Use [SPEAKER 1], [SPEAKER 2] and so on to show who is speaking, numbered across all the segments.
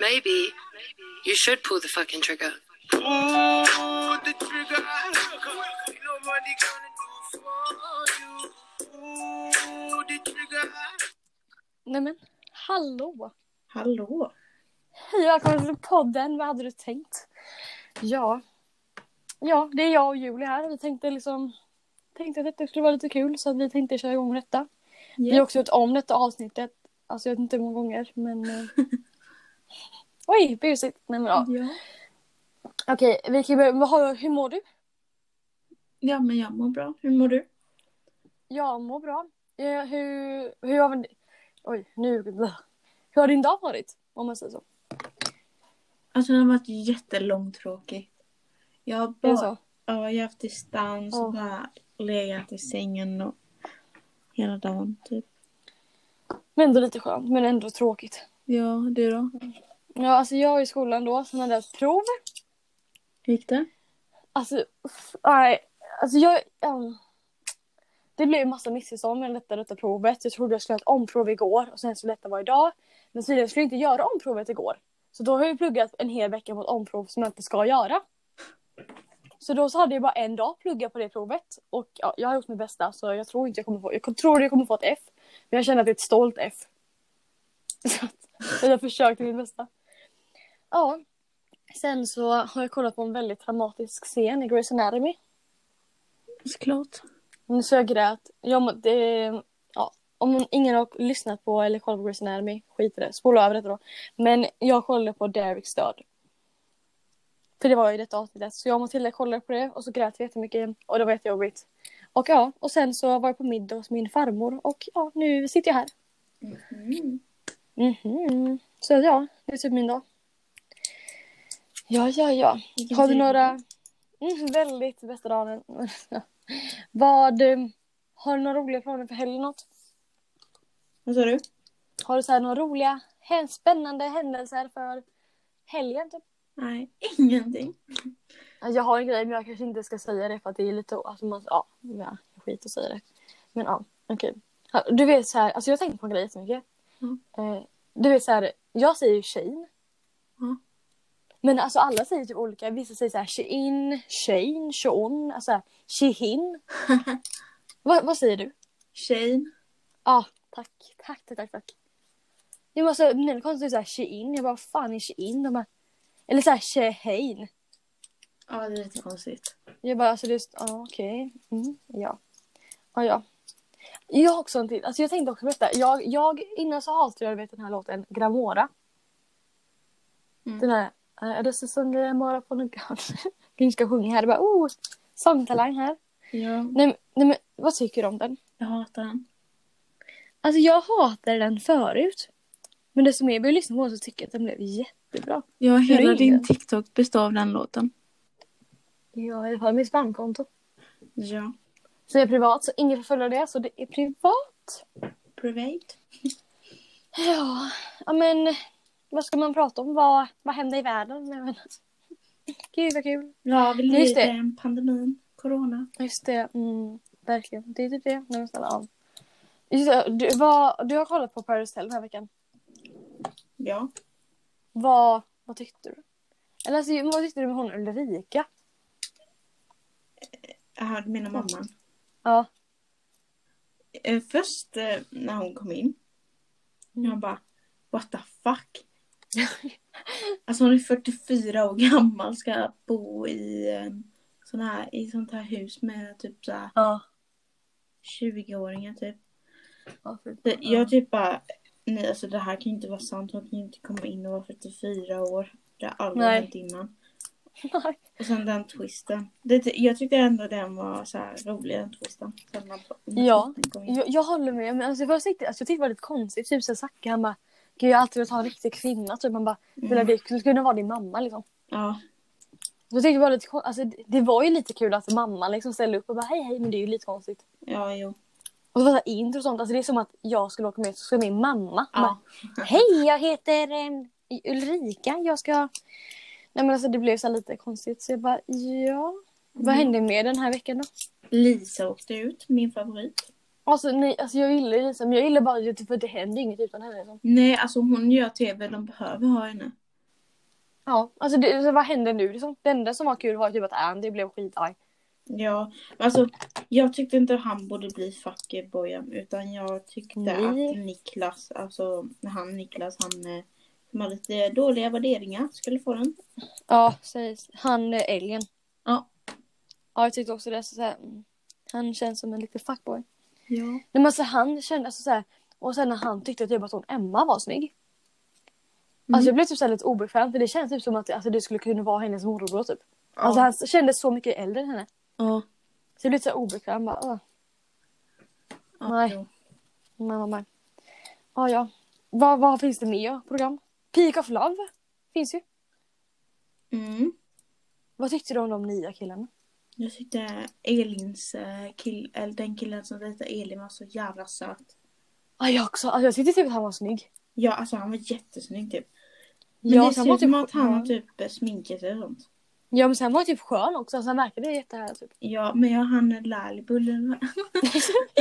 [SPEAKER 1] Maybe you should pull the fucking trigger.
[SPEAKER 2] Pull the trigger. Ain't nobody gonna do for you. Pull the trigger.
[SPEAKER 3] Nej men, hallå!
[SPEAKER 4] Hallå!
[SPEAKER 3] Hej välkommen till podden, vad hade du tänkt? Ja, ja det är jag och Julie här. Vi tänkte liksom, tänkte att detta skulle vara lite kul så att vi tänkte köra igång detta. Vi har också gjort om detta avsnittet, alltså jag vet inte hur många gånger men... eh, Oj, busigt! Nej men ja.
[SPEAKER 4] Ja.
[SPEAKER 3] Okej, vi kan börja, vad har- hur mår du?
[SPEAKER 4] ja, men jag mår bra. Hur mår du?
[SPEAKER 3] Jag mår bra. Eh, hur, hur har... Oj, nu... Hur har din dag varit? Om man säger så.
[SPEAKER 4] Alltså den har varit jättelångtråkig. Jag har
[SPEAKER 3] Det är så.
[SPEAKER 4] bara, ja, jag har haft distans och
[SPEAKER 3] Åh.
[SPEAKER 4] bara legat i sängen och hela dagen typ.
[SPEAKER 3] Men ändå lite skönt, men ändå tråkigt.
[SPEAKER 4] Ja, du då?
[SPEAKER 3] Ja, alltså jag är i skolan då, sen hade jag ett prov.
[SPEAKER 4] Hur gick det?
[SPEAKER 3] Alltså, uff, nej. Alltså jag... ehm, det blev en massa missförstånd med detta, detta provet. Jag trodde jag skulle ha ett omprov igår och sen skulle detta vara idag. Men tydligen skulle jag inte göra omprovet igår. Så då har jag pluggat en hel vecka på ett omprov som jag inte ska göra. Så då så hade jag bara en dag att plugga på det provet. Och ja, jag har gjort mitt bästa så jag tror inte jag kommer få... Jag tror jag kommer få ett F. Men jag känner att det är ett stolt F. Så att jag försökte mitt bästa. Ja. Sen så har jag kollat på en väldigt traumatisk scen i Grey's Anatomy.
[SPEAKER 4] Såklart.
[SPEAKER 3] Mm, Så jag grät. Jag, må- det, ja, om ingen har lyssnat på eller kollat på Grey's Anatomy, skit i det. Spola över detta då. Men jag kollade på Dereks död. För det var ju detta avsnittet. Så jag och Matilda kollade på det och så grät vi jättemycket. Och det var jättejobbigt. Och ja, och sen så var jag på middag hos min farmor. Och ja, nu sitter jag här. Mhm. Så ja, det är typ min dag. Ja, ja, ja. Har du några... Mm, väldigt bästa dagen. Vad... eh, Har du några roliga planer för helgen något?
[SPEAKER 4] Vad sa du?
[SPEAKER 3] Har du så här några roliga, hä- spännande händelser för helgen typ?
[SPEAKER 4] Nej, ingenting.
[SPEAKER 3] Ja, Alltså, Jag har en grej men jag kanske inte ska säga det för att det är lite... Alltså, man, ja, ja, skit att säga det. Men ja, okej. Ja, Du vet så här, alltså jag har tänkt på en grej jättemycket.
[SPEAKER 4] Mm.
[SPEAKER 3] Eh, du vet så här, jag säger ju Shane.
[SPEAKER 4] Mm.
[SPEAKER 3] Men alltså alla säger typ olika. Vissa säger så här Shein, Shane, Sean, alltså så här, Shehin. vad, vad säger du?
[SPEAKER 4] Shane.
[SPEAKER 3] Ja, tack. Tack, tack, tack. tack. Jag måste, mina kompisar säger Shein. Jag bara, vad fan är Shein? De bara, eller såhär Shehein.
[SPEAKER 4] Ja, det är lite konstigt.
[SPEAKER 3] Jag bara, alltså det är, ja okej. Mm, ja. Ja, ja. Jag har också en till. Alltså jag tänkte också berätta. Jag, jag innan så hatade jag vet, den här låten Gramora.
[SPEAKER 4] Mm.
[SPEAKER 3] Den här, eh, det är som Gramora på någon Kanske ska sjunga här. Det bara, oh, sångtalang här.
[SPEAKER 4] Ja.
[SPEAKER 3] Nej, men- nej men vad tycker du om den?
[SPEAKER 4] Jag hatar han.
[SPEAKER 3] Alltså jag hatade den förut. Men desto mer jag började lyssna på den så tycker jag att den blev jättebra.
[SPEAKER 4] Ja, hela
[SPEAKER 3] Ring.
[SPEAKER 4] din TikTok består av den låten.
[SPEAKER 3] Ja, i alla fall mitt bankkonto.
[SPEAKER 4] Ja.
[SPEAKER 3] Så det är privat, så ingen får följa det. Så det är privat.
[SPEAKER 4] Private.
[SPEAKER 3] Ja, ja men vad ska man prata om? Vad, vad händer i världen? alltså. Jag menar. Gud vad kul.
[SPEAKER 4] Ja, vi
[SPEAKER 3] Just
[SPEAKER 4] lever
[SPEAKER 3] det.
[SPEAKER 4] i en pandemin. Corona.
[SPEAKER 3] Just det, mm, verkligen. Det är typ det. Nej, men snälla, ja. Just det, du, vad, du har kollat på Paris Hotel den här veckan.
[SPEAKER 4] Ja.
[SPEAKER 3] Vad, vad tyckte du? Eller alltså, vad tyckte du med hon Ulrika?
[SPEAKER 4] Jag hörde mina mamman.
[SPEAKER 3] Ja.
[SPEAKER 4] Eh, Först eh, när hon kom in.
[SPEAKER 3] Mm.
[SPEAKER 4] Jag bara, what the fuck? alltså hon är 44 år gammal. Ska bo i, eh, sån här, i sånt här hus med typ så här
[SPEAKER 3] Ja.
[SPEAKER 4] 20-åringar typ.
[SPEAKER 3] ja
[SPEAKER 4] Det- Jag typ bara, nej alltså det här kan ju inte vara sant. Hon kan ju inte komma in och vara 44 år. Det har aldrig
[SPEAKER 3] Nej.
[SPEAKER 4] hänt innan.
[SPEAKER 3] Nej.
[SPEAKER 4] Och sen den twisten. Det, ty- jag tyckte ändå den var så här rolig den twisten. Sen när- när
[SPEAKER 3] Ja.
[SPEAKER 4] twisten kom in.
[SPEAKER 3] Jag, jag håller med. Men alltså, först tyckte, alltså, jag tyckte det var lite konstigt. Typ så Zacke han bara. Gud jag har alltid velat ha en riktig kvinna. Typ man bara. Mm. Det skulle kunna vara din mamma liksom.
[SPEAKER 4] Ja.
[SPEAKER 3] Så jag tyckte det var lite kon- alltså, det- Det var ju lite kul att mamma liksom ställde upp och bara hej hej. Men det är ju lite konstigt.
[SPEAKER 4] Ja, jo.
[SPEAKER 3] Och så var det så här intro och sånt. Alltså det är som att jag skulle åka med så ska min mamma.
[SPEAKER 4] Ja.
[SPEAKER 3] Bara, hej jag heter eh, Ulrika. Jag ska. Nej men alltså det blev så här lite konstigt. Så jag bara ja. Vad hände med den här veckan då?
[SPEAKER 4] Lisa åkte ut, min favorit.
[SPEAKER 3] Alltså, nej, alltså jag gillar typ, ju Lisa men jag gillar bara att det- för det händer inget utan henne. Liksom.
[SPEAKER 4] Nej, alltså hon gör tv, de behöver ha henne.
[SPEAKER 3] Ja, alltså det, så vad händer nu liksom? Det enda som var kul var typ att Andy blev skitarg.
[SPEAKER 4] Ja, alltså jag tyckte inte han borde bli fuckboyen utan jag tyckte
[SPEAKER 3] Nej.
[SPEAKER 4] att Niklas, alltså han Niklas, han eh, som har lite dåliga värderingar skulle få den.
[SPEAKER 3] Ja, precis. Han är alien.
[SPEAKER 4] Ja.
[SPEAKER 3] Ja, jag tyckte också det. Så så här, mm, han känns som en liten fuckboy.
[SPEAKER 4] Ja.
[SPEAKER 3] Nej men så han kände alltså, så här, och sen när han tyckte typ att hon Emma var snygg.
[SPEAKER 4] Mm.
[SPEAKER 3] Alltså jag blev typ så här lite obekväm för det känns typ som att alltså, det skulle kunna vara hennes morbror typ. Alltså han kändes så mycket äldre än henne.
[SPEAKER 4] ja.
[SPEAKER 3] Så jag blev lite så här obekväm bara. Åh,
[SPEAKER 4] ja,
[SPEAKER 3] Nej.
[SPEAKER 4] jo.
[SPEAKER 3] mamma, mamma. Ja, ja. Vad, vad finns det mer program? Peak of Love finns ju.
[SPEAKER 4] Mm.
[SPEAKER 3] Vad tyckte du om de nya killarna?
[SPEAKER 4] Jag tyckte Elins eh, kill, eller den killen som dejtade Elin var så jävla söt.
[SPEAKER 3] Ja, jag också. Alltså, jag tyckte typ att han var snygg.
[SPEAKER 4] Ja, alltså han var jättesnygg typ. Men
[SPEAKER 3] Ja,
[SPEAKER 4] det
[SPEAKER 3] sen
[SPEAKER 4] ser
[SPEAKER 3] var
[SPEAKER 4] ut som
[SPEAKER 3] typ-
[SPEAKER 4] att han har
[SPEAKER 3] ja.
[SPEAKER 4] typ eh, sminkat sig och sånt.
[SPEAKER 3] Ja, men sen var han typ skön också. Alltså, han verkade jättehärlig typ.
[SPEAKER 4] Ja, men jag hann Lalibul eller vad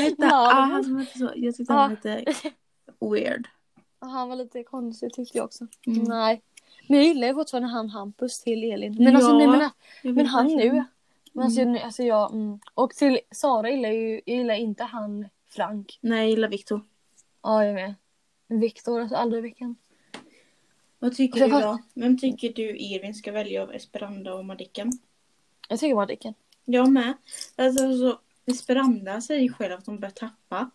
[SPEAKER 4] hette
[SPEAKER 3] Ja, det
[SPEAKER 4] ah, han? Ja,
[SPEAKER 3] var- Ah.
[SPEAKER 4] han som hette så. Jag tyckte han var lite weird.
[SPEAKER 3] Och han var lite konstig tyckte jag också.
[SPEAKER 4] Mm.
[SPEAKER 3] Nej. Men jag gillar ju fortfarande han Hampus till Elin. Men
[SPEAKER 4] Ja.
[SPEAKER 3] alltså, nej, men,
[SPEAKER 4] Jag
[SPEAKER 3] men
[SPEAKER 4] vet
[SPEAKER 3] han
[SPEAKER 4] verkligen.
[SPEAKER 3] nu. Men alltså, jag- alltså jag, mm. Och till Sara gillar ju, jag gillar inte han Frank.
[SPEAKER 4] Nej, jag gillar Victor.
[SPEAKER 3] Ja, jag med. Viktor, alltså aldrig vilken.
[SPEAKER 4] Vad tycker
[SPEAKER 3] Jag
[SPEAKER 4] du
[SPEAKER 3] har-
[SPEAKER 4] då? Vem tycker du Irvin ska välja av Esperanda och Madicken?
[SPEAKER 3] Jag tycker bara Dicken.
[SPEAKER 4] Jag med. Alltså, så, Esperanda säger själv att hon börjar tappa.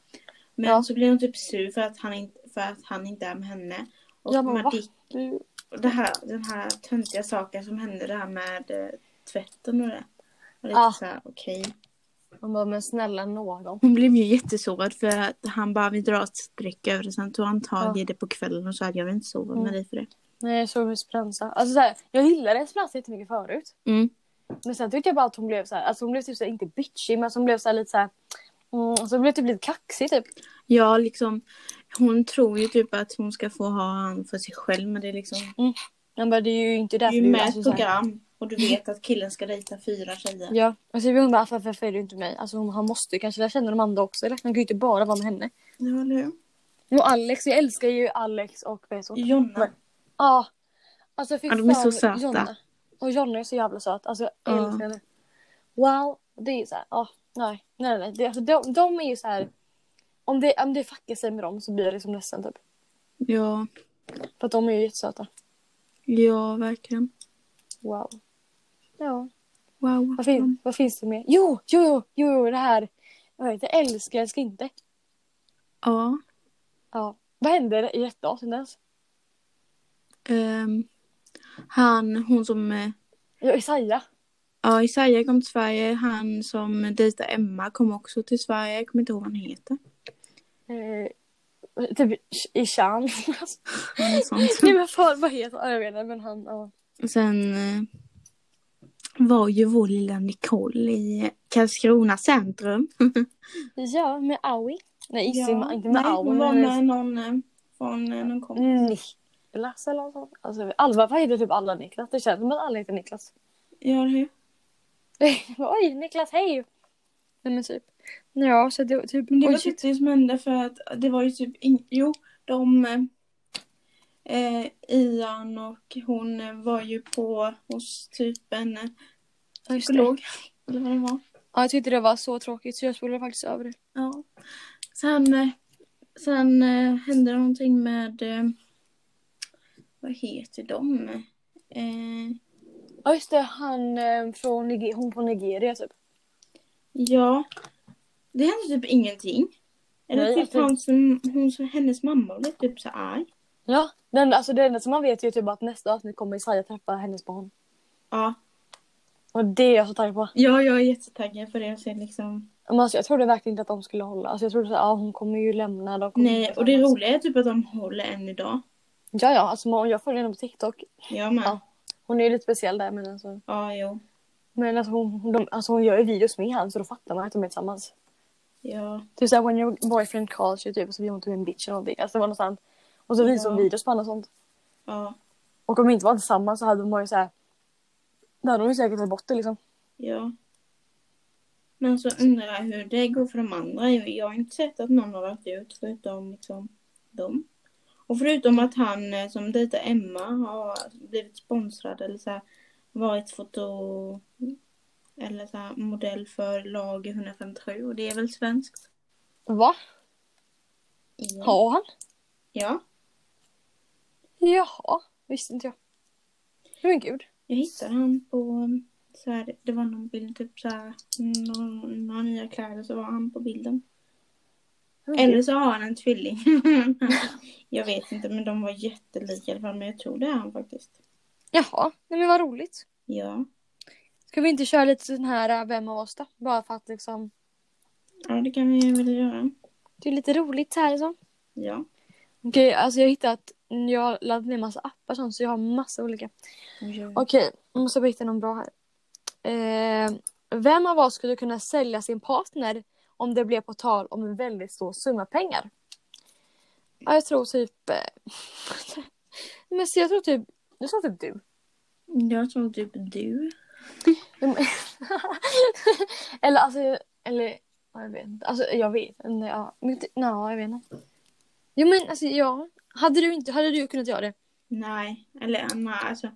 [SPEAKER 4] Men
[SPEAKER 3] Ja.
[SPEAKER 4] så blir hon typ sur för att han inte, för att han inte är med henne. Och
[SPEAKER 3] Ja, men va?
[SPEAKER 4] Madick-
[SPEAKER 3] Du...
[SPEAKER 4] och det här, den här töntiga saken som hände, det här med eh, tvätten och det. Och lite
[SPEAKER 3] Ja.
[SPEAKER 4] så här, okej.
[SPEAKER 3] Man bara, men snälla någon.
[SPEAKER 4] Hon blev ju jättesårad för att han bara vill dra ett streck över det. Sen tog han tag i det på kvällen och sa att jag vill inte sova med
[SPEAKER 3] Mm.
[SPEAKER 4] dig för det.
[SPEAKER 3] Nej, jag såg Esperanza. Alltså så här, jag gillade Esperanza jättemycket förut.
[SPEAKER 4] Mm.
[SPEAKER 3] Men sen tyckte jag bara att hon blev så här, alltså hon blev typ så här, inte bitchig men som blev så här lite så här, mm, alltså hon blev typ lite kaxig typ.
[SPEAKER 4] Ja, liksom. Hon tror ju typ att hon ska få ha han för sig själv. Men det är liksom.
[SPEAKER 3] Men bara, det är ju inte
[SPEAKER 4] Du
[SPEAKER 3] därför
[SPEAKER 4] är ju med
[SPEAKER 3] alltså,
[SPEAKER 4] ett
[SPEAKER 3] så här-
[SPEAKER 4] program. Och du vet att killen ska dejta fyra tjejer.
[SPEAKER 3] Ja, alltså hon bara varför följer du inte mig? Alltså hon, han måste ju kanske lära känna de andra också eller? Han kan ju inte bara vara med henne.
[SPEAKER 4] Ja, eller hur?
[SPEAKER 3] Och Alex, jag älskar ju Alex och vad heter hon?
[SPEAKER 4] Jonna.
[SPEAKER 3] Men- Ja. Alltså fy
[SPEAKER 4] Ja, de är
[SPEAKER 3] fan,
[SPEAKER 4] så söta.
[SPEAKER 3] Jonna. Och Jonna är så jävla söt. Alltså jag
[SPEAKER 4] Ja.
[SPEAKER 3] älskar henne. Wow, det är så här, ja, nej, nej, nej. Det, alltså, de, de är ju så här. Om det, om det fuckar sig med dem så blir jag liksom ledsen typ.
[SPEAKER 4] Ja,
[SPEAKER 3] För att de är ju jättesöta.
[SPEAKER 4] ja, verkligen.
[SPEAKER 3] Wow. Ja. Mm.
[SPEAKER 4] Wow.
[SPEAKER 3] Vad, fin- vad finns det mer? Jo, jo, jo, jo, jo, det här. Jag vet, jag älskar, jag älskar inte.
[SPEAKER 4] Ja.
[SPEAKER 3] Ja. Vad hände i ett avsnitt ens?
[SPEAKER 4] ehm, han, hon som... eh,
[SPEAKER 3] Ja, Isaiah.
[SPEAKER 4] Ja, Isaiah kom till Sverige. Han som dejtade Emma kom också till Sverige. Jag kommer inte ihåg vad han heter.
[SPEAKER 3] Eh, typ Ishan.
[SPEAKER 4] Något sånt.
[SPEAKER 3] Nej men fan vad heter han? Ja, Jag vet inte men han. Ja.
[SPEAKER 4] Och Sen eh, var ju vår lilla Nicole i Karlskrona centrum.
[SPEAKER 3] ja med Aui. Nej inte med- inte med
[SPEAKER 4] nej,
[SPEAKER 3] Aui.
[SPEAKER 4] hon var
[SPEAKER 3] men- Mm.
[SPEAKER 4] med någon eh, från eh, någon kompis.
[SPEAKER 3] Niklas eller något sånt. Alltså alla, vad heter typ alla Niklas? Det känns som att alla heter Niklas.
[SPEAKER 4] Ja, det är-
[SPEAKER 3] Oj Niklas hej! Nej men typ. Ja så det var typ.
[SPEAKER 4] Men det var
[SPEAKER 3] Oj,
[SPEAKER 4] typ det som hände för att det var ju typ in... Jo, de... eh, Eh, Ian och hon eh, var ju på hos typ en eh,
[SPEAKER 3] ja, just det.
[SPEAKER 4] psykolog. Eller vad det var.
[SPEAKER 3] Ja, jag tyckte det var så tråkigt så jag spolade faktiskt över det.
[SPEAKER 4] Ja. Sen, eh, sen eh, hände det någonting med... Eh, vad heter de? Eh,
[SPEAKER 3] Ja, just det. Han eh, från Niger- hon från Nigeria typ.
[SPEAKER 4] ja. Det hände typ ingenting. Eller
[SPEAKER 3] Nej,
[SPEAKER 4] typ
[SPEAKER 3] alltså-
[SPEAKER 4] han som, hon som, hennes mamma blev typ så arg.
[SPEAKER 3] Ja. Den, alltså, det enda som man vet är ju typ att nästa avsnitt kommer Isaiah träffa hennes barn.
[SPEAKER 4] Ja.
[SPEAKER 3] Och det är jag så taggad på.
[SPEAKER 4] ja, jag är jättetaggad för det. Och sen liksom...
[SPEAKER 3] Men alltså, jag trodde verkligen inte att de skulle hålla. Alltså, jag trodde att ja, hon kommer ju lämna. De kommer
[SPEAKER 4] Nej,
[SPEAKER 3] bli
[SPEAKER 4] och det
[SPEAKER 3] tillsammans.
[SPEAKER 4] roliga är typ att de håller än idag.
[SPEAKER 3] Ja, ja. Alltså, man, jag följer henne på TikTok.
[SPEAKER 4] Jag med.
[SPEAKER 3] Ja.
[SPEAKER 4] Ja,
[SPEAKER 3] Hon är ju lite speciell där men alltså.
[SPEAKER 4] jo.
[SPEAKER 3] Men alltså hon, de, alltså, hon gör ju videos med han så då fattar man att de är tillsammans.
[SPEAKER 4] Ja.
[SPEAKER 3] Typ såhär when your boyfriend calls you typ och så blir hon typ en bitch eller någonting. Alltså det var något sånt. Och så visar hon
[SPEAKER 4] Ja.
[SPEAKER 3] videos på honom och sånt.
[SPEAKER 4] Ja.
[SPEAKER 3] Och om de inte var tillsammans så hade de ju såhär... Då hade de ju säkert tagit bort det liksom.
[SPEAKER 4] Ja. Men så undrar jag hur det går för de andra. Jag jag har inte sett att någon har varit ut förutom liksom dem. Och förutom att han eh, som dejtar Emma har blivit sponsrad eller så här, varit foto eller så här, modell för lag 157 och det är väl svenskt?
[SPEAKER 3] Va?
[SPEAKER 4] Ja.
[SPEAKER 3] Har han?
[SPEAKER 4] ja.
[SPEAKER 3] Jaha, visste inte jag. Men gud.
[SPEAKER 4] Jag hittade han på mm, så här, det var någon bild typ så här, någon, några nya kläder så var han på bilden.
[SPEAKER 3] Men gud.
[SPEAKER 4] Eller så har han en tvilling. jag vet inte men de var jättelika i alla fall men jag tror det är han faktiskt.
[SPEAKER 3] Jaha, nej men vad roligt.
[SPEAKER 4] Ja.
[SPEAKER 3] Ska vi inte köra lite sån här äh, Vem av oss då? Bara för att liksom,
[SPEAKER 4] Ja det kan vi väl göra.
[SPEAKER 3] det är lite roligt så här liksom.
[SPEAKER 4] Ja.
[SPEAKER 3] Okej, alltså jag har hittat, jag har laddat ner massa appar och sånt så jag har massa olika. Okej, jag måste bara hitta någon bra här. Eh, vem av oss skulle kunna sälja sin partner om det blev på tal om en väldigt stor summa pengar? Ja, jag tror typ... eh, Men så jag tror typ... Jag tror typ du.
[SPEAKER 4] Jag tror typ du.
[SPEAKER 3] eller alltså... Eller... Ja, jag vet inte. Alltså jag vet inte. Ja, men inte- ja, jag vet inte. Jo men alltså ja. Hade du inte... Hade du kunnat göra det?
[SPEAKER 4] Nej. Eller nej alltså.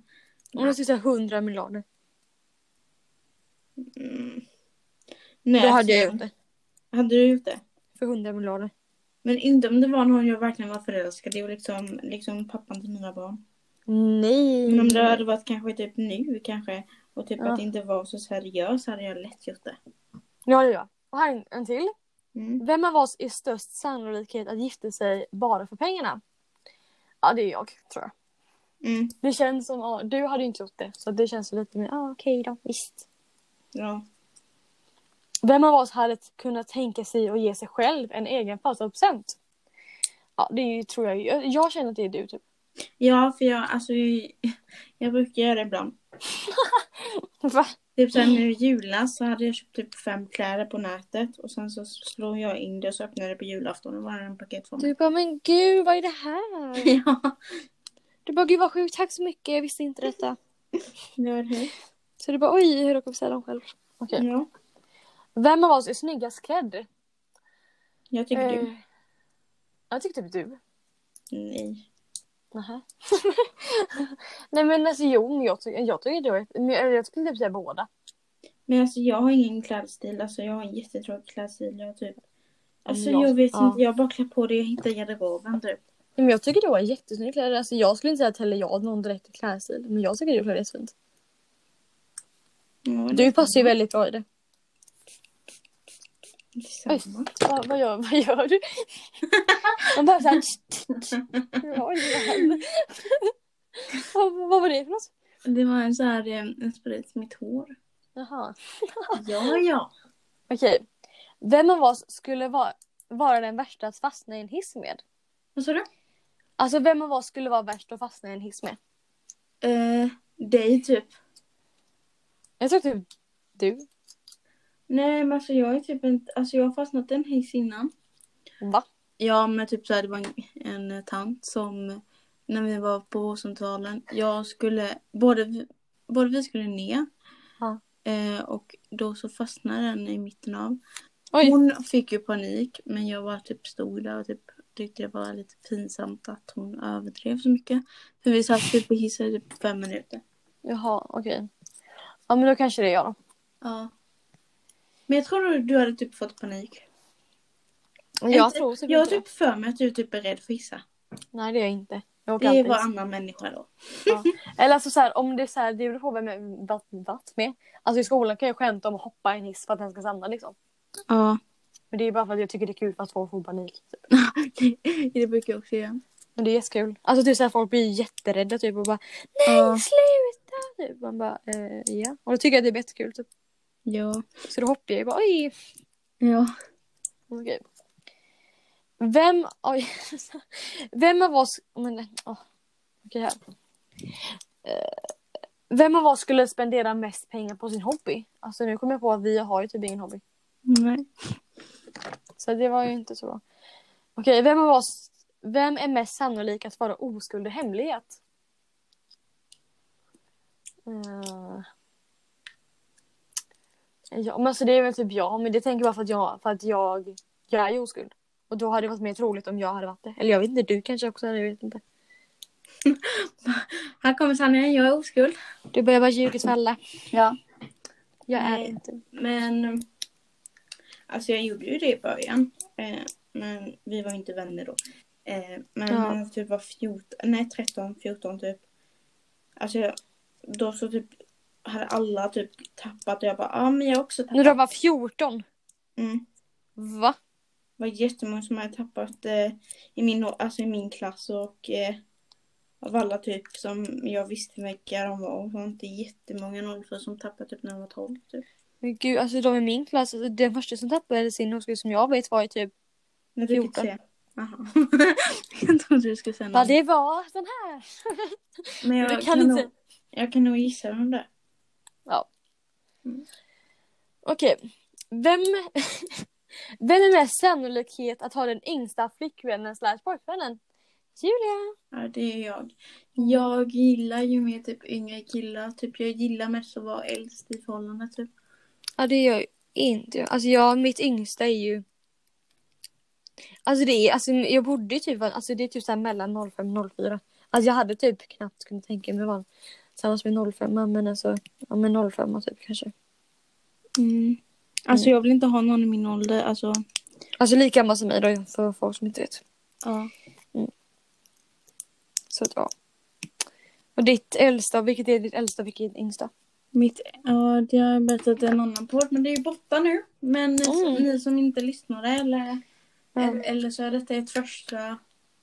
[SPEAKER 3] Om du skulle säga 100 miljarder.
[SPEAKER 4] Mm. Nej,
[SPEAKER 3] Då hade jag
[SPEAKER 4] alltså,
[SPEAKER 3] gjort det.
[SPEAKER 4] Hade du gjort det?
[SPEAKER 3] För 100 miljarder.
[SPEAKER 4] Men inte om det var någon jag verkligen var förälskad i och liksom, liksom pappan till mina barn.
[SPEAKER 3] Nej.
[SPEAKER 4] Men om det hade varit kanske typ nu kanske. Och typ
[SPEAKER 3] Mm. Ja.
[SPEAKER 4] att det inte var så seriöst hade jag lätt gjort det.
[SPEAKER 3] Ja, det gör jag. Och här är en, en till.
[SPEAKER 4] Mm.
[SPEAKER 3] Vem av oss är störst sannolikhet att gifta sig bara för pengarna? Ja, det är jag, tror jag.
[SPEAKER 4] Mm.
[SPEAKER 3] Det känns som, ja, du hade ju inte gjort det. Så det känns lite mer, ja okej då, visst.
[SPEAKER 4] Ja.
[SPEAKER 3] Vem av oss hade kunnat tänka sig att ge sig själv en egen födelsedagspresent? Ja, det är ju, tror jag, jag, jag känner att det är du typ.
[SPEAKER 4] ja, för jag, alltså, jag, jag brukar göra det ibland.
[SPEAKER 3] Va?
[SPEAKER 4] Typ sen nu i julas så hade jag köpt typ fem kläder på nätet. Och sen så slog jag in det och så öppnade jag det på julafton och var det en paket för mig.
[SPEAKER 3] Du bara, men gud vad är det här?
[SPEAKER 4] Ja,
[SPEAKER 3] Du bara, gud vad sjukt, tack så mycket, jag visste inte detta.
[SPEAKER 4] det var det.
[SPEAKER 3] Så du bara, oj, hur råkade vi säga dem själv? Okej.
[SPEAKER 4] Ja,
[SPEAKER 3] Vem av oss är snyggast klädd?
[SPEAKER 4] jag tycker du.
[SPEAKER 3] Eh, Jag tycker typ du.
[SPEAKER 4] Nej.
[SPEAKER 3] Nähä. Nej men alltså jo, men jag, ty- jag tycker du är- men jag, jag skulle typ säga båda.
[SPEAKER 4] Men alltså jag har ingen klädstil. Alltså jag har en jättetråkig klädstil. Jag typ... Alltså
[SPEAKER 3] Jag-
[SPEAKER 4] jag vet
[SPEAKER 3] ja.
[SPEAKER 4] inte. Jag bara klär på det jag hittar i garderoben typ.
[SPEAKER 3] Nej, men jag tycker du har jättesnygga kläder. Alltså, jag skulle inte säga att heller jag har någon direkt klädstil. Men jag tycker du klär jättefint.
[SPEAKER 4] Ja, det
[SPEAKER 3] Du passar ju väldigt bra i det.
[SPEAKER 4] är samma.
[SPEAKER 3] Va, vad, gör, vad gör du? Man bara såhär... Vad vad var det för något?
[SPEAKER 4] Det var en så här eh, en sprit i mitt hår.
[SPEAKER 3] Jaha.
[SPEAKER 4] Ja, ja.
[SPEAKER 3] Okej. Vem av oss skulle vara, vara den värsta att fastna i en hiss med?
[SPEAKER 4] Vad sa du?
[SPEAKER 3] Alltså vem av oss skulle vara värst att fastna i en hiss med?
[SPEAKER 4] Eh, dig typ.
[SPEAKER 3] Jag tror typ du.
[SPEAKER 4] Nej men alltså jag är typ inte, alltså jag har fastnat i en hiss innan.
[SPEAKER 3] Va?
[SPEAKER 4] Ja men typ så här, det var en, en tant som när vi var på vårdcentralen. Jag skulle, både, vi- både vi skulle ner.
[SPEAKER 3] Ja.
[SPEAKER 4] Eh, och då så fastnade den i mitten av.
[SPEAKER 3] Oj.
[SPEAKER 4] Hon fick ju panik men jag bara typ stod där och typ tyckte det var lite pinsamt att hon överdrev så mycket. För vi satt typ och hissade i typ fem minuter.
[SPEAKER 3] Jaha, okej. Ja, men då kanske det är jag då.
[SPEAKER 4] Ja. Men jag tror du hade typ fått panik.
[SPEAKER 3] Jag
[SPEAKER 4] Inte-
[SPEAKER 3] tror typ
[SPEAKER 4] Jag har
[SPEAKER 3] inte
[SPEAKER 4] typ för mig att du typ är rädd för hissa.
[SPEAKER 3] det. Nej, det är jag inte. Jag
[SPEAKER 4] Det
[SPEAKER 3] åker
[SPEAKER 4] är
[SPEAKER 3] alltid. liksom.
[SPEAKER 4] bara annan människa då.
[SPEAKER 3] Eller alltså så här, om det är så här, det beror på vem jag varit- varit med. Alltså i skolan kan jag skämta om att hoppa i en hiss för att den ska stanna liksom.
[SPEAKER 4] Ja.
[SPEAKER 3] Men det är bara för att jag tycker det är kul att folk får panik. Typ.
[SPEAKER 4] det brukar jag också göra.
[SPEAKER 3] Men det är jättekul. Alltså typ så här, folk blir jätterädda typ och bara
[SPEAKER 4] Ja.
[SPEAKER 3] sluta! Typ. Man bara eh, ja. Och då tycker jag det är jättekul typ.
[SPEAKER 4] Ja.
[SPEAKER 3] Så då hoppar jag ju bara oj.
[SPEAKER 4] Ja.
[SPEAKER 3] Okej. Vem, oj, vem av oss... oh, Men, åh, okej, här. Eh, Vem av oss skulle spendera mest pengar på sin hobby? Alltså nu kommer jag på att vi har ju typ ingen hobby.
[SPEAKER 4] Nej.
[SPEAKER 3] Så det var ju
[SPEAKER 4] Mm.
[SPEAKER 3] inte så bra. Okej, vem av oss... Vem är mest sannolik att vara oskuld i hemlighet? Eh, Ja, men alltså det är väl typ jag, men det tänker jag bara för att jag, för att jag, jag är ju oskuld. Och då hade det varit mer troligt om jag hade varit det. Eller jag vet inte, du kanske också hade, jag vet inte.
[SPEAKER 4] Här kommer sanningen, jag är oskuld.
[SPEAKER 3] Du börjar bara ljugets fälla.
[SPEAKER 4] Ja.
[SPEAKER 3] Jag är
[SPEAKER 4] Nej.
[SPEAKER 3] inte.
[SPEAKER 4] Men alltså jag gjorde ju det i början. Eh, men vi var ju inte vänner då. Eh, men
[SPEAKER 3] Ja.
[SPEAKER 4] när jag typ var 14, nej 13, 14 typ. Alltså jag, då så typ hade alla typ tappat och jag bara, ja ah, men jag har också tappat.
[SPEAKER 3] När du var 14?
[SPEAKER 4] Mm.
[SPEAKER 3] Va?
[SPEAKER 4] Det var jättemånga som hade tappat eh, i, min, alltså, i min klass och eh, av alla typ som jag visste vilka de var och sånt. Det är jättemånga 04 som tappade typ när de var 12 typ.
[SPEAKER 3] Men gud, alltså de i min klass, alltså, den första som tappade sin oskuld som jag vet var ju typ,
[SPEAKER 4] Men du fick
[SPEAKER 3] 14.
[SPEAKER 4] se. Jaha. jag trodde du skulle säga
[SPEAKER 3] ja
[SPEAKER 4] något.
[SPEAKER 3] det var den här.
[SPEAKER 4] Men jag
[SPEAKER 3] Du
[SPEAKER 4] kan,
[SPEAKER 3] kan inte-
[SPEAKER 4] Nog, jag kan nog gissa vem det är.
[SPEAKER 3] Okej, vem, vem är mest sannolikhet att ha den yngsta flickvännen slash pojkvännen? Julia.
[SPEAKER 4] Ja, det är jag. Jag gillar ju mer typ yngre killar. Typ jag gillar mest att vara äldst i förhållandet typ.
[SPEAKER 3] Ja det gör ju inte jag. Alltså jag, mitt yngsta är ju Alltså det är, alltså jag borde ju typ vara, alltså det är typ såhär mellan 05 och 04. Alltså jag hade typ knappt kunnat tänka mig vara tillsammans med 05 men alltså, ja men 05 typ kanske.
[SPEAKER 4] Alltså jag vill inte ha någon i min ålder. Alltså,
[SPEAKER 3] Alltså lika gammal som mig då för folk som inte vet.
[SPEAKER 4] ja.
[SPEAKER 3] Så att ja. Och ditt äldsta, vilket är ditt äldsta, vilket är ditt yngsta?
[SPEAKER 4] Mitt, ja, det har jag berättat i en annan podd men det är ju borta nu. Men ni, som-
[SPEAKER 3] Mm.
[SPEAKER 4] ni som inte lyssnade eller,
[SPEAKER 3] Ja.
[SPEAKER 4] eller så är detta ett första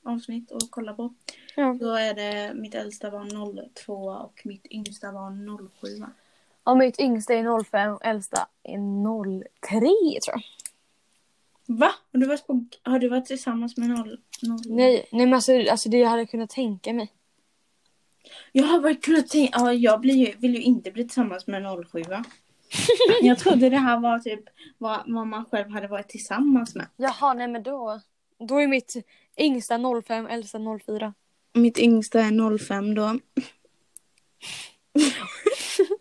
[SPEAKER 4] avsnitt att kolla på.
[SPEAKER 3] Ja.
[SPEAKER 4] Då är det mitt äldsta var 02 och mitt yngsta var 07.
[SPEAKER 3] ja mitt yngsta är 05 och äldsta är 03 tror jag.
[SPEAKER 4] Va? Har du varit, på, har du varit tillsammans med noll, noll?
[SPEAKER 3] Nej, nej men alltså, alltså det jag hade kunnat tänka mig.
[SPEAKER 4] Jag har varit kunnat tänka, ja, jag blir ju, vill ju inte bli tillsammans med 07 va? Jag trodde det här var typ vad, vad man själv hade varit tillsammans med.
[SPEAKER 3] Jaha, nej men då. Då är mitt yngsta 05, äldsta 04.
[SPEAKER 4] Mitt yngsta är 05 då.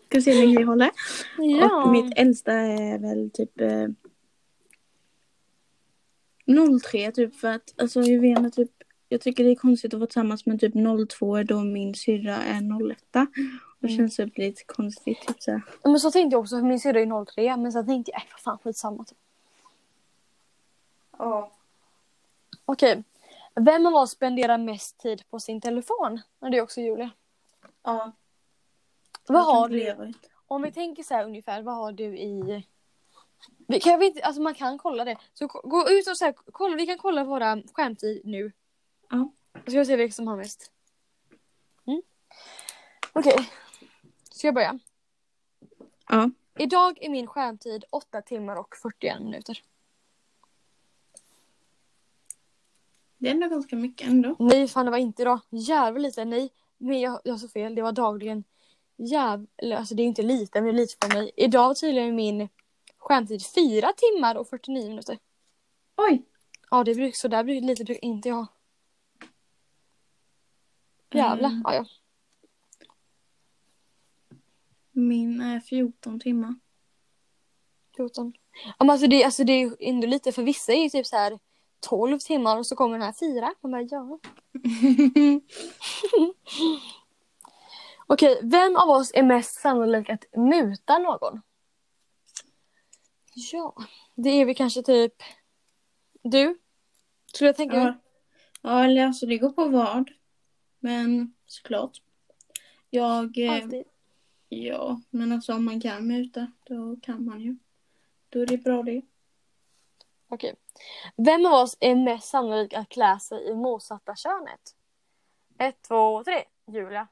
[SPEAKER 4] Ska se hur länge vi håller. Och mitt äldsta är väl typ eh, 03 typ för att alltså jag vet inte typ jag tycker det är konstigt att vara tillsammans med typ 02 då min syrra är 01. Det
[SPEAKER 3] Mm.
[SPEAKER 4] känns typ lite konstigt typ så här.
[SPEAKER 3] Ja, Men så tänkte jag också, för min syrra är 03 men sen tänkte jag, äh, vad fan skitsamma. Typ.
[SPEAKER 4] Ja.
[SPEAKER 3] Okej. Vem av oss spenderar mest tid på sin telefon? Ja, det är också Julia.
[SPEAKER 4] Ja.
[SPEAKER 3] Vad har
[SPEAKER 4] Jag kan
[SPEAKER 3] du?
[SPEAKER 4] leva ut.
[SPEAKER 3] Om vi tänker så här ungefär, vad har du i... Vi kan vi inte, alltså man kan kolla det. Så ko- gå ut och så här, kolla, vi kan kolla våra skärmtid nu.
[SPEAKER 4] Ja.
[SPEAKER 3] Så ska vi se vilka som har mest. Mm. Okej. Ska jag börja?
[SPEAKER 4] Ja.
[SPEAKER 3] Idag är min skärmtid 8 timmar och 41 minuter.
[SPEAKER 4] Det är ändå ganska mycket ändå.
[SPEAKER 3] Nej, fan det var inte idag. Jävligt lite. Nej, men jag, jag sa fel. Det var dagligen. Jävligt, alltså det är inte lite, men det är lite för mig. Idag var tydligen min skärmtid 4 timmar och 49 minuter.
[SPEAKER 4] Oj!
[SPEAKER 3] Ja, det bruk, så där bruk, lite brukar inte jag ha. Jävlar.
[SPEAKER 4] Mm.
[SPEAKER 3] Ja, ja.
[SPEAKER 4] Min är 14 timmar.
[SPEAKER 3] 14. Ja, men alltså det, alltså det är ju ändå lite, för vissa är ju typ så här 12 timmar och så kommer den här 4. Man bara, ja. Okej, vem av oss är mest sannolik att muta någon? Ja, det är vi kanske typ du. Skulle jag tänka mig.
[SPEAKER 4] Ja. ja, eller alltså det går på vad. Men såklart. Jag... eh,
[SPEAKER 3] Alltid.
[SPEAKER 4] Ja, men alltså om man kan muta, då kan man ju. Då är det bra det.
[SPEAKER 3] Okej. Vem av oss är mest sannolik att klä sig i motsatta könet? Ett, två, tre. Julia.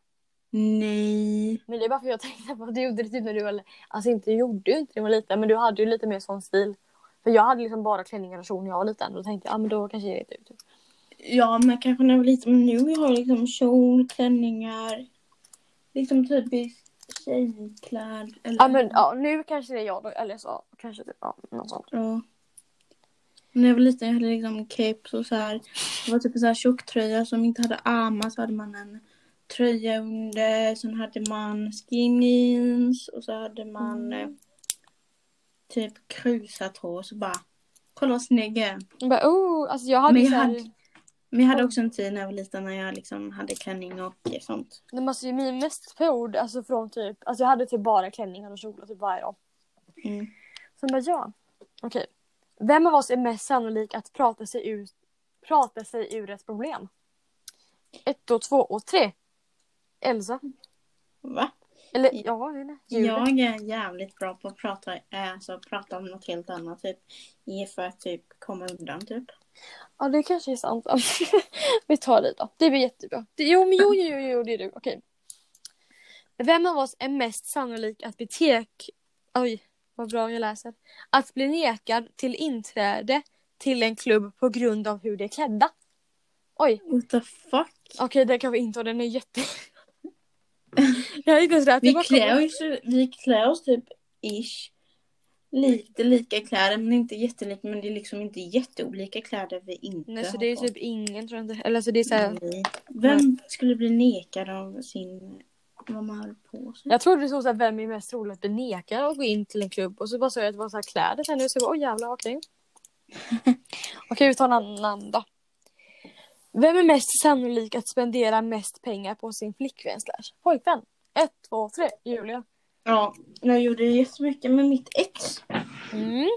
[SPEAKER 4] Nej.
[SPEAKER 3] Men det är bara för att jag tänkte på att du gjorde det typ när du var... Alltså inte gjorde ju inte det när du var liten men du hade ju lite mer sån stil. För jag hade liksom bara klänningar och kjol när jag var liten och då tänkte jag ah, men då kanske det är du. Typ.
[SPEAKER 4] Ja, men kanske när jag var liten. Men nu har jag liksom kjol, klänningar. Liksom typiskt tjejkläd. Eller...
[SPEAKER 3] Ja men ja, nu kanske det är jag då eller så kanske det, ja, något sånt.
[SPEAKER 4] Ja. När jag var liten jag hade liksom caps och så här. Det var typ en så här tjocktröja som inte hade armar så hade man en tröja under. Sen hade man skin Mm. jeans och så hade man eh, typ krusat hår. Så bara Kolla vad snygg jag är.
[SPEAKER 3] Jag bara, oh, alltså jag hade
[SPEAKER 4] Men
[SPEAKER 3] ju
[SPEAKER 4] jag
[SPEAKER 3] så
[SPEAKER 4] hade-
[SPEAKER 3] här,
[SPEAKER 4] Men jag hade också en tid när jag var liten när jag liksom hade klänning och sånt.
[SPEAKER 3] nej, men alltså, min mest period, alltså från typ, alltså jag hade typ bara klänningar och kjolar typ varje dag.
[SPEAKER 4] Mm.
[SPEAKER 3] Sen bara ja, okej. Vem av oss är mest sannolik att prata sig ur, prata sig ur ett problem? Ett och två och tre. Elsa.
[SPEAKER 4] Va?
[SPEAKER 3] Eller ja, jag vet inte. Julia.
[SPEAKER 4] Jag är jävligt bra på att prata, eh, alltså, prata om något helt annat. Typ. Ge För att typ komma undan typ.
[SPEAKER 3] Ja, det kanske är sant. Vi tar det då. Det blir jättebra. Det, jo, men jo, jo, jo, jo, det är du. Okej. Vem av oss är mest sannolik att bli tek... Oj, vad bra jag läser. Att bli nekad till inträde till en klubb på grund av hur de är klädda. Oj,
[SPEAKER 4] What the fuck?
[SPEAKER 3] okej, den kan vi inte ha. Den är jätte... jag hade inte ens lärt
[SPEAKER 4] Vi
[SPEAKER 3] den bakom.
[SPEAKER 4] klär, oss, vi klär oss typ ish. Lite lika kläder men inte jättelika. Men det är liksom inte jätteolika kläder vi inte
[SPEAKER 3] Nej, så
[SPEAKER 4] har
[SPEAKER 3] det är
[SPEAKER 4] på.
[SPEAKER 3] typ ingen, tror jag inte. Eller så det är så här...
[SPEAKER 4] Nej. Vem skulle bli nekad av sin... Vad man har på sig?
[SPEAKER 3] Jag trodde det stod så här, vem är mest trolig att bli nekad att gå in till en klubb? Och så bara såg jag att det var så här kläder sen nu så jag bara, oj jävlar, okej. okej, vi tar en annan då. Vem är mest sannolik att spendera mest pengar på sin flickvän slash pojkvän? Ett, två, tre, Julia.
[SPEAKER 4] Ja, jag gjorde jättemycket med mitt ex.
[SPEAKER 3] Mm.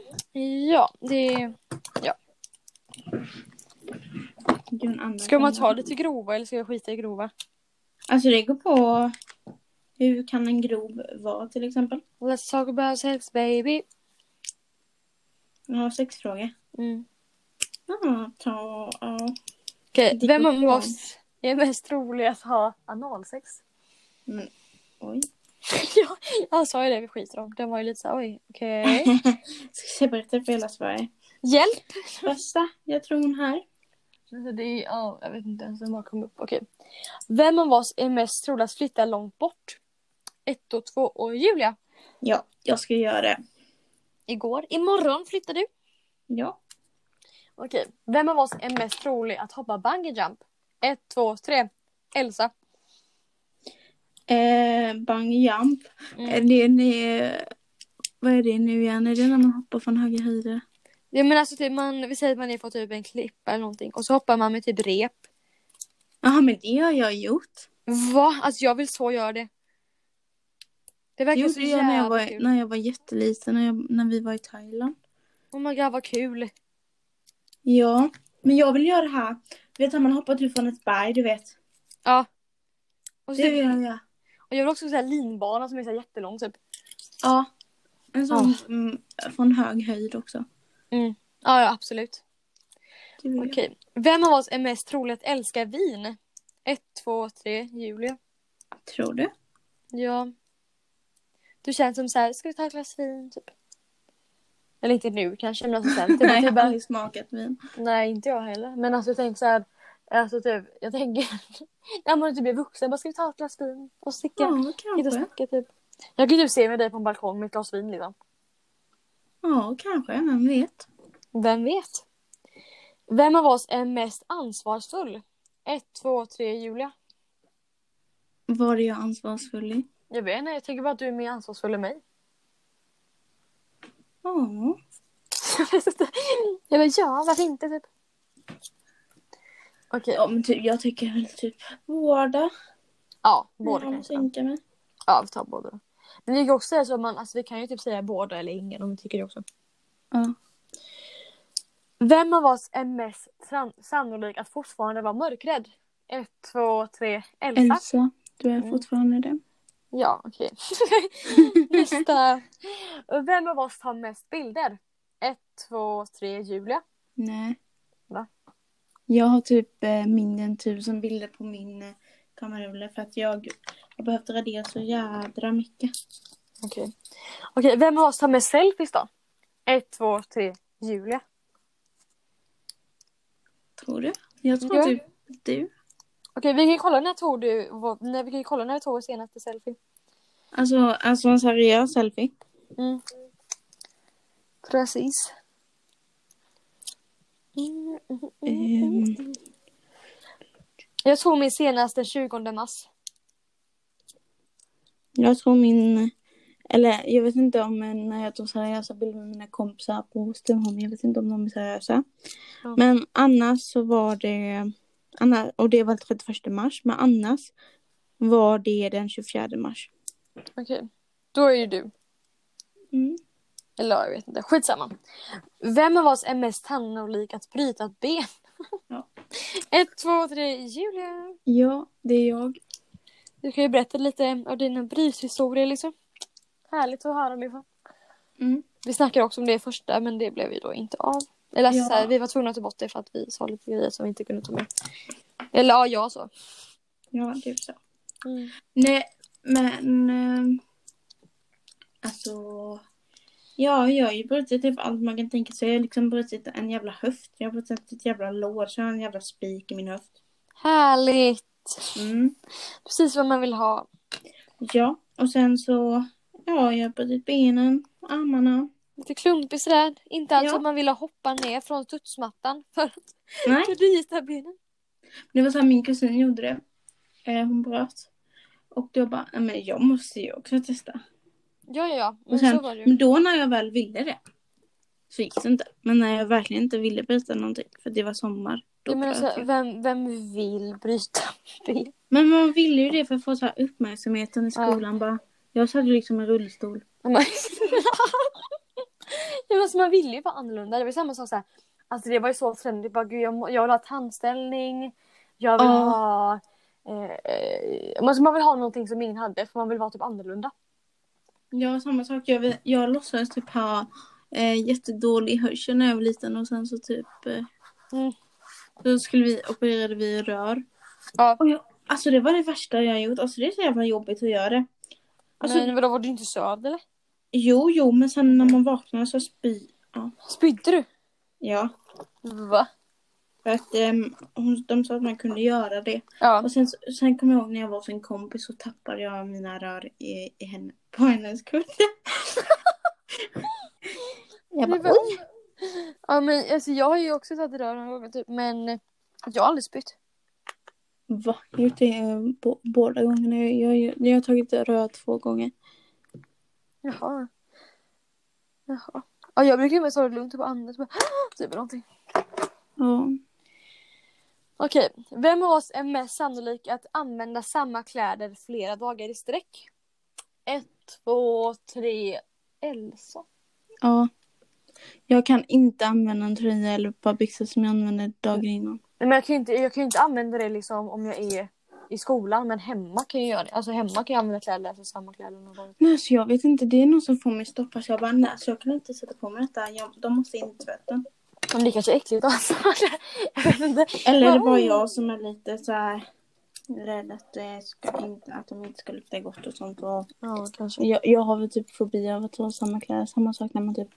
[SPEAKER 3] Ja, det...
[SPEAKER 4] Det är en annan
[SPEAKER 3] Ska man
[SPEAKER 4] gång.
[SPEAKER 3] ta lite grova eller ska jag skita i grova?
[SPEAKER 4] Alltså det går på hur kan en grov vara till exempel.
[SPEAKER 3] Let's talk about sex baby.
[SPEAKER 4] Jag har sex frågor.
[SPEAKER 3] Mm.
[SPEAKER 4] Ja, ta... Ja.
[SPEAKER 3] Okej,
[SPEAKER 4] Det
[SPEAKER 3] vem
[SPEAKER 4] går
[SPEAKER 3] av
[SPEAKER 4] bra.
[SPEAKER 3] oss är mest trolig att ha analsex?
[SPEAKER 4] Oj.
[SPEAKER 3] ja, han sa ju det, vi skiter om. Den var ju lite såhär, oj, okej.
[SPEAKER 4] Ska jag berätta för hela Sverige?
[SPEAKER 3] Hjälp!
[SPEAKER 4] Bästa, jag tror hon här.
[SPEAKER 3] Så Alltså, det är, ja, jag vet inte ens den bara kom upp. Okej. Vem av oss är mest trolig att flytta långt bort? Ett och två och Julia.
[SPEAKER 4] Ja, jag ska göra det.
[SPEAKER 3] Igår, imorgon flyttar du.
[SPEAKER 4] Ja.
[SPEAKER 3] Okej. Vem av oss är mest trolig att hoppa bungee jump? Ett, två, tre. Elsa.
[SPEAKER 4] Eh, bang jump.
[SPEAKER 3] Mm.
[SPEAKER 4] Är det Eh, ni... Vad är det nu igen? Är det när man hoppar från höga höjder?
[SPEAKER 3] Ja, men alltså typ man, vi säger att man är på typ en klippa eller någonting och så hoppar man med typ rep.
[SPEAKER 4] Ja, men det har jag gjort.
[SPEAKER 3] Va? Alltså jag vill så göra det. Det
[SPEAKER 4] Det
[SPEAKER 3] verkar så
[SPEAKER 4] gjorde jag när jag
[SPEAKER 3] jävla
[SPEAKER 4] var,
[SPEAKER 3] kul.
[SPEAKER 4] när jag var jätteliten, när, jag, när vi var i Thailand.
[SPEAKER 3] Oh my god vad kul.
[SPEAKER 4] Ja, men jag vill göra det här. Du vet när man hoppar typ från ett berg, du vet.
[SPEAKER 3] Ja. Och, så
[SPEAKER 4] Det vill
[SPEAKER 3] typ,
[SPEAKER 4] jag göra.
[SPEAKER 3] och jag vill också säga linbana som är så här jättelång typ.
[SPEAKER 4] Ja. En sån mm, från hög höjd också.
[SPEAKER 3] Ja, ja absolut.
[SPEAKER 4] Det vill jag.
[SPEAKER 3] Okej. Vem av oss är mest trolig att älska vin? Ett, två, tre, Julia.
[SPEAKER 4] Tror du?
[SPEAKER 3] Ja. Du känns som så här, ska vi ta ett glas vin typ? Eller inte nu kanske, men alltså sen. Typ,
[SPEAKER 4] Nej, jag
[SPEAKER 3] typ,
[SPEAKER 4] har
[SPEAKER 3] bara,
[SPEAKER 4] aldrig smakat vin.
[SPEAKER 3] nej, inte jag heller. Men alltså tänk så här, alltså typ, jag tänker, när man typ blir vuxen, bara ska vi ta ett glas vin och sticka?
[SPEAKER 4] Ja,
[SPEAKER 3] Sitta och
[SPEAKER 4] kanske.
[SPEAKER 3] snacka typ. Jag kan ju typ se med dig på en balkong med ett glas vin liksom.
[SPEAKER 4] Ja, kanske. Vem vet?
[SPEAKER 3] Vem vet? Vem av oss är mest ansvarsfull? Ett, två, tre, Julia.
[SPEAKER 4] Var är jag ansvarsfull i?
[SPEAKER 3] Jag vet inte, jag tänker bara att du är mer ansvarsfull än mig.
[SPEAKER 4] Ja.
[SPEAKER 3] jag bara, ja, varför inte typ? Okej,
[SPEAKER 4] Ja, men typ, jag tycker väl typ båda.
[SPEAKER 3] ja, båda
[SPEAKER 4] Jag
[SPEAKER 3] kanske.
[SPEAKER 4] tänker mig.
[SPEAKER 3] Ja, vi tar båda då. Men det är ju också så att man, alltså vi kan ju typ säga båda eller ingen om vi tycker det också.
[SPEAKER 4] Ja.
[SPEAKER 3] Vem av oss är mest san- sannolik att fortfarande vara mörkrädd? Ett, två, tre, Elsa.
[SPEAKER 4] Elsa, du är
[SPEAKER 3] Mm.
[SPEAKER 4] fortfarande det.
[SPEAKER 3] Ja, okej. Nästa. Vem av oss tar mest bilder? Ett, två, tre, Julia.
[SPEAKER 4] Nej.
[SPEAKER 3] Va?
[SPEAKER 4] Jag har typ eh, mindre än tusen bilder på min eh, kamerarulle för att jag har behövt radera så jädra mycket.
[SPEAKER 3] Okej. Okej, vem av oss tar mest selfies då? Ett, två, tre, Julia.
[SPEAKER 4] Tror du? Jag tror
[SPEAKER 3] Ja.
[SPEAKER 4] typ du.
[SPEAKER 3] Okej, vi kan ju kolla när tog du, vad- när vi kan ju kolla när du tog vår senaste selfie.
[SPEAKER 4] Alltså, alltså en seriös selfie.
[SPEAKER 3] Mm. Precis. Mm.
[SPEAKER 4] Ehm,
[SPEAKER 3] Jag tog min senaste 20 mars.
[SPEAKER 4] jag tror min Eller jag vet inte om eh, när jag tog seriösa bilder med mina kompisar på Stenholm. Jag vet inte om de är seriösa.
[SPEAKER 3] Ja.
[SPEAKER 4] Men annars så var det, anna- och det var 31 mars, men annars var det den 24 mars.
[SPEAKER 3] Okej. Då är ju du.
[SPEAKER 4] Mm.
[SPEAKER 3] Eller ja, jag vet inte. Skitsamma. Vem av oss är mest sannolik att bryta ett ben?
[SPEAKER 4] Ja.
[SPEAKER 3] Ett, två, tre, Julia.
[SPEAKER 4] Ja, det är jag.
[SPEAKER 3] Du kan ju berätta lite av dina brythistorier liksom. Härligt att höra dig.
[SPEAKER 4] Mm.
[SPEAKER 3] Vi snackade också om det i första men det blev ju då inte av. Eller alltså,
[SPEAKER 4] Ja.
[SPEAKER 3] så här, vi var tvungna att ta bort det för att vi sa lite grejer som vi inte kunde ta med. Eller ja, jag så.
[SPEAKER 4] Ja, det är så. Mm. Nej, men... ehm, Alltså... Ja, jag har ju brutit typ allt man kan tänka sig. Jag har liksom brutit en jävla höft. Jag har brutit ett jävla lår. Så jag har en jävla spik i min höft.
[SPEAKER 3] Härligt!
[SPEAKER 4] Mm.
[SPEAKER 3] Precis vad man vill ha.
[SPEAKER 4] Ja, och sen så... Ja, jag har brutit benen, armarna.
[SPEAKER 3] Lite klumpig sådär. Inte alls
[SPEAKER 4] Ja.
[SPEAKER 3] att man ville hoppa ner från studsmattan för att
[SPEAKER 4] Nej,
[SPEAKER 3] bryta benen.
[SPEAKER 4] det var så här min kusin gjorde det. Eh, hon bröt. Och då bara, "Nej, men jag måste ju också testa.
[SPEAKER 3] Ja, ja, ja. Men
[SPEAKER 4] Och sen,
[SPEAKER 3] så var det ju.
[SPEAKER 4] men då när jag väl ville det så gick det inte. Men när jag verkligen inte ville bryta någonting för det var sommar. Då
[SPEAKER 3] Ja, men,
[SPEAKER 4] bröt
[SPEAKER 3] alltså,
[SPEAKER 4] jag.
[SPEAKER 3] vem, vem vill bryta ben?
[SPEAKER 4] men man ville ju det för att få så här uppmärksamheten i
[SPEAKER 3] Ja.
[SPEAKER 4] skolan. Bara, jag satt ju liksom i rullstol.
[SPEAKER 3] Ja, men- ja, men alltså, man ville ju vara annorlunda. Det var ju samma som så här, alltså det var ju så trendigt. Bara, Gud, jag, må- jag vill ha tandställning. Jag vill
[SPEAKER 4] Ja.
[SPEAKER 3] ha... Eh, eh, alltså, man vill ha någonting som ingen hade för man vill vara typ annorlunda.
[SPEAKER 4] Ja, samma sak. Jag, vet- jag låtsades typ ha eh, jättedålig hörsel när jag var liten och sen så typ... Eh,
[SPEAKER 3] Mm.
[SPEAKER 4] Då skulle vi, opererade vi rör.
[SPEAKER 3] Ja.
[SPEAKER 4] Och jag, alltså det var det värsta jag har gjort. Alltså det är så jävla jobbigt att göra det. Alltså,
[SPEAKER 3] men vadå, var du inte sövd eller?
[SPEAKER 4] Jo, jo, men sen när man vaknar så spy... Ja.
[SPEAKER 3] Spydde du?
[SPEAKER 4] ja.
[SPEAKER 3] Va?
[SPEAKER 4] För att ehm, hon, de sa att man kunde göra det.
[SPEAKER 3] Ja.
[SPEAKER 4] Och sen, sen kommer jag ihåg när jag var hos en kompis så tappade jag mina rör i, i henne, på hennes kudde. jag bara,
[SPEAKER 3] Det var-
[SPEAKER 4] oj!
[SPEAKER 3] ja men alltså, jag har ju också tagit rör några gånger typ men jag har aldrig spytt.
[SPEAKER 4] Va? Jag gjort det eh, bå- båda gångerna. Jag, jag, jag har tagit rör två gånger.
[SPEAKER 3] Jaha. Jaha. Ja, jag brukar ju mest ha det lugnt och bara andas. Bara, typ eller någonting.
[SPEAKER 4] Ja.
[SPEAKER 3] Okej, vem av oss är mest sannolik att använda samma kläder flera dagar i sträck? Ett, två, tre, Elsa.
[SPEAKER 4] ja. Jag kan inte använda en tröja eller ett par byxor som jag använde dagen innan.
[SPEAKER 3] Nej, men jag kan ju inte, jag kan ju inte använda det liksom om jag är i skolan, men hemma kan jag göra det. Alltså hemma kan jag använda kläder, alltså samma kläder någon gång.
[SPEAKER 4] Nej, så jag vet inte. Det är någon som får mig stoppa. Så jag bara, nej, så jag kan inte sätta på mig detta. Jag, de måste in i tvätten.
[SPEAKER 3] Men det kanske är äckligt alltså. jag vet inte.
[SPEAKER 4] Eller är det bara
[SPEAKER 3] Wow.
[SPEAKER 4] jag som är lite så här rädd att, det ska inte, att de inte ska lukta gott och sånt. Och
[SPEAKER 3] Ja, kanske.
[SPEAKER 4] jag, jag har väl typ fobi av att ha samma kläder. Samma sak när man typ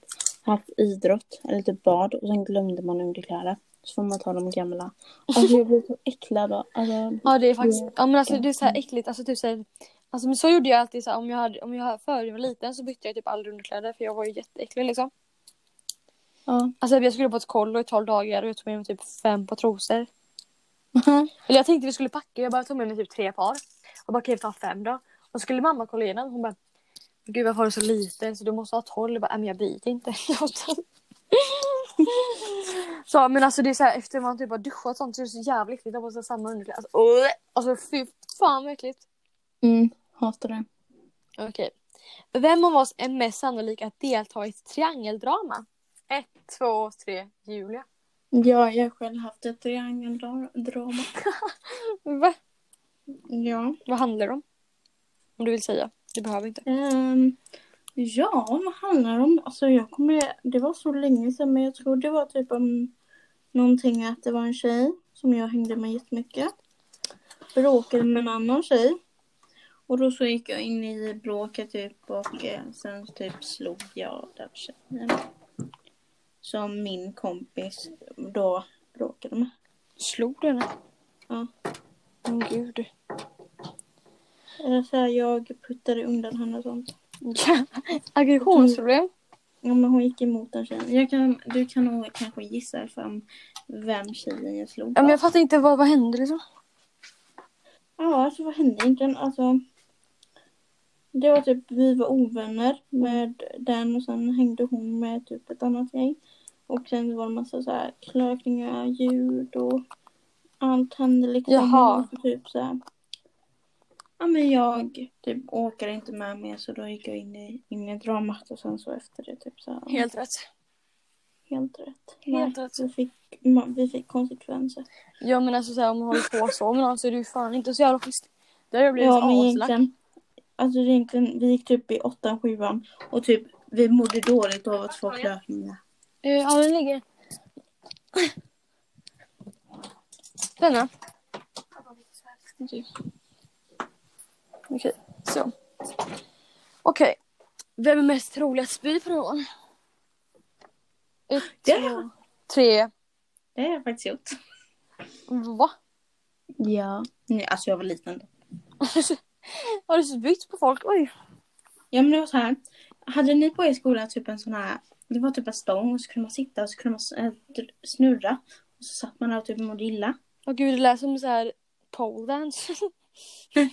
[SPEAKER 4] haft idrott eller typ bad och sen glömde man underkläder. Så får man ta de gamla. Alltså jag blir så äcklad då. Alltså,
[SPEAKER 3] Ja, det är faktiskt, ja men alltså det är så här äckligt, alltså typ så här, Alltså men så gjorde jag alltid så här, om jag hade, om jag förr jag var liten så bytte jag typ aldrig underkläder för jag var ju jätteäcklig liksom.
[SPEAKER 4] ja.
[SPEAKER 3] Alltså jag skulle på ett kollo i 12 dagar och jag tog med mig typ fem par trosor. Eller jag tänkte vi skulle packa, jag bara tog med mig typ tre par. Och bara okej, ta fem då. Och så skulle mamma kolla igenom, hon bara Gud varför har du så liten så du måste ha 12. Jag bara, "Nej, men jag biter inte. så men alltså det är så här efter man typ har duschat och sånt så är det så jävligt äckligt. Jag måste samma underkläder. Alltså, åh! alltså fy fan vad äckligt.
[SPEAKER 4] Mm, hatar det.
[SPEAKER 3] Okej. Vem av oss är mest sannolik att delta i ett triangeldrama? Ett, två, tre, Julia.
[SPEAKER 4] Ja, jag har själv haft ett triangeldrama.
[SPEAKER 3] Va?
[SPEAKER 4] Ja.
[SPEAKER 3] Vad handlar det om? Om du vill säga. Du behöver inte.
[SPEAKER 4] Ehm, ja, vad handlar det om? Alltså jag kommer, det var så länge sedan men jag tror det var typ om någonting att det var en tjej som jag hängde med jättemycket. Bråkade med en annan tjej. Och då så gick jag in i bråket typ och eh, sen typ slog jag den tjejen. Som min kompis då bråkade med.
[SPEAKER 3] Slog du henne?
[SPEAKER 4] Ja.
[SPEAKER 3] Men gud.
[SPEAKER 4] Eller så här, jag puttade undan henne och sånt.
[SPEAKER 3] Aggressionsproblem.
[SPEAKER 4] Ja, men hon gick emot den tjejen. Jag kan, du kan nog kanske gissa fram vem tjejen jag slog
[SPEAKER 3] Ja, men
[SPEAKER 4] på.
[SPEAKER 3] jag fattar inte vad, vad hände liksom.
[SPEAKER 4] Ja, alltså vad hände egentligen? Alltså, Det var typ, vi var ovänner med den och sen hängde hon med typ ett annat gäng. Och sen var det massa så här klökningar, ljud och allt hände liksom.
[SPEAKER 3] Jaha.
[SPEAKER 4] Och Typ så här. Ja men jag typ åker inte med mer så då gick jag in i, in i dramat och sen så efter det typ så här.
[SPEAKER 3] Helt rätt.
[SPEAKER 4] helt rätt.
[SPEAKER 3] Helt
[SPEAKER 4] Nej,
[SPEAKER 3] rätt.
[SPEAKER 4] Vi fick, ma- vi fick konsekvenser.
[SPEAKER 3] Ja men alltså så här, om man håller på så med någon så är det ju fan inte så jävla schysst. Det har jag blivit
[SPEAKER 4] Ja men
[SPEAKER 3] aslack.
[SPEAKER 4] egentligen. Alltså det är egentligen, vi gick typ i åttan, sjuan och typ vi mådde dåligt av att få klökningar.
[SPEAKER 3] Eh, Ja den ligger. Denna. Okej. Okej, så. Okej. Vem är mest trolig att spy på någon? Ett,
[SPEAKER 4] Ja.
[SPEAKER 3] två, tre.
[SPEAKER 4] Det har jag faktiskt gjort.
[SPEAKER 3] Va?
[SPEAKER 4] Ja. Nej, alltså jag var liten då.
[SPEAKER 3] Har du spytt på folk? Oj.
[SPEAKER 4] Ja men det var så här. Hade ni på er skola typ en sån här, det var typ en stång och så kunde man sitta och så kunde man eh, dr- snurra. Och så satt man där och typ mådde illa.
[SPEAKER 3] Åh gud, det lät som så här pole dance.
[SPEAKER 4] Nej.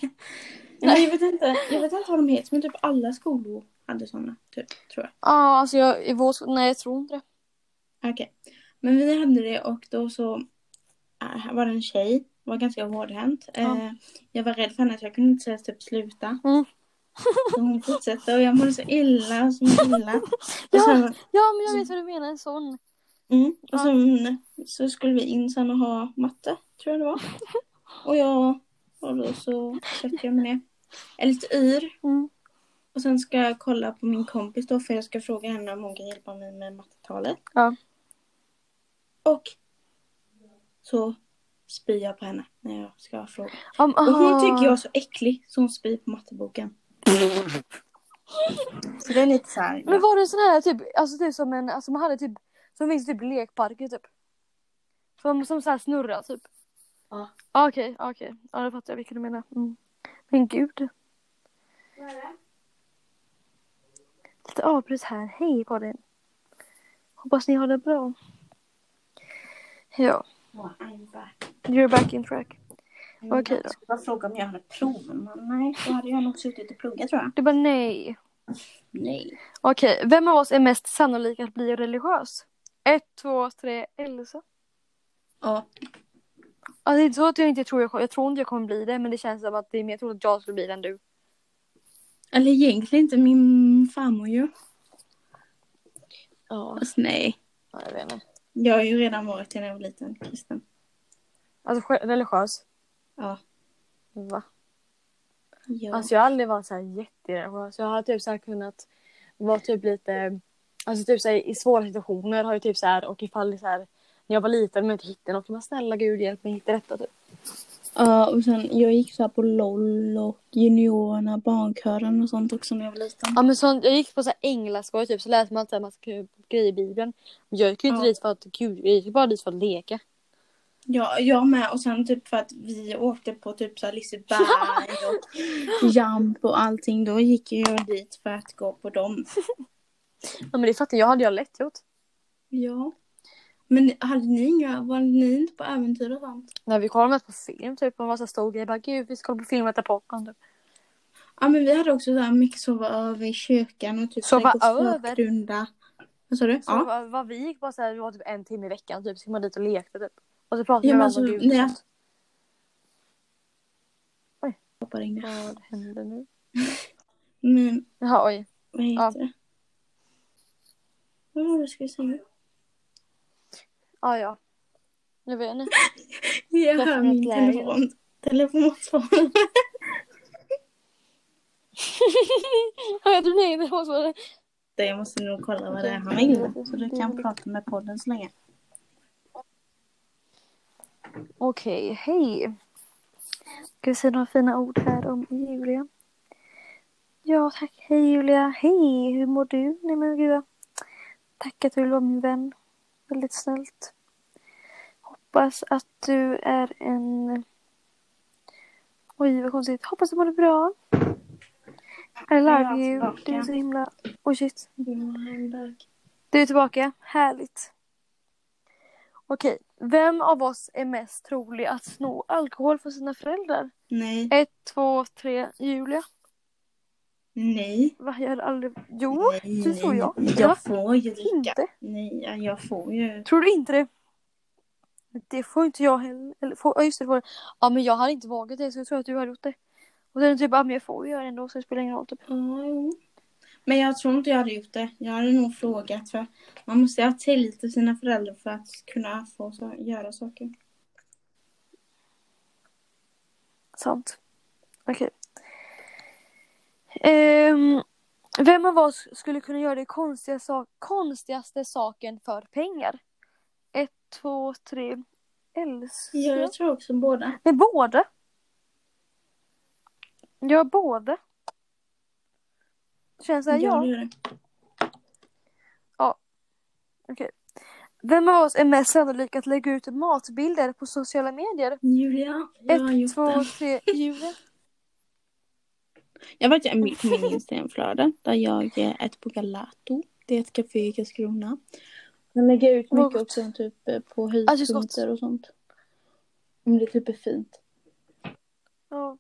[SPEAKER 4] Men jag, vet inte, jag vet inte vad de heter men typ alla skolor hade såna. Typ, tror jag.
[SPEAKER 3] Ja, alltså jag, i vår sko- nej jag tror inte det.
[SPEAKER 4] Okej. Men vi hade det och då så äh, var det en tjej. Var ganska hårdhänt.
[SPEAKER 3] Ja.
[SPEAKER 4] Eh, jag var rädd för henne så jag kunde inte säga typ sluta.
[SPEAKER 3] Mm.
[SPEAKER 4] Så hon fortsatte och jag mådde så illa och så illa. Och sen,
[SPEAKER 3] Ja, men jag vet vad du menar, en sån.
[SPEAKER 4] Mm, och sen så skulle vi in sen och ha matte, tror jag det var. Och jag, och då så köpte jag mig ner. Jag är lite yr.
[SPEAKER 3] Mm.
[SPEAKER 4] Och sen ska jag kolla på min kompis då för jag ska fråga henne om hon kan hjälpa mig med mattetalet.
[SPEAKER 3] Ja.
[SPEAKER 4] Och så spyr jag på henne när jag ska fråga.
[SPEAKER 3] Um,
[SPEAKER 4] Och hon tycker jag är så äcklig så hon spyr på matteboken. Så det är lite såhär.
[SPEAKER 3] Men var det en sån här typ, alltså typ som en, alltså man hade typ, som finns i typ lekparker typ. Som, som så här snurrar typ.
[SPEAKER 4] Ja.
[SPEAKER 3] Ja, Okej, ja, okej. Ja, då fattar jag vilken du menar. Mm. Men gud. Lite avbrott här. Hej på den. Hoppas ni har det bra. Ja, you're back in track. Okej då.
[SPEAKER 4] Jag skulle bara fråga om jag hade prov, men nej, då hade jag nog suttit och pluggat tror jag.
[SPEAKER 3] Du bara nej.
[SPEAKER 4] Nej.
[SPEAKER 3] Okej, vem av oss är mest sannolik att bli religiös? Ett, två, tre, Elsa.
[SPEAKER 4] Ja.
[SPEAKER 3] Alltså, det är inte så att jag inte tror jag, jag tror inte jag kommer bli det men det känns som att det är mer troligt att jag skulle bli det än du.
[SPEAKER 4] Eller egentligen inte min farmor ju.
[SPEAKER 3] Ja,
[SPEAKER 4] Fast nej.
[SPEAKER 3] jag vet inte.
[SPEAKER 4] Jag har ju redan varit när jag var liten, kristen.
[SPEAKER 3] Alltså sj- religiös.
[SPEAKER 4] Ja.
[SPEAKER 3] Va?
[SPEAKER 4] Ja.
[SPEAKER 3] Alltså jag har aldrig varit så här jättereligiös. Jag har typ så här kunnat vara typ lite, alltså typ så här, i svåra situationer har jag typ så här och ifall det är så här när jag var liten men inte hittade något, men snälla gud hjälp mig hitta detta typ.
[SPEAKER 4] Ja, och sen jag gick så här på LOL och juniorerna, barnkören och sånt också när jag var liten.
[SPEAKER 3] Ja men sånt, jag gick på så här änglaskoj typ så läste man alltid en massa kul- grejer i bibeln. Men jag gick ju inte
[SPEAKER 4] Ja.
[SPEAKER 3] dit för att, gud jag gick ju bara dit för att leka.
[SPEAKER 4] Ja, jag med. Och sen typ för att vi åkte på typ så här Liseberg och Jump och allting. Då gick ju jag dit för att gå på dem.
[SPEAKER 3] Ja men det fattar jag, hade jag lätt gjort.
[SPEAKER 4] Ja. Men hade ni inga, var ni inte på äventyr och sånt?
[SPEAKER 3] När vi kollade mest på film typ, och var så stor grej. Bara gud vi ska kolla på film och äta popcorn typ.
[SPEAKER 4] Ja men vi hade också så här mycket sova över i kyrkan och typ
[SPEAKER 3] Sova
[SPEAKER 4] så här gå
[SPEAKER 3] över?
[SPEAKER 4] spökrunda. Vad sa
[SPEAKER 3] Så
[SPEAKER 4] du? Ja.
[SPEAKER 3] var, var vi gick bara så här, det var typ en timme i veckan typ. Så gick man dit och lekte typ. Och så pratade vi
[SPEAKER 4] Ja men
[SPEAKER 3] med
[SPEAKER 4] alltså,
[SPEAKER 3] varandra om gud.
[SPEAKER 4] nej.
[SPEAKER 3] Oj.
[SPEAKER 4] Hoppar in.
[SPEAKER 3] Vad händer nu?
[SPEAKER 4] Men
[SPEAKER 3] Jaha oj.
[SPEAKER 4] vad heter
[SPEAKER 3] Ja.
[SPEAKER 4] det? Vad var det jag skulle säga?
[SPEAKER 3] Ja ja. Nu vet ni.
[SPEAKER 4] Jag
[SPEAKER 3] Varför
[SPEAKER 4] hör min
[SPEAKER 3] mitt läge?
[SPEAKER 4] telefon. Telefonsvarare.
[SPEAKER 3] Har jag drog ner det måste vara det.
[SPEAKER 4] Jag måste nog kolla vad det är han vill. Så du kan prata med podden så länge.
[SPEAKER 3] Okej, hej. Ska vi säga några fina ord här om Julia? Ja, tack. Hej Julia. Hej, hur mår du? Nej men gud. Tack att du vill vara min vän. Väldigt snällt. Hoppas att du är en... Oj, vad konstigt. Hoppas du mår bra. I love you. Du är så himla... Oj, shit. Du är tillbaka. Härligt. Okej. Vem av oss är mest trolig att sno alkohol från sina föräldrar?
[SPEAKER 4] Nej.
[SPEAKER 3] Ett, två, tre. Julia.
[SPEAKER 4] Nej.
[SPEAKER 3] Va, jag hade aldrig... Jo,
[SPEAKER 4] nej,
[SPEAKER 3] det tror
[SPEAKER 4] nej.
[SPEAKER 3] jag. Ja.
[SPEAKER 4] Jag får ju dricka.
[SPEAKER 3] inte.
[SPEAKER 4] Nej, ja, jag får ju.
[SPEAKER 3] Tror du inte det? Det får inte jag heller. Eller får, ja, just det, får, ja men jag hade inte vågat det så jag tror att du hade gjort det. Och sen typ, ja men jag får ju göra det ändå så det spelar ingen roll typ.
[SPEAKER 4] Ja, jo. Men jag tror inte jag hade gjort det. Jag hade nog frågat för man måste ha tillit till sina föräldrar för att kunna få så, göra saker.
[SPEAKER 3] Sant. Okej. Ehm, vem av oss skulle kunna göra det konstiga sa- konstigaste saken för pengar? Ett, två, tre. Elsa?
[SPEAKER 4] Ja, jag tror också båda.
[SPEAKER 3] Nej, både. Ja, både. Känns det här, ja.
[SPEAKER 4] Jag gör det.
[SPEAKER 3] Vem av oss är mest sannolik att lägga ut matbilder på sociala medier?
[SPEAKER 4] Julia, jag har
[SPEAKER 3] Ett,
[SPEAKER 4] gjort
[SPEAKER 3] två,
[SPEAKER 4] det.
[SPEAKER 3] tre, Julia.
[SPEAKER 4] Jag vet ju på min Instagramflöde där jag eh, äter på Galato. Det är ett café i Karlskrona. Jag lägger ut
[SPEAKER 3] Vad
[SPEAKER 4] mycket
[SPEAKER 3] gott.
[SPEAKER 4] också typ eh, på
[SPEAKER 3] Alltså, så gott.
[SPEAKER 4] höjdpunkter och sånt. Om det typ är fint.
[SPEAKER 3] Ja.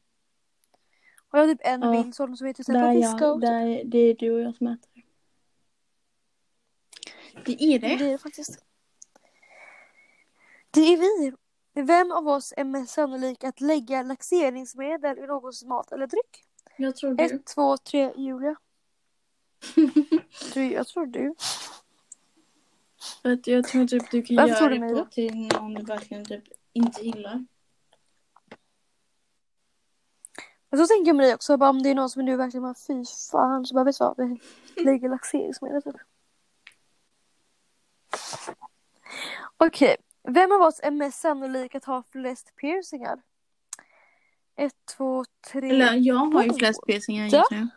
[SPEAKER 3] Och jag har typ en
[SPEAKER 4] Ja.
[SPEAKER 3] bild sån som heter typ
[SPEAKER 4] Där
[SPEAKER 3] Peppa Disco.
[SPEAKER 4] jag, där, det är du och jag som äter. Det är
[SPEAKER 3] Det är det faktiskt. Det är vi. Vem av oss är mest sannolik att lägga laxeringsmedel i någons mat eller dryck?
[SPEAKER 4] Jag tror du.
[SPEAKER 3] Ett, två, tre, Julia. Du, jag tror du.
[SPEAKER 4] För att jag tror typ du kan
[SPEAKER 3] Varför tror du
[SPEAKER 4] göra det
[SPEAKER 3] mig
[SPEAKER 4] på
[SPEAKER 3] då?
[SPEAKER 4] till någon du verkligen typ inte gillar.
[SPEAKER 3] Men så tänker man också, bara om det är någon som är nu verkligen bara fy fan, så bara vet du vad, vi lägger laxeringsmedel typ. Okej, vem av oss är mest sannolik att ha flest piercingar? Ett, två, tre.
[SPEAKER 4] Eller jag har ju
[SPEAKER 3] Båda.
[SPEAKER 4] flest piercingar
[SPEAKER 3] Ja.
[SPEAKER 4] just nu.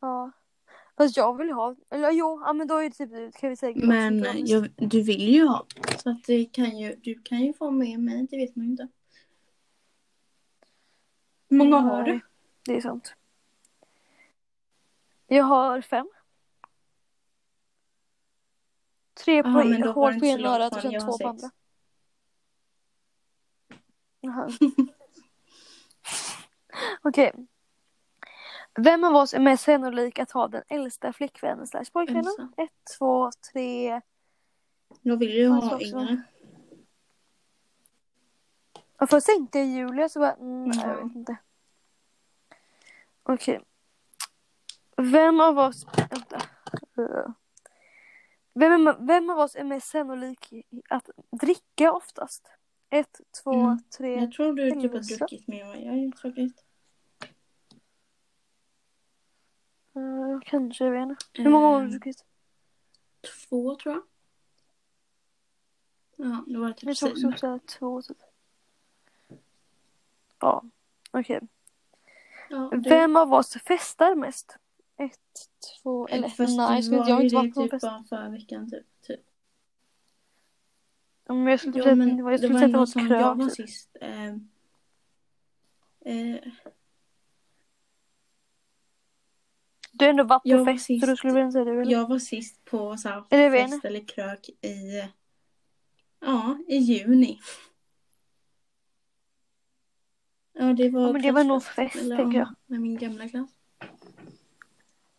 [SPEAKER 3] Ja. Fast jag vill ha, eller jo, ja men då är det typ du kan vi säga. Gud,
[SPEAKER 4] Men
[SPEAKER 3] som du har
[SPEAKER 4] jag, du vill ju ha. Så att det kan ju, du kan ju få med mig, det vet man ju inte. Hur många har du?
[SPEAKER 3] Nej, Det är sant. Jag har fem. Tre på,
[SPEAKER 4] Jaha, men då var det
[SPEAKER 3] hål på
[SPEAKER 4] inte så
[SPEAKER 3] ena
[SPEAKER 4] långt
[SPEAKER 3] örat och
[SPEAKER 4] kvar.
[SPEAKER 3] sen
[SPEAKER 4] Jag har
[SPEAKER 3] två på
[SPEAKER 4] sex.
[SPEAKER 3] andra. Jaha. Okej. Vem av oss är mest sannolik att ha den äldsta flickvännen slash pojkvännen?
[SPEAKER 4] Elsa.
[SPEAKER 3] Ett, två, tre.
[SPEAKER 4] Jag vill ju
[SPEAKER 3] Jag tror
[SPEAKER 4] ha
[SPEAKER 3] också.
[SPEAKER 4] yngre.
[SPEAKER 3] Och först tänkte jag Julia så bara, mm, nej, jag
[SPEAKER 4] Ja.
[SPEAKER 3] vet inte. Okej. Vem av oss, vänta. Vem, är- vem av oss är mest sannolik att dricka oftast? Ett, två,
[SPEAKER 4] Mm.
[SPEAKER 3] tre.
[SPEAKER 4] Jag tror du typ
[SPEAKER 3] Elsa.
[SPEAKER 4] har druckit mer än vad jag har gjort faktiskt.
[SPEAKER 3] Mm, kanske, jag vet inte. Hur många gånger har du
[SPEAKER 4] Ehm,
[SPEAKER 3] druckit?
[SPEAKER 4] Två tror jag. Ja, det var typ
[SPEAKER 3] Jag tror
[SPEAKER 4] sen.
[SPEAKER 3] också såhär två typ. Ja, okej.
[SPEAKER 4] Ja,
[SPEAKER 3] Vem av oss festar mest? Ett, två, eller
[SPEAKER 4] Fast det
[SPEAKER 3] nej, jag skulle-
[SPEAKER 4] var
[SPEAKER 3] jag har
[SPEAKER 4] ju
[SPEAKER 3] inte
[SPEAKER 4] det
[SPEAKER 3] varit på någon
[SPEAKER 4] typ
[SPEAKER 3] fest.
[SPEAKER 4] bara förra veckan typ. typ.
[SPEAKER 3] Ja, Men Mm, jag skulle
[SPEAKER 4] Ja,
[SPEAKER 3] säga
[SPEAKER 4] men
[SPEAKER 3] det var, jag skulle
[SPEAKER 4] det
[SPEAKER 3] säga
[SPEAKER 4] var
[SPEAKER 3] att det var
[SPEAKER 4] någon som
[SPEAKER 3] ett
[SPEAKER 4] jag
[SPEAKER 3] krök.
[SPEAKER 4] var
[SPEAKER 3] typ.
[SPEAKER 4] sist. Eh, eh,
[SPEAKER 3] Du har ändå varit
[SPEAKER 4] Jag
[SPEAKER 3] på
[SPEAKER 4] var
[SPEAKER 3] fest
[SPEAKER 4] sist.
[SPEAKER 3] så du skulle vilja säga det eller?
[SPEAKER 4] jag var sist på så här,
[SPEAKER 3] Är det
[SPEAKER 4] fest
[SPEAKER 3] Vene?
[SPEAKER 4] eller krök i, eh, ja, i juni. Ja, det var,
[SPEAKER 3] Ja, men det var nog
[SPEAKER 4] klassfest,
[SPEAKER 3] fest, tänker jag.
[SPEAKER 4] ja, Med min gamla klass.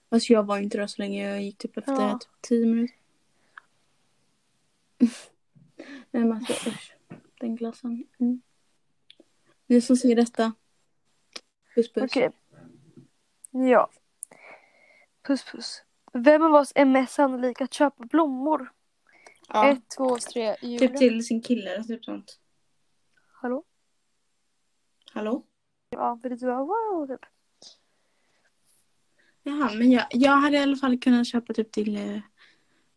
[SPEAKER 4] Fast jag var inte där så länge. Jag gick typ efter
[SPEAKER 3] Ja.
[SPEAKER 4] typ tio minuter. Nej men alltså usch. Den glassen. Mm. Ni som ser detta. Puss puss.
[SPEAKER 3] Okej. Ja. Puss puss. Vem av oss är mest sannolik att köpa blommor?
[SPEAKER 4] Ja.
[SPEAKER 3] Ett, två, tre, Julia.
[SPEAKER 4] Typ till sin kille eller typ sånt.
[SPEAKER 3] Hallå?
[SPEAKER 4] Hallå?
[SPEAKER 3] Ja, för det var wow typ.
[SPEAKER 4] Jaha, men jag, jag hade i alla fall kunnat köpa typ till eh,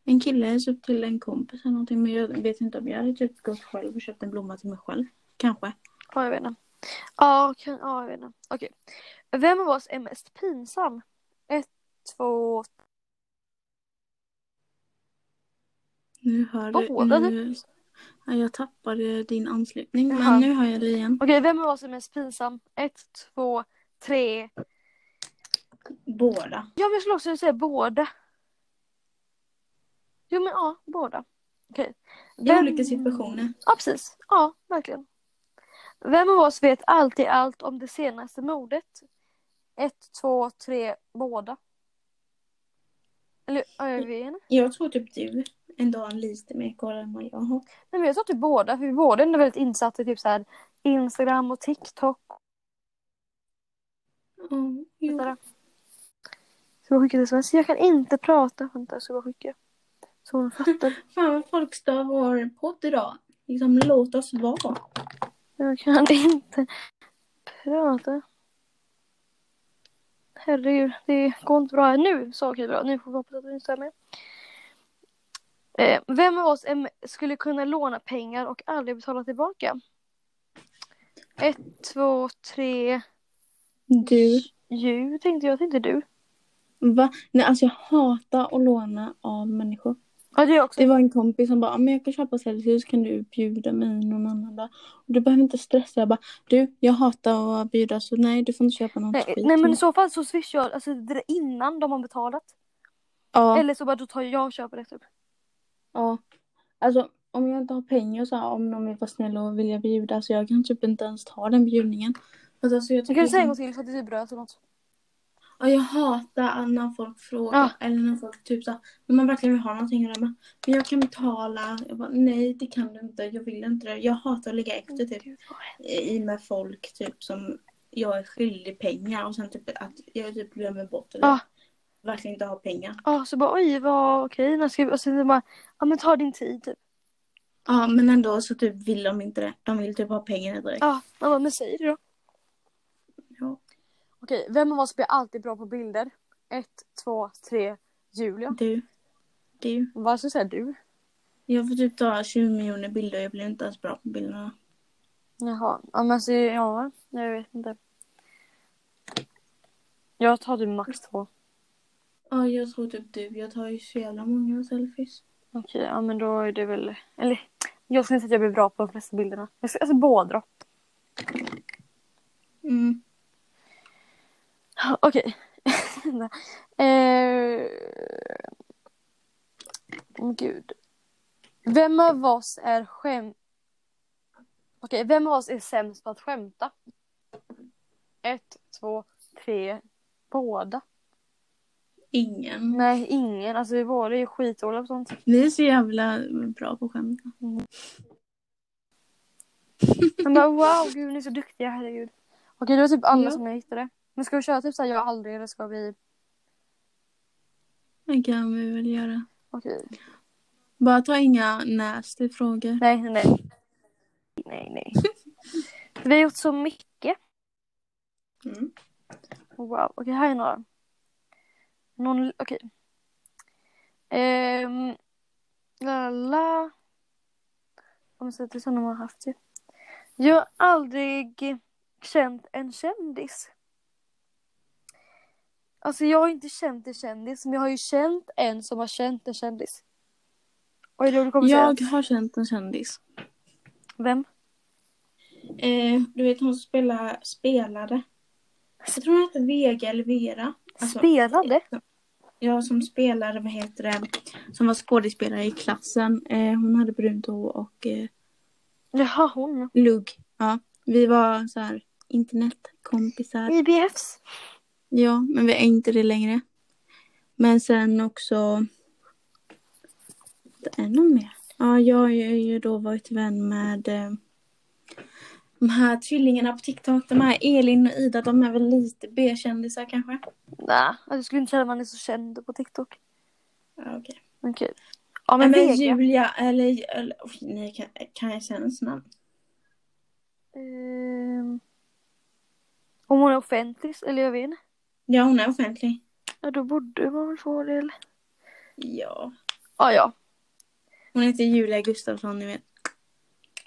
[SPEAKER 4] en kille, typ till en kompis eller någonting. Men jag vet inte om jag hade typ gått själv och köpt en blomma till mig själv. Kanske.
[SPEAKER 3] Ja, jag vet inte. Ja, kan, ja jag vet inte. Okej. Vem av oss är mest pinsam? Ett, två,
[SPEAKER 4] Nu hör
[SPEAKER 3] Båda,
[SPEAKER 4] du. Nu, ja, jag tappade din anslutning
[SPEAKER 3] Jaha.
[SPEAKER 4] men nu hör jag dig igen.
[SPEAKER 3] Okej, vem av oss är mest pinsam? Ett, två, tre.
[SPEAKER 4] Båda.
[SPEAKER 3] Ja, men jag skulle också säga båda. Jo, men ja, båda. Okej.
[SPEAKER 4] I
[SPEAKER 3] Vem-
[SPEAKER 4] olika situationer.
[SPEAKER 3] Ja, precis. Ja, verkligen. Vem av oss vet alltid allt om det senaste mordet? Ett, två, tre, båda. Eller, ja, jag vet inte.
[SPEAKER 4] Jag tror typ du en dag lite mer koll än vad jag har.
[SPEAKER 3] Nej men jag sa typ båda, för vi båda är ändå väldigt insatta i typ så här Instagram och TikTok.
[SPEAKER 4] Mm, jo.
[SPEAKER 3] Sådär. Ska jag skicka ett sms? Jag kan inte prata. Vänta, jag ska bara skicka. Så hon fattar.
[SPEAKER 4] Fan vad folk stör vår podd idag. Liksom låt oss vara.
[SPEAKER 3] Jag kan inte prata. Herregud, det går inte bra här nu. Så okej, bra. Nu får vi hoppas att det inte stämmer. Eh, vem av oss em- skulle kunna låna pengar och aldrig betala tillbaka? Ett, två, tre.
[SPEAKER 4] Du.
[SPEAKER 3] Ju, tänkte jag. Tänkte du.
[SPEAKER 4] Va? Nej alltså jag hatar att låna av människor.
[SPEAKER 3] Ja, det är jag också.
[SPEAKER 4] Det var en kompis som bara, "Ja, men jag kan köpa Celsius, kan du bjuda mig någon annan dag? Och du behöver inte stressa. Jag bara, du, jag hatar att bjuda så nej du får inte köpa något
[SPEAKER 3] Nej,
[SPEAKER 4] skit.
[SPEAKER 3] nej, men i så fall så swishar jag alltså, det är innan de har betalat.
[SPEAKER 4] ja,
[SPEAKER 3] Eller så bara då tar jag och köper det typ.
[SPEAKER 4] ja. Alltså om jag inte har pengar så här, om någon vill vara snäll och vilja bjuda så jag kan typ inte ens ta den bjudningen. Fast Alltså, jag,
[SPEAKER 3] Du kan
[SPEAKER 4] tycker
[SPEAKER 3] ju säga en
[SPEAKER 4] liksom-
[SPEAKER 3] gång till för att det är typ röt eller något.
[SPEAKER 4] Ja, jag hatar när folk frågar
[SPEAKER 3] Ja.
[SPEAKER 4] eller när folk typ så här, när man verkligen vill ha någonting och de bara, men jag kan betala. Jag bara, nej det kan du inte, jag vill inte det. Jag hatar att ligga efter typ.
[SPEAKER 3] Gud, vad hemskt.
[SPEAKER 4] i med folk typ som jag är skyldig pengar och sen typ att jag typ glömmer bort eller
[SPEAKER 3] Ja.
[SPEAKER 4] verkligen inte har pengar.
[SPEAKER 3] Ja, så bara oj vad okej. när ska vi- Och sen bara, ja men ta din tid typ.
[SPEAKER 4] Ja men ändå så typ vill de inte det. De vill typ ha pengarna direkt.
[SPEAKER 3] Ja, man bara, men säg det då.
[SPEAKER 4] Ja.
[SPEAKER 3] Okej, vem av oss blir alltid bra på bilder? Ett, två, tre, Julia.
[SPEAKER 4] Du. Du.
[SPEAKER 3] Varför säger du?
[SPEAKER 4] Jag får typ ta 20 miljoner bilder och jag blir inte ens bra på bilderna.
[SPEAKER 3] Jaha, ja men alltså ja, jag vet inte. Jag tar typ max två.
[SPEAKER 4] Ja jag tror typ du. Jag tar ju så jävla många selfies.
[SPEAKER 3] Okej, ja men då är det väl, eller jag skulle inte säga att jag blir bra på de flesta bilderna. Jag ska, alltså båda då.
[SPEAKER 4] Mm.
[SPEAKER 3] Okej. eh... åh, Gud. Vem av oss är skäm... Okej, vem av oss är sämst på att skämta? Ett, två, tre, båda.
[SPEAKER 4] Ingen.
[SPEAKER 3] Nej, ingen. Alltså vi båda är ju skitdåliga på sånt.
[SPEAKER 4] Vi är så jävla bra på skämt.
[SPEAKER 3] Men bara wow, gud ni är så duktiga, herregud. Okej, det var typ alla
[SPEAKER 4] Ja.
[SPEAKER 3] som jag hittade. Men ska vi köra typ såhär jag aldrig eller ska vi...
[SPEAKER 4] Det kan vi väl göra.
[SPEAKER 3] Okej.
[SPEAKER 4] Bara ta inga nasty frågor.
[SPEAKER 3] Nej, nej, nej. Nej, nej. Vi har gjort så mycket.
[SPEAKER 4] Mm.
[SPEAKER 3] Wow, okej här är några. Någon, okej. Ehm, la la. Om så att det är sådana man har haft ju. Jag har aldrig känt en kändis. Alltså jag har inte känt en kändis, men jag har ju känt en som har känt en kändis. Oj, då kommer jag...
[SPEAKER 4] Jag
[SPEAKER 3] säga.
[SPEAKER 4] har känt en kändis.
[SPEAKER 3] Vem?
[SPEAKER 4] Eh, du vet hon spelar, spelade. Jag tror hon hette Vega eller Vera. Alltså,
[SPEAKER 3] Spelade?
[SPEAKER 4] jag som spelade, vad heter det, som var skådespelare i klassen. Eh, hon hade brunt hår och eh,
[SPEAKER 3] Jaha, hon.
[SPEAKER 4] lugg. Ja, vi var så här internetkompisar.
[SPEAKER 3] IBFs.
[SPEAKER 4] Ja, men vi är inte det längre. Men sen också... Det är någon mer. Ja, jag har ju ju då varit vän med eh, de här tvillingarna på TikTok. De här Elin och Ida, de är väl lite B-kändisar kanske?
[SPEAKER 3] Nej, alltså, jag skulle inte säga att man är så känd på TikTok.
[SPEAKER 4] Ja, okej.
[SPEAKER 3] Men kul. Ja
[SPEAKER 4] Men,
[SPEAKER 3] men,
[SPEAKER 4] men
[SPEAKER 3] Vega.
[SPEAKER 4] Julia, eller... eller oj, nej, kan, kan jag säga hennes namn?
[SPEAKER 3] Ehm, om hon är offentlig eller jag vet inte.
[SPEAKER 4] Ja, hon är offentlig.
[SPEAKER 3] Ja då borde man väl få det eller?
[SPEAKER 4] Ja.
[SPEAKER 3] Ja ja.
[SPEAKER 4] Hon heter Julia Gustafsson, ni vet.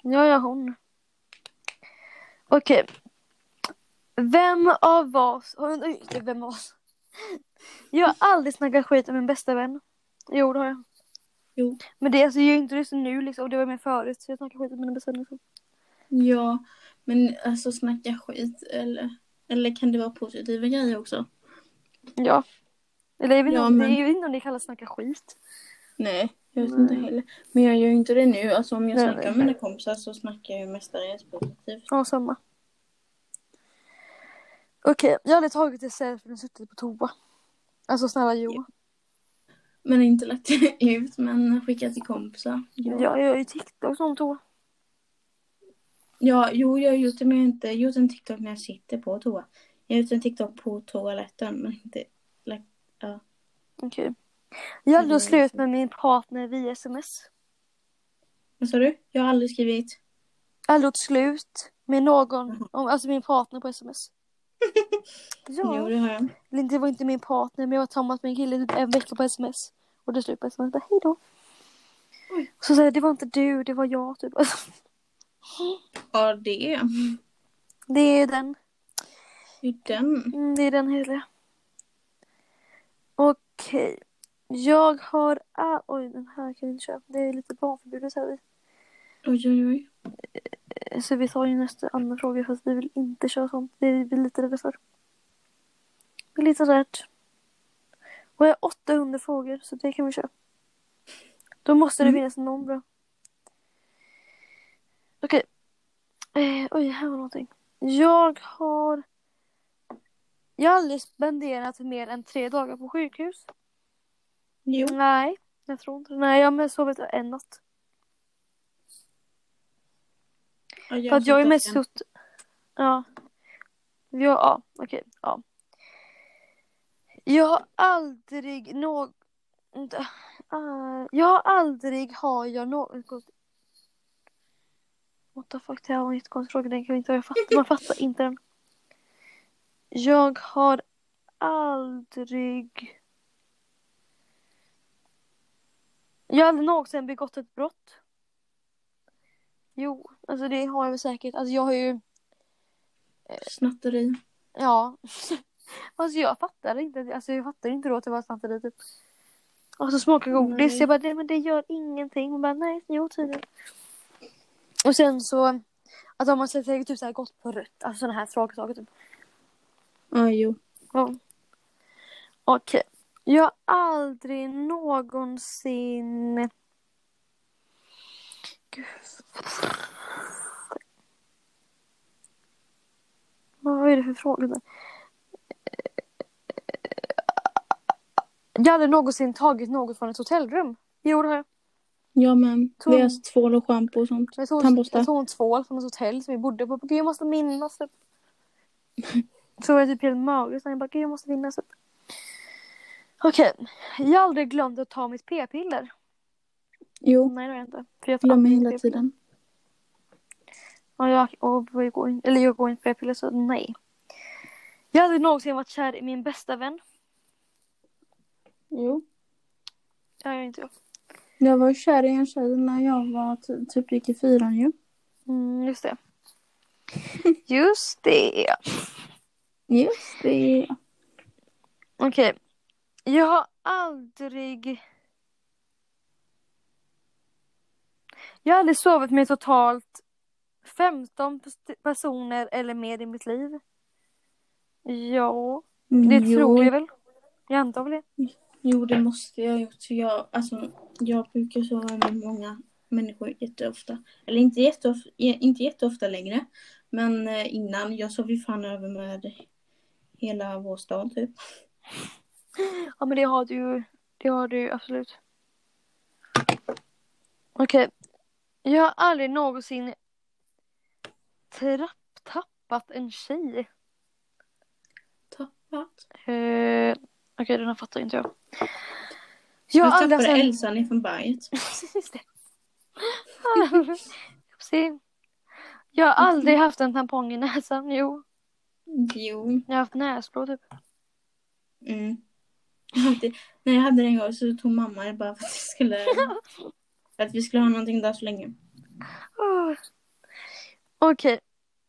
[SPEAKER 3] Ja ja hon. Okej. Vem av oss. Oj, oj, inte Vem av oss. Jag har aldrig snackat skit om min bästa vän. Jo det har jag.
[SPEAKER 4] Jo.
[SPEAKER 3] Men det alltså, jag gör inte det så nu liksom. Det var med förut. Så jag snackar skit om mina bästa vänner. Liksom.
[SPEAKER 4] Ja, men alltså snacka skit eller... Eller kan det vara positiva grejer också?
[SPEAKER 3] Ja. Eller jag vet,
[SPEAKER 4] Ja,
[SPEAKER 3] inte, om-
[SPEAKER 4] men-
[SPEAKER 3] jag vet inte om det kallas snacka skit.
[SPEAKER 4] Nej, Jag vet inte heller. Men jag gör ju inte det nu. Alltså om jag
[SPEAKER 3] Nej,
[SPEAKER 4] snackar
[SPEAKER 3] nej,
[SPEAKER 4] med mina kompisar så snackar jag ju mestadels positivt.
[SPEAKER 3] Ja, samma. Okej, jag hade tagit ett selfie men suttit på toa. Alltså snälla Johan.
[SPEAKER 4] Men inte lagt ut, men skickat till kompisar. Ja. Ja.
[SPEAKER 3] Jag gör ju TikToks om toa.
[SPEAKER 4] jo, jag har gjort det, men jag har inte gjort en TikTok när jag sitter på toa. Jag har gjort en TikTok på toaletten, men inte lagt... Ja.
[SPEAKER 3] Okej. Jag hade
[SPEAKER 4] Mm.
[SPEAKER 3] då slut med min partner via sms.
[SPEAKER 4] Vad sa du? Jag har aldrig skrivit.
[SPEAKER 3] Jag hade gjort slut med någon, om- alltså min partner på sms.
[SPEAKER 4] Jo,
[SPEAKER 3] Ja,
[SPEAKER 4] det har jag.
[SPEAKER 3] eller det var inte min partner men jag var tillsammans med en kille typ en vecka på sms. Och det slut på sms, bara, hej då. Så säger jag, det var inte du, det var jag typ. Alltså,
[SPEAKER 4] Ja, det.
[SPEAKER 3] det är den.
[SPEAKER 4] Det är den.
[SPEAKER 3] Mm, det är den hela. Okej. Jag har... Ah, oj, den här kan vi inte köra. Det är lite barnförbjudet här.
[SPEAKER 4] Oj, oj, oj.
[SPEAKER 3] vi- Så vi tar ju nästa annan fråga fast vi vill inte köra sånt. Det är vi lite rädda för. Vi är lite rädd. Och jag har 800 frågor så det kan vi köra. Då måste det
[SPEAKER 4] Mm.
[SPEAKER 3] finnas någon bra. Okej. Eh, oj, här var någonting. Jag har... Jag har aldrig spenderat mer än tre dagar på sjukhus.
[SPEAKER 4] Jo.
[SPEAKER 3] Nej, jag tror inte det. Nej, jag har mest sovit en natt.
[SPEAKER 4] Ja, jag
[SPEAKER 3] För att jag är
[SPEAKER 4] sitter
[SPEAKER 3] mest
[SPEAKER 4] sen.
[SPEAKER 3] suttit... Ja. Jag, ja, okej. Ja. Jag har aldrig något... jag har aldrig har jag något... What the fuck, det här var en jättekonstig fråga. Den kan vi inte... Jag fattar, man fattar inte den. Jag har aldrig... Jag har aldrig någonsin begått ett brott. Jo, alltså det har jag väl säkert. Alltså jag har ju...
[SPEAKER 4] Snatteri.
[SPEAKER 3] Ja. alltså jag fattar inte. Alltså jag fattar inte då att det var snatteri typ. Och så smakar godis.
[SPEAKER 4] Nej.
[SPEAKER 3] Jag bara, det, men det gör ingenting. Man bara, nej, jo tydligen. Och sen så. Alltså om man säger typ så här gått på rött. Alltså sådana här tråkiga saker typ.
[SPEAKER 4] Ja, jo.
[SPEAKER 3] Ja. Okej. Jag har aldrig någonsin... Gud. Vad är det för fråga? där? Jag har aldrig någonsin tagit något från ett hotellrum. Jo, det har jag.
[SPEAKER 4] Ja, men.
[SPEAKER 3] Tom.
[SPEAKER 4] Vi har haft tvål och schampo och sånt.
[SPEAKER 3] Jag tog,
[SPEAKER 4] Tandborste.
[SPEAKER 3] jag tog en tvål från ett hotell som vi bodde på. Gud, jag måste minnas. Typ. Så var jag typ helt magisk. Jag bara, gud, jag måste minnas. Typ. Okej. Jag har aldrig glömt att ta mitt p-piller. Oh,
[SPEAKER 4] Jo.
[SPEAKER 3] Nej, det har jag inte. För jag tar
[SPEAKER 4] Glömmer
[SPEAKER 3] aldrig
[SPEAKER 4] hela
[SPEAKER 3] p-piller.
[SPEAKER 4] tiden.
[SPEAKER 3] Ja, jag, och jag går inte, eller jag går inte på p-piller, så nej. Jag har aldrig någonsin varit kär i min bästa vän.
[SPEAKER 4] Jo.
[SPEAKER 3] Det har jag inte gjort.
[SPEAKER 4] Jag var kär i en tjej när jag var ty- typ gick i fyran ju.
[SPEAKER 3] Mm, just det. Just det.
[SPEAKER 4] Just det.
[SPEAKER 3] Okej. Jag har aldrig... Jag har aldrig sovit med totalt 15 pers- personer eller mer i mitt liv. Ja, det
[SPEAKER 4] jo.
[SPEAKER 3] tror jag väl. Jag antar väl det.
[SPEAKER 4] Jo, det måste jag ha gjort. Så jag, alltså, jag brukar sova med många människor jätteofta. Eller inte jätteofta, inte jätteofta längre. Men eh, innan, jag sov ju fan över med hela vår stad typ.
[SPEAKER 3] Ja, men det har du ju. Det har du ju absolut. Okej. Jag har aldrig någonsin trapp, tappat en tjej.
[SPEAKER 4] Tappat.
[SPEAKER 3] Eh, Okej, den här fattar inte jag. Jag
[SPEAKER 4] jag
[SPEAKER 3] har aldrig
[SPEAKER 4] tappade
[SPEAKER 3] haft en...
[SPEAKER 4] Elsa ner från berget.
[SPEAKER 3] Just det. Oopsie. Jag har aldrig haft en tampong i näsan. Jo,
[SPEAKER 4] Jo.
[SPEAKER 3] jag har haft näsblå typ.
[SPEAKER 4] Mm. Jag hade- När jag hade den en gång så tog mamma det bara för att, jag skulle, för att vi skulle ha någonting där så länge.
[SPEAKER 3] Ah. Okej.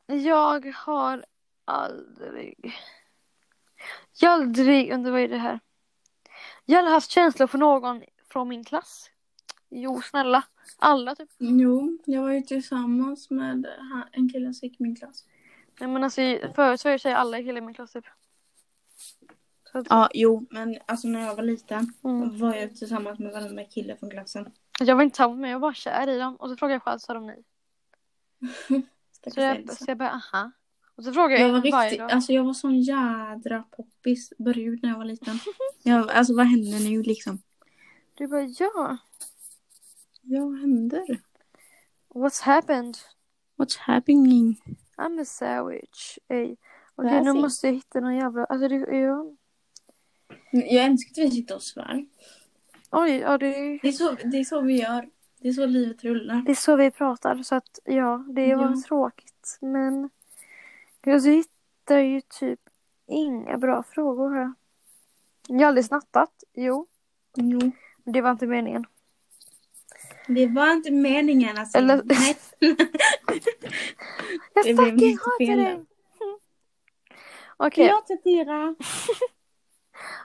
[SPEAKER 3] Jag har aldrig... Jag har aldrig... Undrar vad är det här? Jag har aldrig haft känslor för någon från min klass. Jo, snälla. Alla typ.
[SPEAKER 4] Jo, jag var ju tillsammans med han- en kille som gick i min klass.
[SPEAKER 3] Nej men alltså förut så var ju alla killar i min klass typ.
[SPEAKER 4] Ja, jo, men alltså när jag var liten
[SPEAKER 3] Mm.
[SPEAKER 4] var jag tillsammans med varenda kille från klassen.
[SPEAKER 3] Jag var inte samma med jag var kär i dem. Och så frågade jag själv så sa de nej.
[SPEAKER 4] Stackars
[SPEAKER 3] Så jag,
[SPEAKER 4] Elsa.
[SPEAKER 3] så jag bara aha. Och så frågade
[SPEAKER 4] Jag
[SPEAKER 3] jag,
[SPEAKER 4] var
[SPEAKER 3] varje
[SPEAKER 4] riktigt,
[SPEAKER 3] dag.
[SPEAKER 4] alltså jag var sån jädra poppis, brud när jag var liten. Jag, alltså vad händer nu liksom?
[SPEAKER 3] Du bara ja.
[SPEAKER 4] Ja, vad händer?
[SPEAKER 3] What's happened?
[SPEAKER 4] What's happening?
[SPEAKER 3] I'm a sandwich. Ey. Okej
[SPEAKER 4] Där
[SPEAKER 3] nu
[SPEAKER 4] ser-
[SPEAKER 3] måste jag hitta någon jävla. Alltså det är ju.
[SPEAKER 4] Jag önskar att vi sitter och svär.
[SPEAKER 3] Oj ja det.
[SPEAKER 4] Det är, så, det är så vi gör. Det är så livet rullar.
[SPEAKER 3] Det är så vi pratar så att ja det var
[SPEAKER 4] Ja.
[SPEAKER 3] tråkigt. Men. Jag hittar ju typ inga bra frågor här. Jag har aldrig snattat. Jo.
[SPEAKER 4] Jo.
[SPEAKER 3] Men det var inte meningen.
[SPEAKER 4] Det var inte meningen alltså.
[SPEAKER 3] Eller-
[SPEAKER 4] Nej.
[SPEAKER 3] Jag
[SPEAKER 4] Det blev
[SPEAKER 3] fucking
[SPEAKER 4] lite
[SPEAKER 3] hatar
[SPEAKER 4] fel
[SPEAKER 3] dig!
[SPEAKER 4] där.
[SPEAKER 3] Mm. Okej,
[SPEAKER 4] Jag citerar.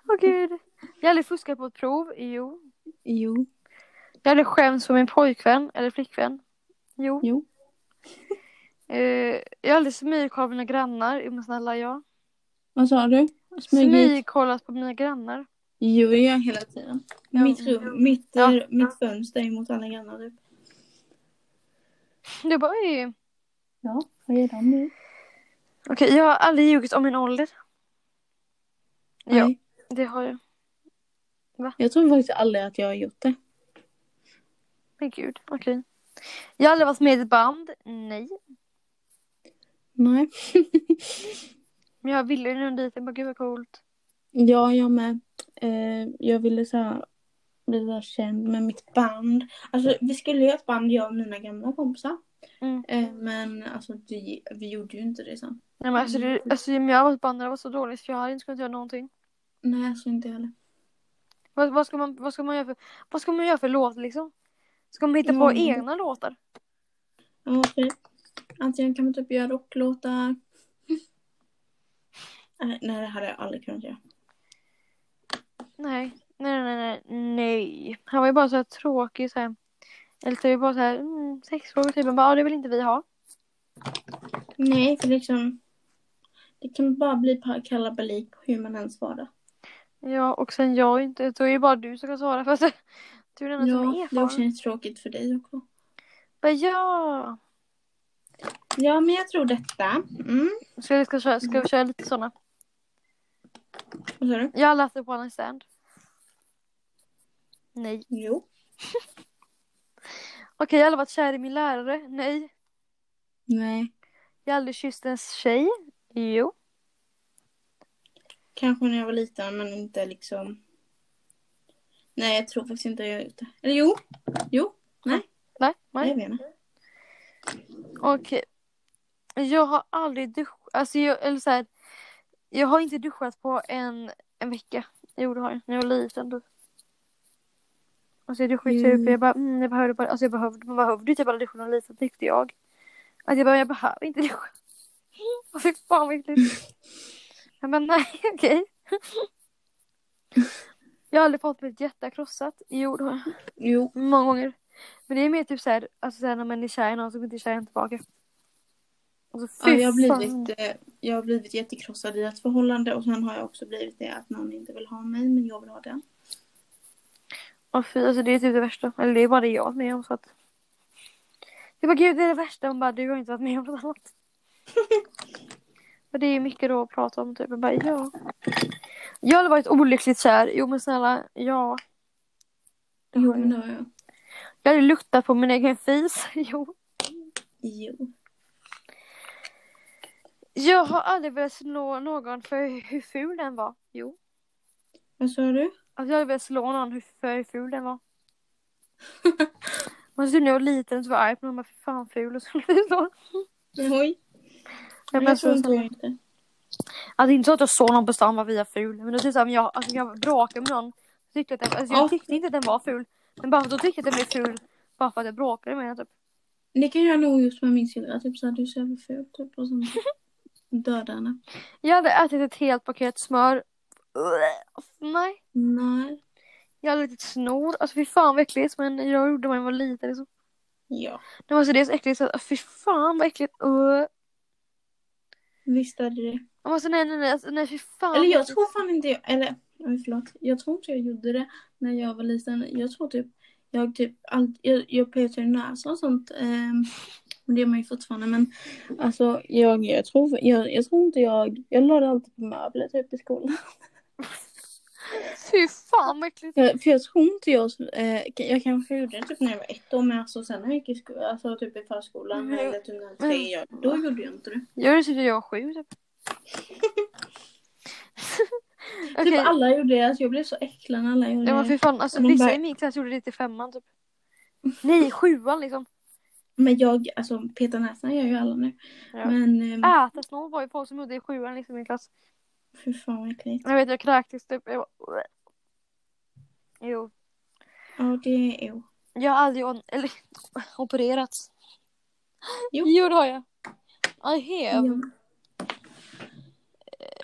[SPEAKER 3] åh gud. Jag har aldrig fuskat på ett prov, jo.
[SPEAKER 4] Jo.
[SPEAKER 3] Jag har aldrig skämts för min pojkvän eller flickvän, jo.
[SPEAKER 4] Jo.
[SPEAKER 3] Eh, jag har aldrig smygkollat på mina grannar, jo men snälla jag.
[SPEAKER 4] Vad sa du? Smyg.
[SPEAKER 3] Smygkollat på mina grannar.
[SPEAKER 4] Jo, det gör jag hela tiden.
[SPEAKER 3] Ja.
[SPEAKER 4] Mitt rum, mitt,
[SPEAKER 3] Ja.
[SPEAKER 4] eh, mitt fönster är mot alla grannar typ.
[SPEAKER 3] Jag bara oj.
[SPEAKER 4] Ja, vad gör de nu?
[SPEAKER 3] Okej, jag har aldrig ljugit om min ålder. Ja,
[SPEAKER 4] Nej,
[SPEAKER 3] det har jag.
[SPEAKER 4] jag tror faktiskt aldrig att jag har gjort det.
[SPEAKER 3] Men gud, okej. Jag har aldrig varit med i ett band, nej.
[SPEAKER 4] Nej.
[SPEAKER 3] Men jag ville ju när jag var liten, bara gud vad coolt.
[SPEAKER 4] Ja, jag med. Eh, jag ville så här, bli så här känd med mitt band. Alltså, vi skulle göra ett band, jag och mina gamla kompisar.
[SPEAKER 3] Mm.
[SPEAKER 4] Eh, men alltså, vi, vi gjorde ju inte det sen.
[SPEAKER 3] Nej men alltså, det, alltså men jag var ett band, det var så dåligt för jag hade inte kunnat göra någonting.
[SPEAKER 4] Nej, alltså inte heller.
[SPEAKER 3] Vad, vad, ska, man, vad, ska, man göra för, vad ska man göra för låt liksom? Ska man hitta på
[SPEAKER 4] Mm.
[SPEAKER 3] egna låtar?
[SPEAKER 4] Ja, okej. Antingen kan man typ göra rocklåtar. Nej, nej, det hade jag aldrig kunnat göra.
[SPEAKER 3] Nej, nej, nej, nej, nej. Han var ju bara så här tråkig så här. Eller typ bara så här, mm, sexfrågor typ. Man bara, "Ja, det vill inte vi ha.
[SPEAKER 4] Nej, för liksom. Det kan bara bli pa- kalabalik på hur man än svarar.
[SPEAKER 3] Ja, och sen jag inte. Då är ju bara du som kan svara för att du är den enda som är
[SPEAKER 4] Ja, det
[SPEAKER 3] erfaren.
[SPEAKER 4] känns tråkigt för dig också.
[SPEAKER 3] Bara, ja.
[SPEAKER 4] Ja, men jag tror detta. Mm.
[SPEAKER 3] Ska vi, ska, köra, ska vi köra lite sådana?
[SPEAKER 4] Vad sa du?
[SPEAKER 3] Jag har läst upp One Night Stand. Nej.
[SPEAKER 4] Jo.
[SPEAKER 3] Okej, jag har aldrig varit kär i min lärare. Nej.
[SPEAKER 4] Nej.
[SPEAKER 3] Jag har aldrig kysst en tjej. Jo.
[SPEAKER 4] Kanske när jag var liten men inte liksom. Nej jag tror faktiskt inte jag har gjort det. Eller jo. Jo.
[SPEAKER 3] Nej,
[SPEAKER 4] Nej.
[SPEAKER 3] nej.
[SPEAKER 4] Jag vet inte.
[SPEAKER 3] Okej. Jag har aldrig duschat. Alltså jag, eller så här, jag har inte duschat på en, en vecka. Jo det har jag. När jag var liten då. Alltså jag duschade
[SPEAKER 4] Mm.
[SPEAKER 3] typ. Jag bara, mm, jag behövde bara. Alltså jag behövde. Man behövde ju typ aldrig duscha när man var liten tyckte jag. Att jag bara, jag behöver inte duscha. Och fy fan vad äckligt. Jag bara, nej okej. Jag har aldrig fått mitt hjärta krossat. Jo det har jag.
[SPEAKER 4] Jo.
[SPEAKER 3] Många gånger. Men det är mer typ såhär, alltså såhär när man är kär i någon så går inte kärleken tillbaka. Alltså
[SPEAKER 4] Ja,
[SPEAKER 3] fy
[SPEAKER 4] jag, har
[SPEAKER 3] fan.
[SPEAKER 4] blivit, eh, jag har blivit jättekrossad i ett förhållande och sen har jag också blivit det att någon inte vill ha mig men jag vill ha den.
[SPEAKER 3] Åh fy, alltså det är typ det värsta. Eller det är bara det jag har varit med om så att. Jag bara gud det är det värsta. Hon bara du har inte varit med om något annat. Men det är ju mycket då att prata om typ. Jag bara ja. Jag har varit olyckligt kär. Jo men snälla ja. Det har
[SPEAKER 4] Jo
[SPEAKER 3] jag.
[SPEAKER 4] men det har jag.
[SPEAKER 3] Jag har luktat på min egen fis. Jo.
[SPEAKER 4] Jo.
[SPEAKER 3] Jag har aldrig velat slå någon för hur ful den var. Jo.
[SPEAKER 4] Vad sa du?
[SPEAKER 3] Alltså jag hade velat slå någon hur för hur ful den var. Men så när jag var liten så var jag arg på någon. Bara, "Fy fan ful och så. Jag
[SPEAKER 4] Oj.
[SPEAKER 3] bara,
[SPEAKER 4] Men jag tror
[SPEAKER 3] så,
[SPEAKER 4] inte jag
[SPEAKER 3] så.
[SPEAKER 4] gjort det.
[SPEAKER 3] Alltså inte så att jag såg någon på stan bara via ful. Men det är så här, om jag, alltså, jag bråkade med någon. så Tyckte jag att den, alltså, jag
[SPEAKER 4] Ja.
[SPEAKER 3] tyckte inte att den var ful. Men bara för att då tyckte jag att den blev ful. Bara för att jag bråkade med den typ.
[SPEAKER 4] Det kan jag nog gjort med min syrra. Typ såhär du ser väl ful typ och sen döda henne.
[SPEAKER 3] Jag hade ätit ett helt paket smör. Nej.
[SPEAKER 4] Nej.
[SPEAKER 3] Jag hade ätit snor. Alltså fy fan vad äckligt. Men jag gjorde man var liten liksom.
[SPEAKER 4] Ja.
[SPEAKER 3] Det var så det är så äckligt så att fy fan vad äckligt. Uh.
[SPEAKER 4] Visst hade det.
[SPEAKER 3] Och alltså, nej, nej, nej, alltså, nej, fy fan.
[SPEAKER 4] Eller jag tror fan inte jag, eller oj förlåt. Jag tror inte jag gjorde det när jag var liten. Jag tror typ, jag typ allt, jag, jag petade i näsan och sånt. ehm, men det gör man ju fortfarande men alltså jag, jag tror, jag, jag tror inte jag, jag la det alltid på möbler typ i skolan.
[SPEAKER 3] Fy fan vad äckligt.
[SPEAKER 4] Jag, för jag tror inte jag, eh, jag kanske gjorde det typ när jag var ett år men alltså sen när jag gick i skolan, alltså typ i förskolan
[SPEAKER 3] Mm.
[SPEAKER 4] eller typ när jag var tre, jag- då gjorde jag inte det.
[SPEAKER 3] Gör det så jag var sju typ. Okej,
[SPEAKER 4] Typ alla gjorde det, alltså jag blev så äcklad när alla gjorde
[SPEAKER 3] ja, men
[SPEAKER 4] det.
[SPEAKER 3] fy fan. Alltså,
[SPEAKER 4] Och de
[SPEAKER 3] vissa
[SPEAKER 4] bara-
[SPEAKER 3] i min klass gjorde det till femman typ. Nej, sjuan liksom.
[SPEAKER 4] Men jag, alltså peta näsan gör ju alla nu.
[SPEAKER 3] Ja. Ah.
[SPEAKER 4] Men ehm,
[SPEAKER 3] Äta snor var ju folk som gjorde det i sjuan liksom i min klass.
[SPEAKER 4] fy fan vad äckligt.
[SPEAKER 3] Jag vet, jag kräktes typ. Jag bara... Jo.
[SPEAKER 4] Ja det är o.
[SPEAKER 3] Jag har aldrig on- eller, opererats.
[SPEAKER 4] Jo.
[SPEAKER 3] jo, det har jag. I have.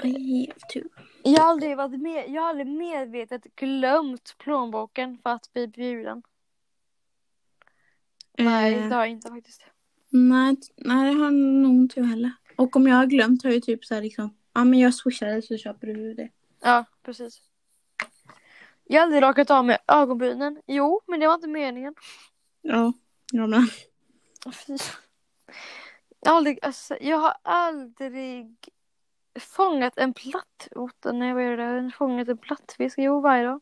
[SPEAKER 4] I have to.
[SPEAKER 3] Jag har aldrig varit med, jag har aldrig medvetet glömt plånboken för att bli bjuden. Nej,
[SPEAKER 4] Eh,
[SPEAKER 3] det har jag inte faktiskt.
[SPEAKER 4] nej, t- nej det har nog inte jag heller. Och om jag har glömt har jag ju typ såhär liksom, ja men jag swishar dig så köper du det.
[SPEAKER 3] Ja, precis. Jag har aldrig rakat av mig ögonbrynen. Jo, men det var inte meningen.
[SPEAKER 4] Ja, jag med.
[SPEAKER 3] Fy. Jag har aldrig, alltså, jag har aldrig fångat en plattfot. Nej, vad är det? där? Fångat en plattfisk. Jo, varje dag.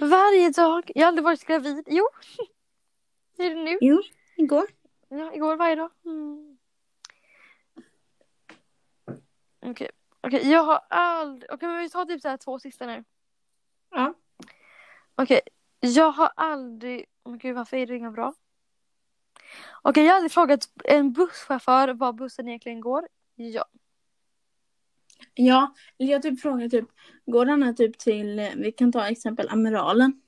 [SPEAKER 3] Varje dag. Jag har aldrig varit gravid. Jo. Hur är det nu?
[SPEAKER 4] Igår.
[SPEAKER 3] Ja, igår varje dag. Mm. Okej, Okej, jag har aldrig... Okej, men vi tar typ så här två sista nu.
[SPEAKER 4] Ja.
[SPEAKER 3] Okej, jag har aldrig... Men gud, varför är det inga bra? Okej, jag har aldrig frågat en busschaufför var bussen egentligen går. Ja.
[SPEAKER 4] Ja, eller jag typ frågar typ, går den här typ till, eh, vi kan ta exempel amiralen.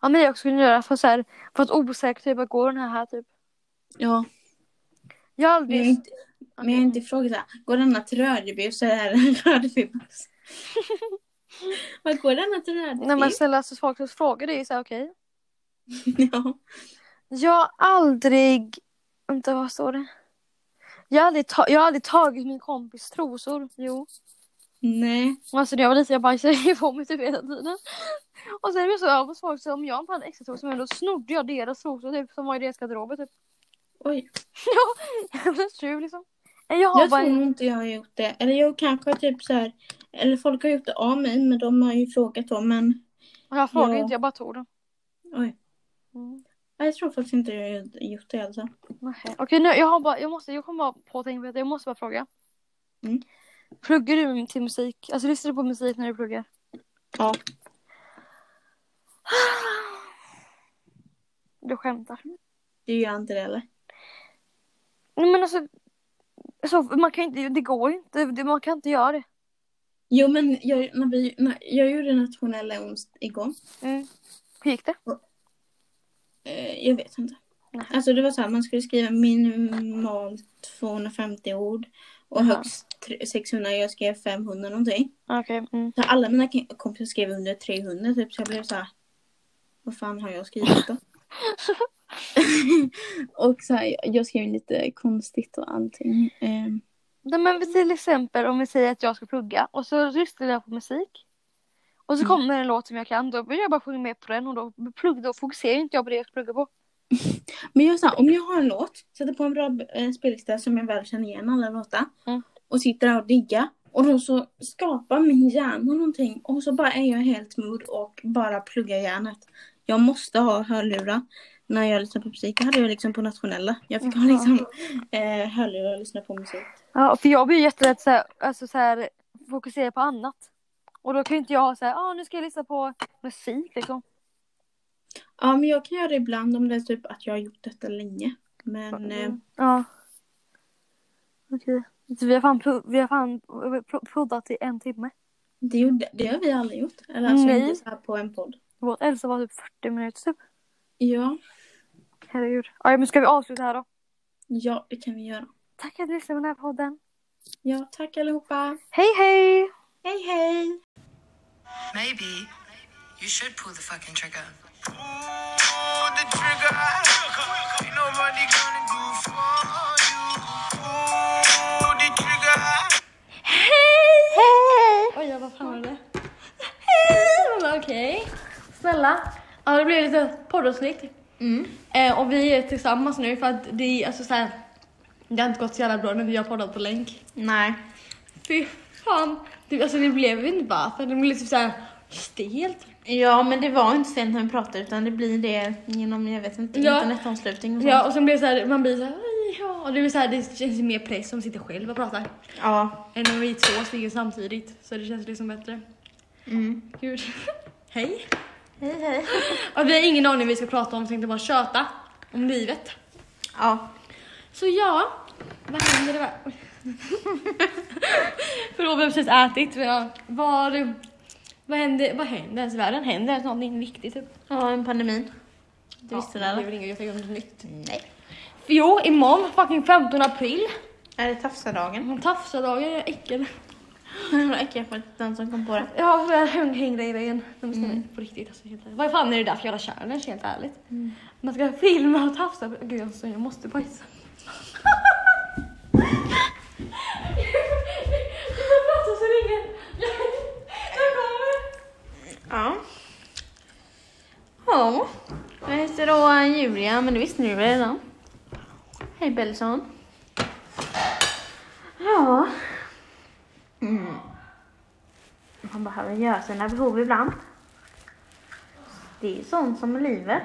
[SPEAKER 3] Ja, men jag skulle göra för så här... För att osäkert typ, att går den här här typ.
[SPEAKER 4] Ja,
[SPEAKER 3] Jag har
[SPEAKER 4] men
[SPEAKER 3] aldrig...
[SPEAKER 4] jag har inte, men jag har inte frågat såhär, går den här till Rödeby så är det en Rödebybuss. Vad går den här till Rödeby?
[SPEAKER 3] När man ställer alltså, folk frågor, det är ju så här okej.
[SPEAKER 4] Ja.
[SPEAKER 3] Jag har aldrig... Vänta, vad står det? Jag har aldrig, ta... jag har aldrig tagit min kompis trosor. Jo.
[SPEAKER 4] Nej.
[SPEAKER 3] Alltså när jag var liten jag bajsade ju på mig typ hela tiden. Och sen är det så jag hos folk så om jag inte hade extra trosor men då snodde jag deras trosor typ som var i deras garderober typ.
[SPEAKER 4] Oj.
[SPEAKER 3] Jag blev tjuv liksom. Nej, Jag har
[SPEAKER 4] Jag
[SPEAKER 3] bara...
[SPEAKER 4] tror nog inte jag har gjort det. Eller jag kanske typ så här. Eller folk har gjort det av mig men de har ju frågat om men.
[SPEAKER 3] Jag frågade
[SPEAKER 4] Ja.
[SPEAKER 3] inte, jag bara tog dem.
[SPEAKER 4] Oj.
[SPEAKER 3] Mm.
[SPEAKER 4] Jag tror faktiskt inte jag har gjort det alltså.
[SPEAKER 3] Nähä. Okej nu, jag har bara, jag måste, jag kommer bara på att tänka på detta. jag måste bara fråga.
[SPEAKER 4] Mm.
[SPEAKER 3] Pluggar du till musik? Alltså lyssnar du på musik när du pluggar?
[SPEAKER 4] Ja.
[SPEAKER 3] Du skämtar.
[SPEAKER 4] Du gör inte det eller?
[SPEAKER 3] Nej men alltså. Så, man kan inte, det går ju inte. Det- Man kan inte göra det.
[SPEAKER 4] Jo men jag, när vi, när, jag gjorde nationella ons igår.
[SPEAKER 3] Mm. Hur gick det?
[SPEAKER 4] Eh, jag vet inte.
[SPEAKER 3] Nej.
[SPEAKER 4] Alltså det var så här man skulle skriva minimalt 250 ord. Och
[SPEAKER 3] Jaha.
[SPEAKER 4] högst tre- 600. Jag skrev 500 någonting.
[SPEAKER 3] Okej. Mm.
[SPEAKER 4] Så alla mina ki- kompisar skrev under 300 typ så jag blev så här. Vad fan har jag skrivit då? och så här, jag skrev lite konstigt och allting. Ehm,
[SPEAKER 3] Nej, men till exempel om vi säger att jag ska plugga och så lyssnar jag på musik. Och så
[SPEAKER 4] Mm.
[SPEAKER 3] kommer en låt som jag kan. Då börjar jag bara sjunga med på den och då, plugg, då fokuserar ju inte jag på det jag ska plugga på.
[SPEAKER 4] Men jag sa, om jag har en låt, sätter på en bra eh, spellista som jag väl känner igen alla låtar.
[SPEAKER 3] Mm.
[SPEAKER 4] Och sitter där och diggar. Och då så skapar min hjärna någonting. Och så bara är jag helt mood och bara pluggar hjärnet. Jag måste ha hörlurar. När jag lyssnar på musik, det hade jag liksom på nationella. Jag fick ha
[SPEAKER 3] Jaha.
[SPEAKER 4] liksom eh, hörlurar och lyssna på musik.
[SPEAKER 3] Ja, för jag blir ju jätterädd så här, alltså så här, fokusera på annat. Och då kan ju inte jag ha så här, ah, nu ska jag lyssna på musik liksom.
[SPEAKER 4] Ja men jag kan göra det ibland om det är typ att jag har gjort detta länge. Men eh,
[SPEAKER 3] Mm. Ja. Okej. Så vi har fan, pro- vi har fan eh, pro- pro- proddat i en timme.
[SPEAKER 4] det, gjorde, det har vi aldrig gjort. Eller alltså
[SPEAKER 3] Nej.
[SPEAKER 4] inte så här på en podd.
[SPEAKER 3] Vårt äldsta var typ 40 minuter typ.
[SPEAKER 4] Ja,
[SPEAKER 3] Herregud. Ja, men ska vi avsluta här då?
[SPEAKER 4] ja det kan vi göra.
[SPEAKER 3] Tack för att ni lyssnade på den här podden.
[SPEAKER 4] Ja tack allihopa.
[SPEAKER 3] Hej hej!
[SPEAKER 4] Hej hej!
[SPEAKER 1] Maybe you should pull the fucking trigger.
[SPEAKER 2] Pull the trigger. Ain't nobody gonna do for you. Ooh,
[SPEAKER 5] snälla.
[SPEAKER 3] Ja, det blir lite poddavsnitt.
[SPEAKER 5] Mm.
[SPEAKER 3] Eh, och vi är tillsammans nu för att det, alltså, så här, det har inte gått så jävla bra när vi har poddat på länk.
[SPEAKER 5] Nej.
[SPEAKER 3] Fy fan. Det, alltså, det blev ju inte bara för det blev lite så här stelt.
[SPEAKER 5] Ja, men det var inte sent när vi pratade utan det blir det genom, jag vet inte,
[SPEAKER 3] Ja.
[SPEAKER 5] internetomslutning och sånt.
[SPEAKER 3] Ja, och sen blir det så här, man blir så här, "Aj, ja. Och det blir så här, det känns ju mer press som sitter själv och pratar.
[SPEAKER 5] Ja.
[SPEAKER 3] Än om vi två stiger samtidigt. Så det känns liksom bättre.
[SPEAKER 5] Mm.
[SPEAKER 3] Gud. Hej.
[SPEAKER 5] Hej, hej.
[SPEAKER 3] Ja, vi har ingen aning vad vi ska prata om, så tänkte bara köta om livet.
[SPEAKER 5] Ja.
[SPEAKER 3] Så ja, vad händer det? va- För då har vi precis ätit. men ja, Var, vad händer, vad händer ens i världen? Händer ens någonting viktigt? Typ?
[SPEAKER 5] Ja, en pandemi. Du
[SPEAKER 3] Ja,
[SPEAKER 5] visste det eller?
[SPEAKER 3] Det är väl inget jag tänker om något nytt.
[SPEAKER 5] Nej.
[SPEAKER 3] För Jo, imorgon fucking 15 april.
[SPEAKER 5] Är det tafsadagen?
[SPEAKER 3] Man tafsardagar är äckel.
[SPEAKER 5] Vad äckligt för den som kom på det.
[SPEAKER 3] Ja, för jag häng- hängde i vägen. De bestämmer
[SPEAKER 5] Mm.
[SPEAKER 3] på riktigt. Alltså, helt ärligt. Vad fan är det där för jävla challenge helt ärligt?
[SPEAKER 5] Mm.
[SPEAKER 3] Man ska filma och tafsa. på- Gud alltså, jag måste bajsa. jag pratar så länge. Jag kommer.
[SPEAKER 5] Ja. Ja. Jag heter då Julia, men det visste ni väl redan? Hej Bellison. Ja. Mm. Man behöver göra sina behov ibland. Det är ju sånt som är livet.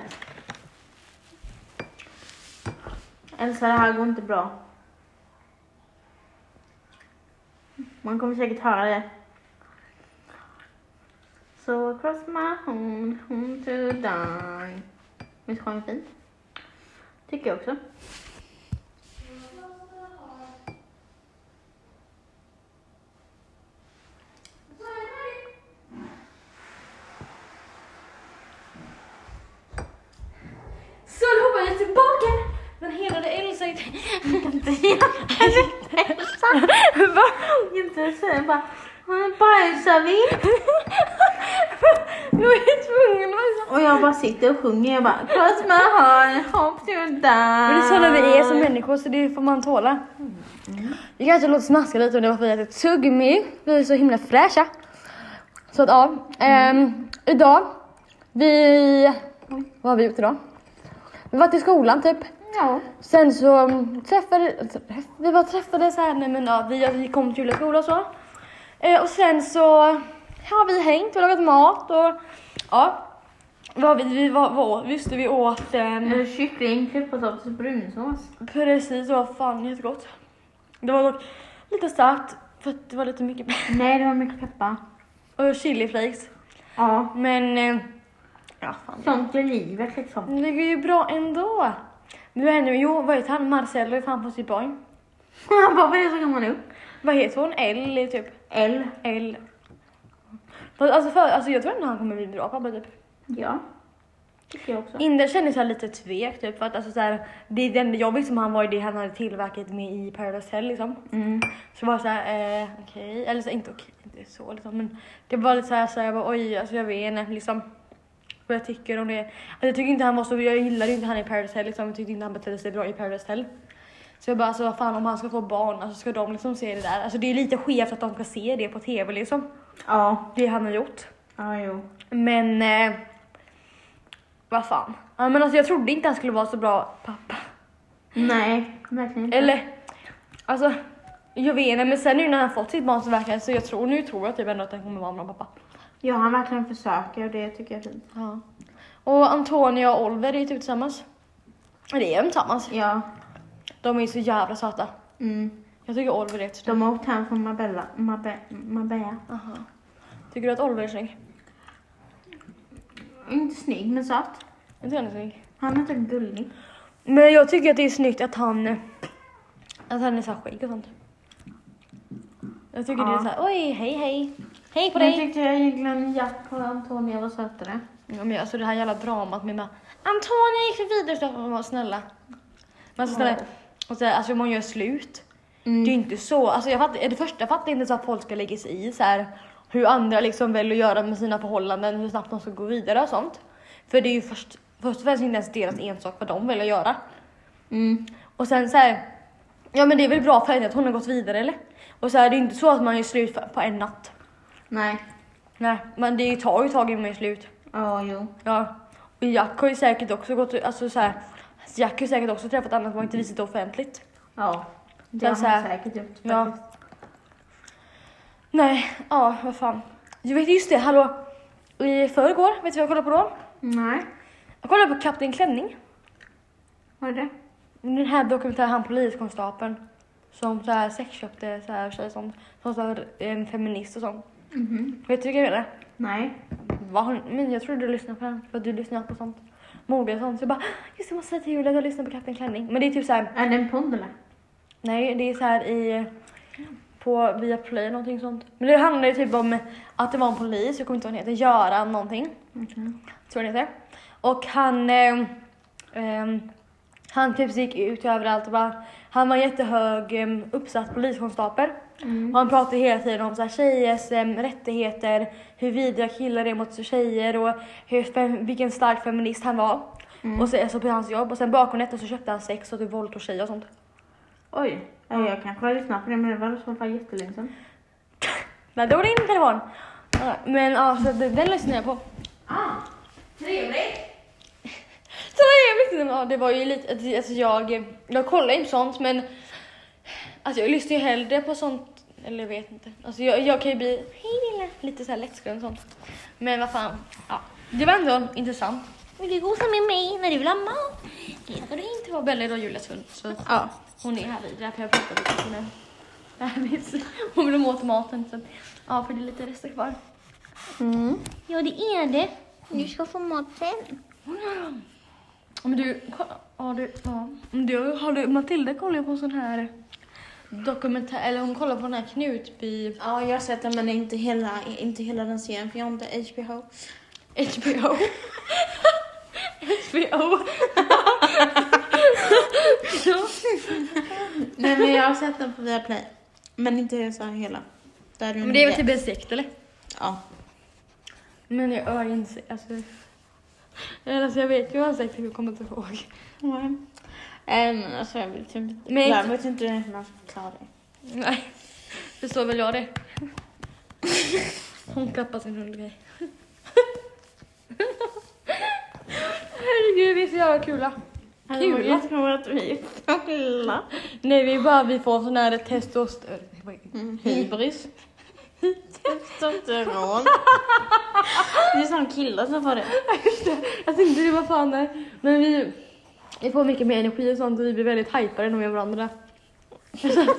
[SPEAKER 5] Elsa, det här går inte bra. Man kommer säkert höra det. So across my home, home to die. Visst sjöng fint? Tycker jag också.
[SPEAKER 3] Så då hoppar jag tillbaka. Den helade Elsa i...
[SPEAKER 5] Va? Inte så jag bara, "Men bajsar vi?
[SPEAKER 3] Jag är tvungen att bajsa.
[SPEAKER 5] Och jag bara sitter och sjunger. Jag bara, cross my heart, hope to die.
[SPEAKER 3] Men det är sådana vi är som människor så det får man tåla. Det kanske låter snaska lite om det var för att jag ätit tuggummi. Vi är så himla fräscha. Så att ja. ehm, idag. Vi... Vad har vi gjort idag? Vi var till skolan typ.
[SPEAKER 5] Ja.
[SPEAKER 3] Sen så mm, träffade... träff- Vi bara träffades här nej men ja, vi, vi kom till Julias skola och så. Eh, och sen så har vi hängt och lagat mat och ja. Vad har vi, vi var, var, just det vi åt ehm,
[SPEAKER 5] Nu kyckling, klipppotatis och brunsås.
[SPEAKER 3] Precis, det var fan jättegott. Det var dock lite starkt för att det var lite mycket
[SPEAKER 5] Nej, det var mycket peppar.
[SPEAKER 3] och chiliflakes.
[SPEAKER 5] Ja.
[SPEAKER 3] Men eh, ja, fan.
[SPEAKER 5] Sånt är livet liksom.
[SPEAKER 3] Det går ju bra ändå. Nu är nu, jo vad heter han? Marcello är fan på sitt barn.
[SPEAKER 5] Varför är det så gammal nu?
[SPEAKER 3] Vad heter hon? L typ?
[SPEAKER 5] L.
[SPEAKER 3] L. Fast, Alltså, för, alltså jag tror ändå han kommer bli bra pappa typ.
[SPEAKER 5] Ja. Tycker jag också.
[SPEAKER 3] Inder känner sig lite tvek typ för att alltså så här, det är det enda jobbigt som han var i det han hade tillverkat med i Paradise Hotel liksom.
[SPEAKER 5] Mm.
[SPEAKER 3] Så var det såhär, eh, okej, eller så inte okej, inte så liksom men det var lite såhär, så jag bara oj, alltså jag vet inte liksom vad jag tycker om det. Alltså, jag tycker inte han var så, jag gillade inte han i Paradise Hotel liksom, jag tyckte inte han betedde sig bra i Paradise Hotel. Så jag bara alltså vad fan om han ska få barn, alltså ska de liksom se det där? Alltså det är lite skevt att de ska se det på tv liksom,
[SPEAKER 5] Ja.
[SPEAKER 3] det han har gjort.
[SPEAKER 5] Ja, jo.
[SPEAKER 3] Men eh, vad fan. Ja, men alltså jag trodde inte han skulle vara så bra pappa.
[SPEAKER 5] Nej, verkligen inte.
[SPEAKER 3] Eller, alltså, jag vet inte, men sen nu när han fått sitt barn så verkar det, så jag tror, nu tror jag typ ändå att han kommer vara med pappa.
[SPEAKER 5] Ja, han verkligen försöker och det tycker jag är fint.
[SPEAKER 3] Ja. Och Antonia och Oliver är ju typ tillsammans. Eller är de tillsammans?
[SPEAKER 5] Ja.
[SPEAKER 3] De är ju så jävla söta.
[SPEAKER 5] Mm.
[SPEAKER 3] Jag tycker Oliver är jättesnygg.
[SPEAKER 5] De har åkt hem från Marbella, Marbe, Marbella.
[SPEAKER 3] Aha. Tycker du att Oliver är snygg?
[SPEAKER 5] Inte snygg, men söt.
[SPEAKER 3] Jag tycker han är snygg.
[SPEAKER 5] Han är typ gullig.
[SPEAKER 3] Men jag tycker att det är snyggt att han, att han är såhär skägg och sånt. Jag tycker det är
[SPEAKER 5] Ja.
[SPEAKER 3] såhär, oj, hej, hej. Hej på
[SPEAKER 5] Men
[SPEAKER 3] dig.
[SPEAKER 5] jag tyckte jag egentligen Jack och Antonia var sötare.
[SPEAKER 3] Ja, men alltså det här jävla dramat med bara, Antonia gick för vidare så man var snälla. Men alltså snälla, och så, här, alltså man gör slut. Det är ju inte så, alltså jag fattar, det första jag fattar inte så att folk ska lägga sig i så här hur andra liksom väljer att göra med sina förhållanden, hur snabbt de ska gå vidare och sånt. För det är ju först, först och främst inte ens deras ensak vad de väljer att göra.
[SPEAKER 5] Mm.
[SPEAKER 3] Och sen så här, ja men det är väl bra för henne att hon har gått vidare eller? Och så här, det är ju inte så att man gör slut på en natt.
[SPEAKER 5] Nej.
[SPEAKER 3] Nej, men det tar ju tag innan man gör slut.
[SPEAKER 5] Ja, jo.
[SPEAKER 3] Ja. Och Jack har ju säkert också gått alltså så här, Jack har ju säkert också träffat andra som har inte visat det offentligt.
[SPEAKER 5] Ja. Det
[SPEAKER 3] Sen
[SPEAKER 5] har
[SPEAKER 3] så
[SPEAKER 5] man
[SPEAKER 3] här-
[SPEAKER 5] säkert gjort
[SPEAKER 3] Ja.
[SPEAKER 5] faktiskt.
[SPEAKER 3] Nej, ja vad fan. Jag vet just det, hallå. I förrgår, vet du vad jag kollade på då?
[SPEAKER 5] Nej.
[SPEAKER 3] Jag kollade på Kapten Klänning.
[SPEAKER 5] Var det det?
[SPEAKER 3] Den här dokumentären, han poliskonstapeln. Som så här sexköpte så här tjejer som, som så här, en feminist och sånt.
[SPEAKER 5] Mhm.
[SPEAKER 3] Vet du vilka jag menar?
[SPEAKER 5] Nej.
[SPEAKER 3] Va? har ni- Men jag tror du lyssnar på den, för att du lyssnar på sånt. Mode och sånt. Så jag bara, "Ah, just det, jag måste säga till Julia att jag lyssnar på Kapten Klänning. Men det är typ så här
[SPEAKER 5] Är det en pond eller?
[SPEAKER 3] Nej, det är så här i... På Viaplay någonting sånt. Men det handlar ju typ om att det var en polis, jag kommer inte ihåg vad han heter, Göran någonting. Tror jag han heter. Och han... Eh, ehm, han typ gick ut överallt och bara... Han var en jättehög eh, uppsatt poliskonstapel. Och han pratade hela tiden om så här, tjejers eh, rättigheter, hur vidriga killar är mot tjejer och hur fem, vilken stark feminist han var. Och så, alltså på hans jobb. Och sen bakom detta så köpte han sex och typ våldtog tjejer och sånt.
[SPEAKER 5] Oj. Ja, jag kanske har lyssnat på det men det var i så fall jättelänge sedan.
[SPEAKER 3] Nej, då var det inte telefon. Ja, Men alltså, det- den lyssnade jag på.
[SPEAKER 5] Ah, trevligt!
[SPEAKER 3] Så det, är viktigt. Ja, det var ju lite, alltså jag, jag kollar inte sånt men alltså jag lyssnar ju hellre på sånt, eller jag vet inte. Alltså jag, jag kan ju bli hej lilla, lite såhär lättskrämd och sånt. Men vad fan, ja. Det var ändå intressant. Vill du gosa med mig när du vill ha mat? Det ska du inte vara Bella idag, Julias hund. Så
[SPEAKER 4] Ja.
[SPEAKER 3] hon är här vid, därför jag pratar lite med henne. Hon vill åt maten så att- ja, för det är lite rester kvar.
[SPEAKER 4] Mm.
[SPEAKER 3] Ja, det är det.
[SPEAKER 6] Du ska få mat sen.
[SPEAKER 3] Om du, kolla- ja, du, ja. Om du, har du, Matilda kollar ju på en sån här dokumentär, eller hon kollar på den här Knutby
[SPEAKER 4] Ja, jag har sett den men inte hela, inte hela den serien för jag har inte HBO.
[SPEAKER 3] HBO. HBO. ja.
[SPEAKER 4] Nej men jag har sett den på Viaplay. Men inte så här hela. Där
[SPEAKER 3] Men det är väl typ en sekt eller?
[SPEAKER 4] Ja.
[SPEAKER 3] Men jag har inte, alltså. Eller alltså jag vet ju vad en sekt är, jag kommer inte ihåg.
[SPEAKER 4] Mm. men alltså jag vet inte. Men
[SPEAKER 3] jag
[SPEAKER 4] jag vet inte hur man ska förklara det.
[SPEAKER 3] Nej, förstår väl jag det. Hon klappar sin hund grej. Herregud, vi är så jävla kula. Kul.
[SPEAKER 4] Alltså, Jag tror att vi är fulla.
[SPEAKER 3] Nej, vi bara vi får sån här eh, testosteron. Mm.
[SPEAKER 4] Hybris. Testosteron. Det är sådana killar som får det.
[SPEAKER 3] Jag tänkte det var fan det. Men vi, vi får mycket mer energi och sånt och vi blir väldigt hypade när vi är med varandra.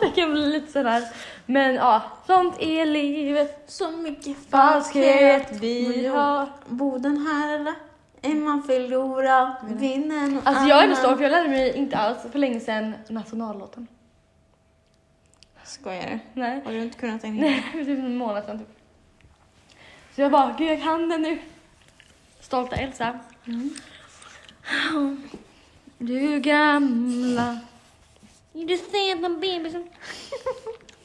[SPEAKER 3] det kan bli lite sådär. Men ja, sånt är livet.
[SPEAKER 4] Så mycket
[SPEAKER 3] Falskhet
[SPEAKER 4] falskhet
[SPEAKER 3] vi
[SPEAKER 4] vi har.
[SPEAKER 3] har.
[SPEAKER 4] Boden här eller? Är man förlorad vinner någon
[SPEAKER 3] Alltså jag är ändå
[SPEAKER 4] annan.
[SPEAKER 5] Ah.
[SPEAKER 3] stolt för jag lärde mig inte alls för länge sedan nationallåten.
[SPEAKER 4] Skojar du?
[SPEAKER 3] Nej.
[SPEAKER 4] Har du inte kunnat en hel?
[SPEAKER 3] Nej, för typ en månad sedan typ. Så jag bara, gud jag kan den nu. Stolta Elsa. Du gamla. Du ser den bebisen.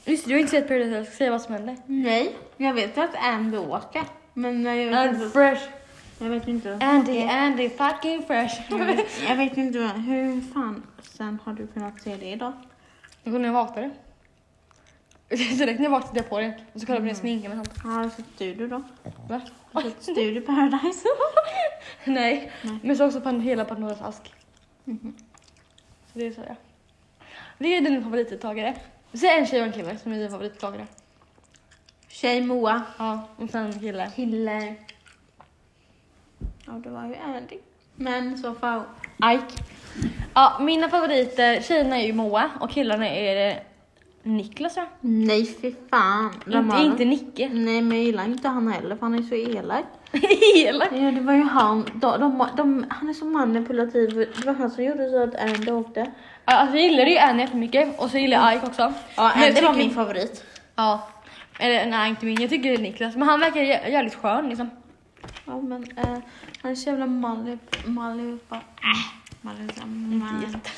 [SPEAKER 3] Just det, du har inte sett Paradise Hotel, jag ska säga vad som hände.
[SPEAKER 5] Nej, jag vet att Andy åker. Men jag vet,
[SPEAKER 3] And
[SPEAKER 5] inte,
[SPEAKER 3] fresh.
[SPEAKER 5] jag vet inte.
[SPEAKER 3] Andy, Andy, fucking fresh.
[SPEAKER 5] Jag vet inte vad- hur fan sen har du kunnat se det idag?
[SPEAKER 3] Och när jag vaknade. Direkt när jag vaknade jag på det. Och så kollade jag på den sminken och sånt.
[SPEAKER 5] Har du sett Studio då?
[SPEAKER 3] Va?
[SPEAKER 5] Studio Paradise?
[SPEAKER 3] Nej. Mhm. men så också på hela Pandoras ask. Så det är så ja. Det är din favoritdeltagare. Sen en tjej och en kille som är din favoritdeltagare.
[SPEAKER 5] Tjej Moa. eh.
[SPEAKER 3] Ja, och sen en kille.
[SPEAKER 5] Kille. Ja, det var ju Andy. Men så fall Ike.
[SPEAKER 3] Ja, mina favoriter, tjejerna är ju Moa och killarna är eh, Niklas va?
[SPEAKER 5] Nej, fy fan.
[SPEAKER 3] Inte,
[SPEAKER 5] Ramon.
[SPEAKER 3] inte Nicke.
[SPEAKER 5] Nej, men jag gillar inte han heller för han är så elak.
[SPEAKER 3] Elak.
[SPEAKER 5] Ja, det var ju han. De, de, de, han är så manipulativ. Det var han som gjorde så att Andy åkte.
[SPEAKER 3] Ja, Alltså jag gillade ju Annie för mycket och så gillar jag Ike också.
[SPEAKER 5] Ja,
[SPEAKER 3] Men jag
[SPEAKER 5] Andy var
[SPEAKER 3] tycker-
[SPEAKER 5] min favorit.
[SPEAKER 3] Ja. Eller nej, inte min. Jag tycker det är Niklas. Men han verkar jä- jävligt skön liksom.
[SPEAKER 5] Ja, men eh, han är så jävla malip... Malipa... Malipa...
[SPEAKER 3] jätte.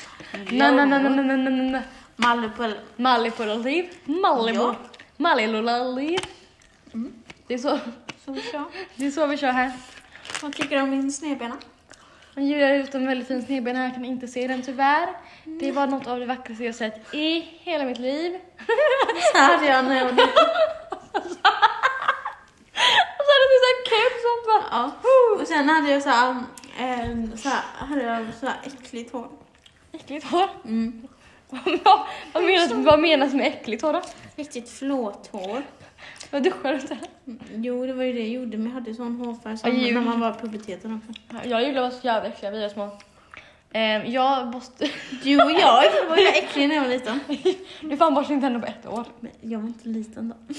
[SPEAKER 3] Nej, nej, nej, nej, nej, nej, nej.
[SPEAKER 5] Malipa...
[SPEAKER 3] Malipulativ. Malimo.
[SPEAKER 5] Ja.
[SPEAKER 3] Malilulali. Det, är så,
[SPEAKER 5] Som så.
[SPEAKER 3] det är så vi kör här.
[SPEAKER 5] Vad tycker du om min snedbena?
[SPEAKER 3] Men Julia har gjort en väldigt fin snedbena här, jag kan inte se den tyvärr. Det var något av det vackraste jag sett i hela mitt liv.
[SPEAKER 5] Så hade jag när jag var liten. Ja. Och sen hade jag så här, eh, så här, hade jag så här äckligt hår.
[SPEAKER 3] Äckligt hår.
[SPEAKER 5] Mm.
[SPEAKER 3] vad, menas, vad menas med äckligt hår då?
[SPEAKER 5] Riktigt flåthår.
[SPEAKER 3] Vad duschar du inte?
[SPEAKER 5] Jo, det var ju det jag gjorde, men jag hade sån hårfärg som
[SPEAKER 3] Aj,
[SPEAKER 5] när man
[SPEAKER 3] jul.
[SPEAKER 5] var i puberteten också.
[SPEAKER 3] Jag och Julia var så jävla äckliga, vi var små. Ehm, jag måste...
[SPEAKER 5] Du och jag var ju äcklig när jag var liten.
[SPEAKER 3] Du fan borstar inte tänderna på ett år.
[SPEAKER 5] Men jag var inte liten då.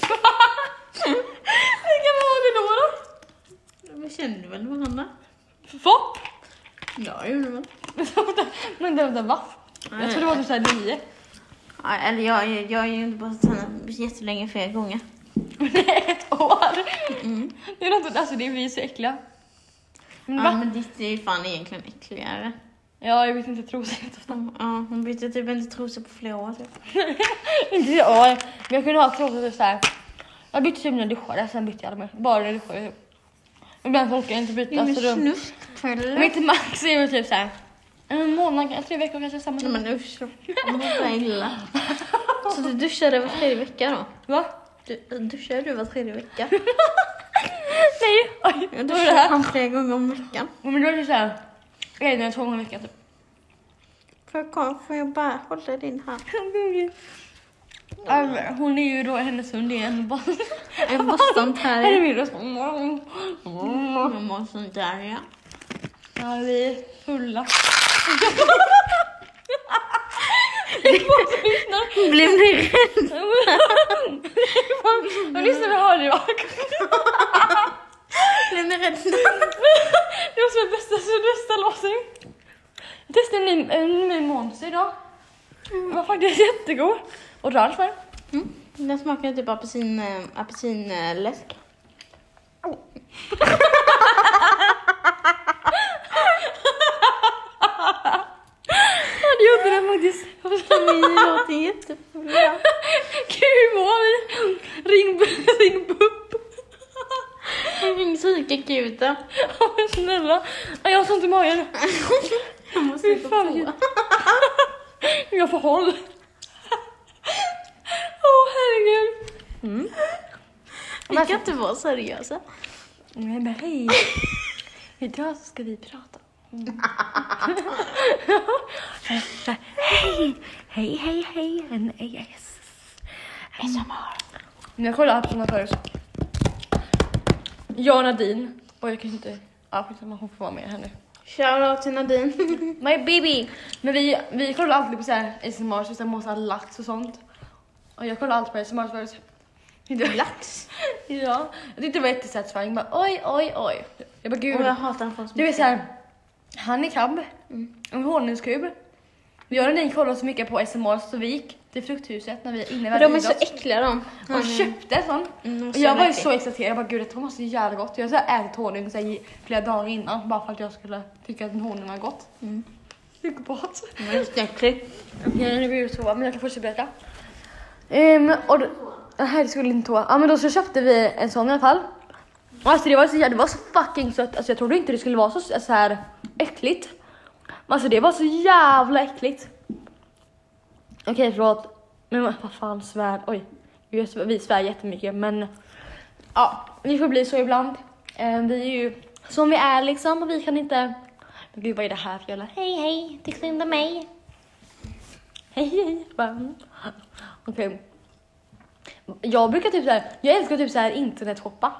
[SPEAKER 3] Hur kan man vara det då då?
[SPEAKER 5] Jag kände väl varandra?
[SPEAKER 3] Va?
[SPEAKER 5] Ja, jag gjorde väl.
[SPEAKER 3] Men vänta, vänta, va? Jag tror det var typ såhär nio.
[SPEAKER 5] Ja, eller jag, jag, jag är ju inte borstat tänderna jättelänge flera gånger.
[SPEAKER 3] Men det är ett år! Det är något, alltså det är vi så äckliga. Men
[SPEAKER 5] Ja,
[SPEAKER 3] va?
[SPEAKER 5] men ditt är ju fan egentligen äckligare.
[SPEAKER 3] Ja, jag vet inte, jag tror så jätteofta.
[SPEAKER 5] Ja, hon bytte typ inte trosor på flera år. Typ.
[SPEAKER 3] Inte jag, men jag kunde ha trosor typ såhär. Jag bytte typ när jag duschade, sen bytte jag aldrig mer. Bara när jag duschade typ. Ibland så orkar jag inte byta. Alltså, då...
[SPEAKER 5] snuskpelle.
[SPEAKER 3] Men inte max är väl typ såhär. En månad, tre veckor kanske samma.
[SPEAKER 5] Nej, men usch. Vad illa. Så du duschade var tredje vecka då?
[SPEAKER 3] Va?
[SPEAKER 5] Du, duschar du var tredje vecka?
[SPEAKER 3] Nej! Oj,
[SPEAKER 5] Jag
[SPEAKER 3] vad var det här?
[SPEAKER 5] duschar flera gånger om veckan.
[SPEAKER 3] Ja, Men då är det typ såhär, en eller två gånger i veckan typ.
[SPEAKER 5] Får jag, kolla- får jag bara hålla din hand?
[SPEAKER 3] Alltså, hon är ju då, hennes hund är en bara...
[SPEAKER 5] En
[SPEAKER 3] Här är
[SPEAKER 5] bostantärja.
[SPEAKER 3] min röst.
[SPEAKER 5] En bostantärja.
[SPEAKER 3] Ja, vi är fulla.
[SPEAKER 5] Blev ni rädda?
[SPEAKER 3] Jag lyssnar på hörde jag.
[SPEAKER 5] Blev ni rädda?
[SPEAKER 3] Det var som bästa, så bästa låsen. Jag testade en ny, en ny monster idag. Den var faktiskt jättegod. Orange färg.
[SPEAKER 5] Mm. Den smakar typ apelsin, eh, apelsinläsk.
[SPEAKER 3] Ja, det gjorde den faktiskt.
[SPEAKER 5] Ni låter jättefulla.
[SPEAKER 3] Gud, hur mår vi? Ring, ring BUP.
[SPEAKER 5] Ring psykakuten.
[SPEAKER 3] Ja, men snälla. Ja, Jag har sånt i magen.
[SPEAKER 5] Jag måste
[SPEAKER 3] Fy
[SPEAKER 5] gå
[SPEAKER 3] fan.
[SPEAKER 5] på.
[SPEAKER 3] Jag får håll. Åh oh, herregud.
[SPEAKER 5] Vi kan inte vara seriösa.
[SPEAKER 3] Nej men hej. Idag så ska vi prata. hej, hej, hej, hej. En AS. ASMR. Men jag kollade appen förut. Jag och Nadine. Och jag kan inte... Ja skitsamma, hon får vara med här nu.
[SPEAKER 5] Shoutout till Nadine.
[SPEAKER 3] My baby! Men vi, vi kollar alltid på så här ASMR, så här massa lax och sånt. Och jag kollar alltid på ASMR förut.
[SPEAKER 5] Lax.
[SPEAKER 3] Ja, jag tyckte det var jättesatisfying. Bara oj, oj, oj. Jag bara gud.
[SPEAKER 5] Och jag hatar folk som
[SPEAKER 3] Du är såhär, han är krabb,
[SPEAKER 5] Mm.
[SPEAKER 3] en honungskub. Jag och Nadine kollade så mycket på SMR så vi gick till frukthuset när vi innan vi hade
[SPEAKER 5] De är så
[SPEAKER 3] idrott
[SPEAKER 5] äckliga de.
[SPEAKER 3] och köpte en sån.
[SPEAKER 5] Mm, de är
[SPEAKER 3] och
[SPEAKER 5] så
[SPEAKER 3] jag var ju
[SPEAKER 5] äckliga.
[SPEAKER 3] så exalterad, jag bara gud det här måste ju jävla gott. Jag har så här ätit honung så här, i flera dagar innan bara för att jag skulle tycka att honung var gott.
[SPEAKER 5] Mm.
[SPEAKER 3] Psykopat.
[SPEAKER 5] De är jätteäckliga.
[SPEAKER 3] Okej, nu blir det toa, men jag kan fortsätta berätta. Ehm, och då, här skulle inte toa. Ja, men då så köpte vi en sån i alla fall. Och Alltså det var så, jä- det var så fucking sött. Alltså jag trodde inte det skulle vara så, så här äckligt. Men alltså det var så jävla äckligt. Okej, förlåt. Men vad vad fan svär, oj. Vi svär- Vi svär jättemycket, men ja, vi får bli så ibland. Ehm, vi är ju som vi är liksom och vi kan inte... Men gud, vad är det här för jävla
[SPEAKER 6] Hej hej, tycker du inte om mig?
[SPEAKER 3] Hej hej! Bara, mm. Okej. Jag brukar typ såhär, jag älskar typ såhär internetshoppa.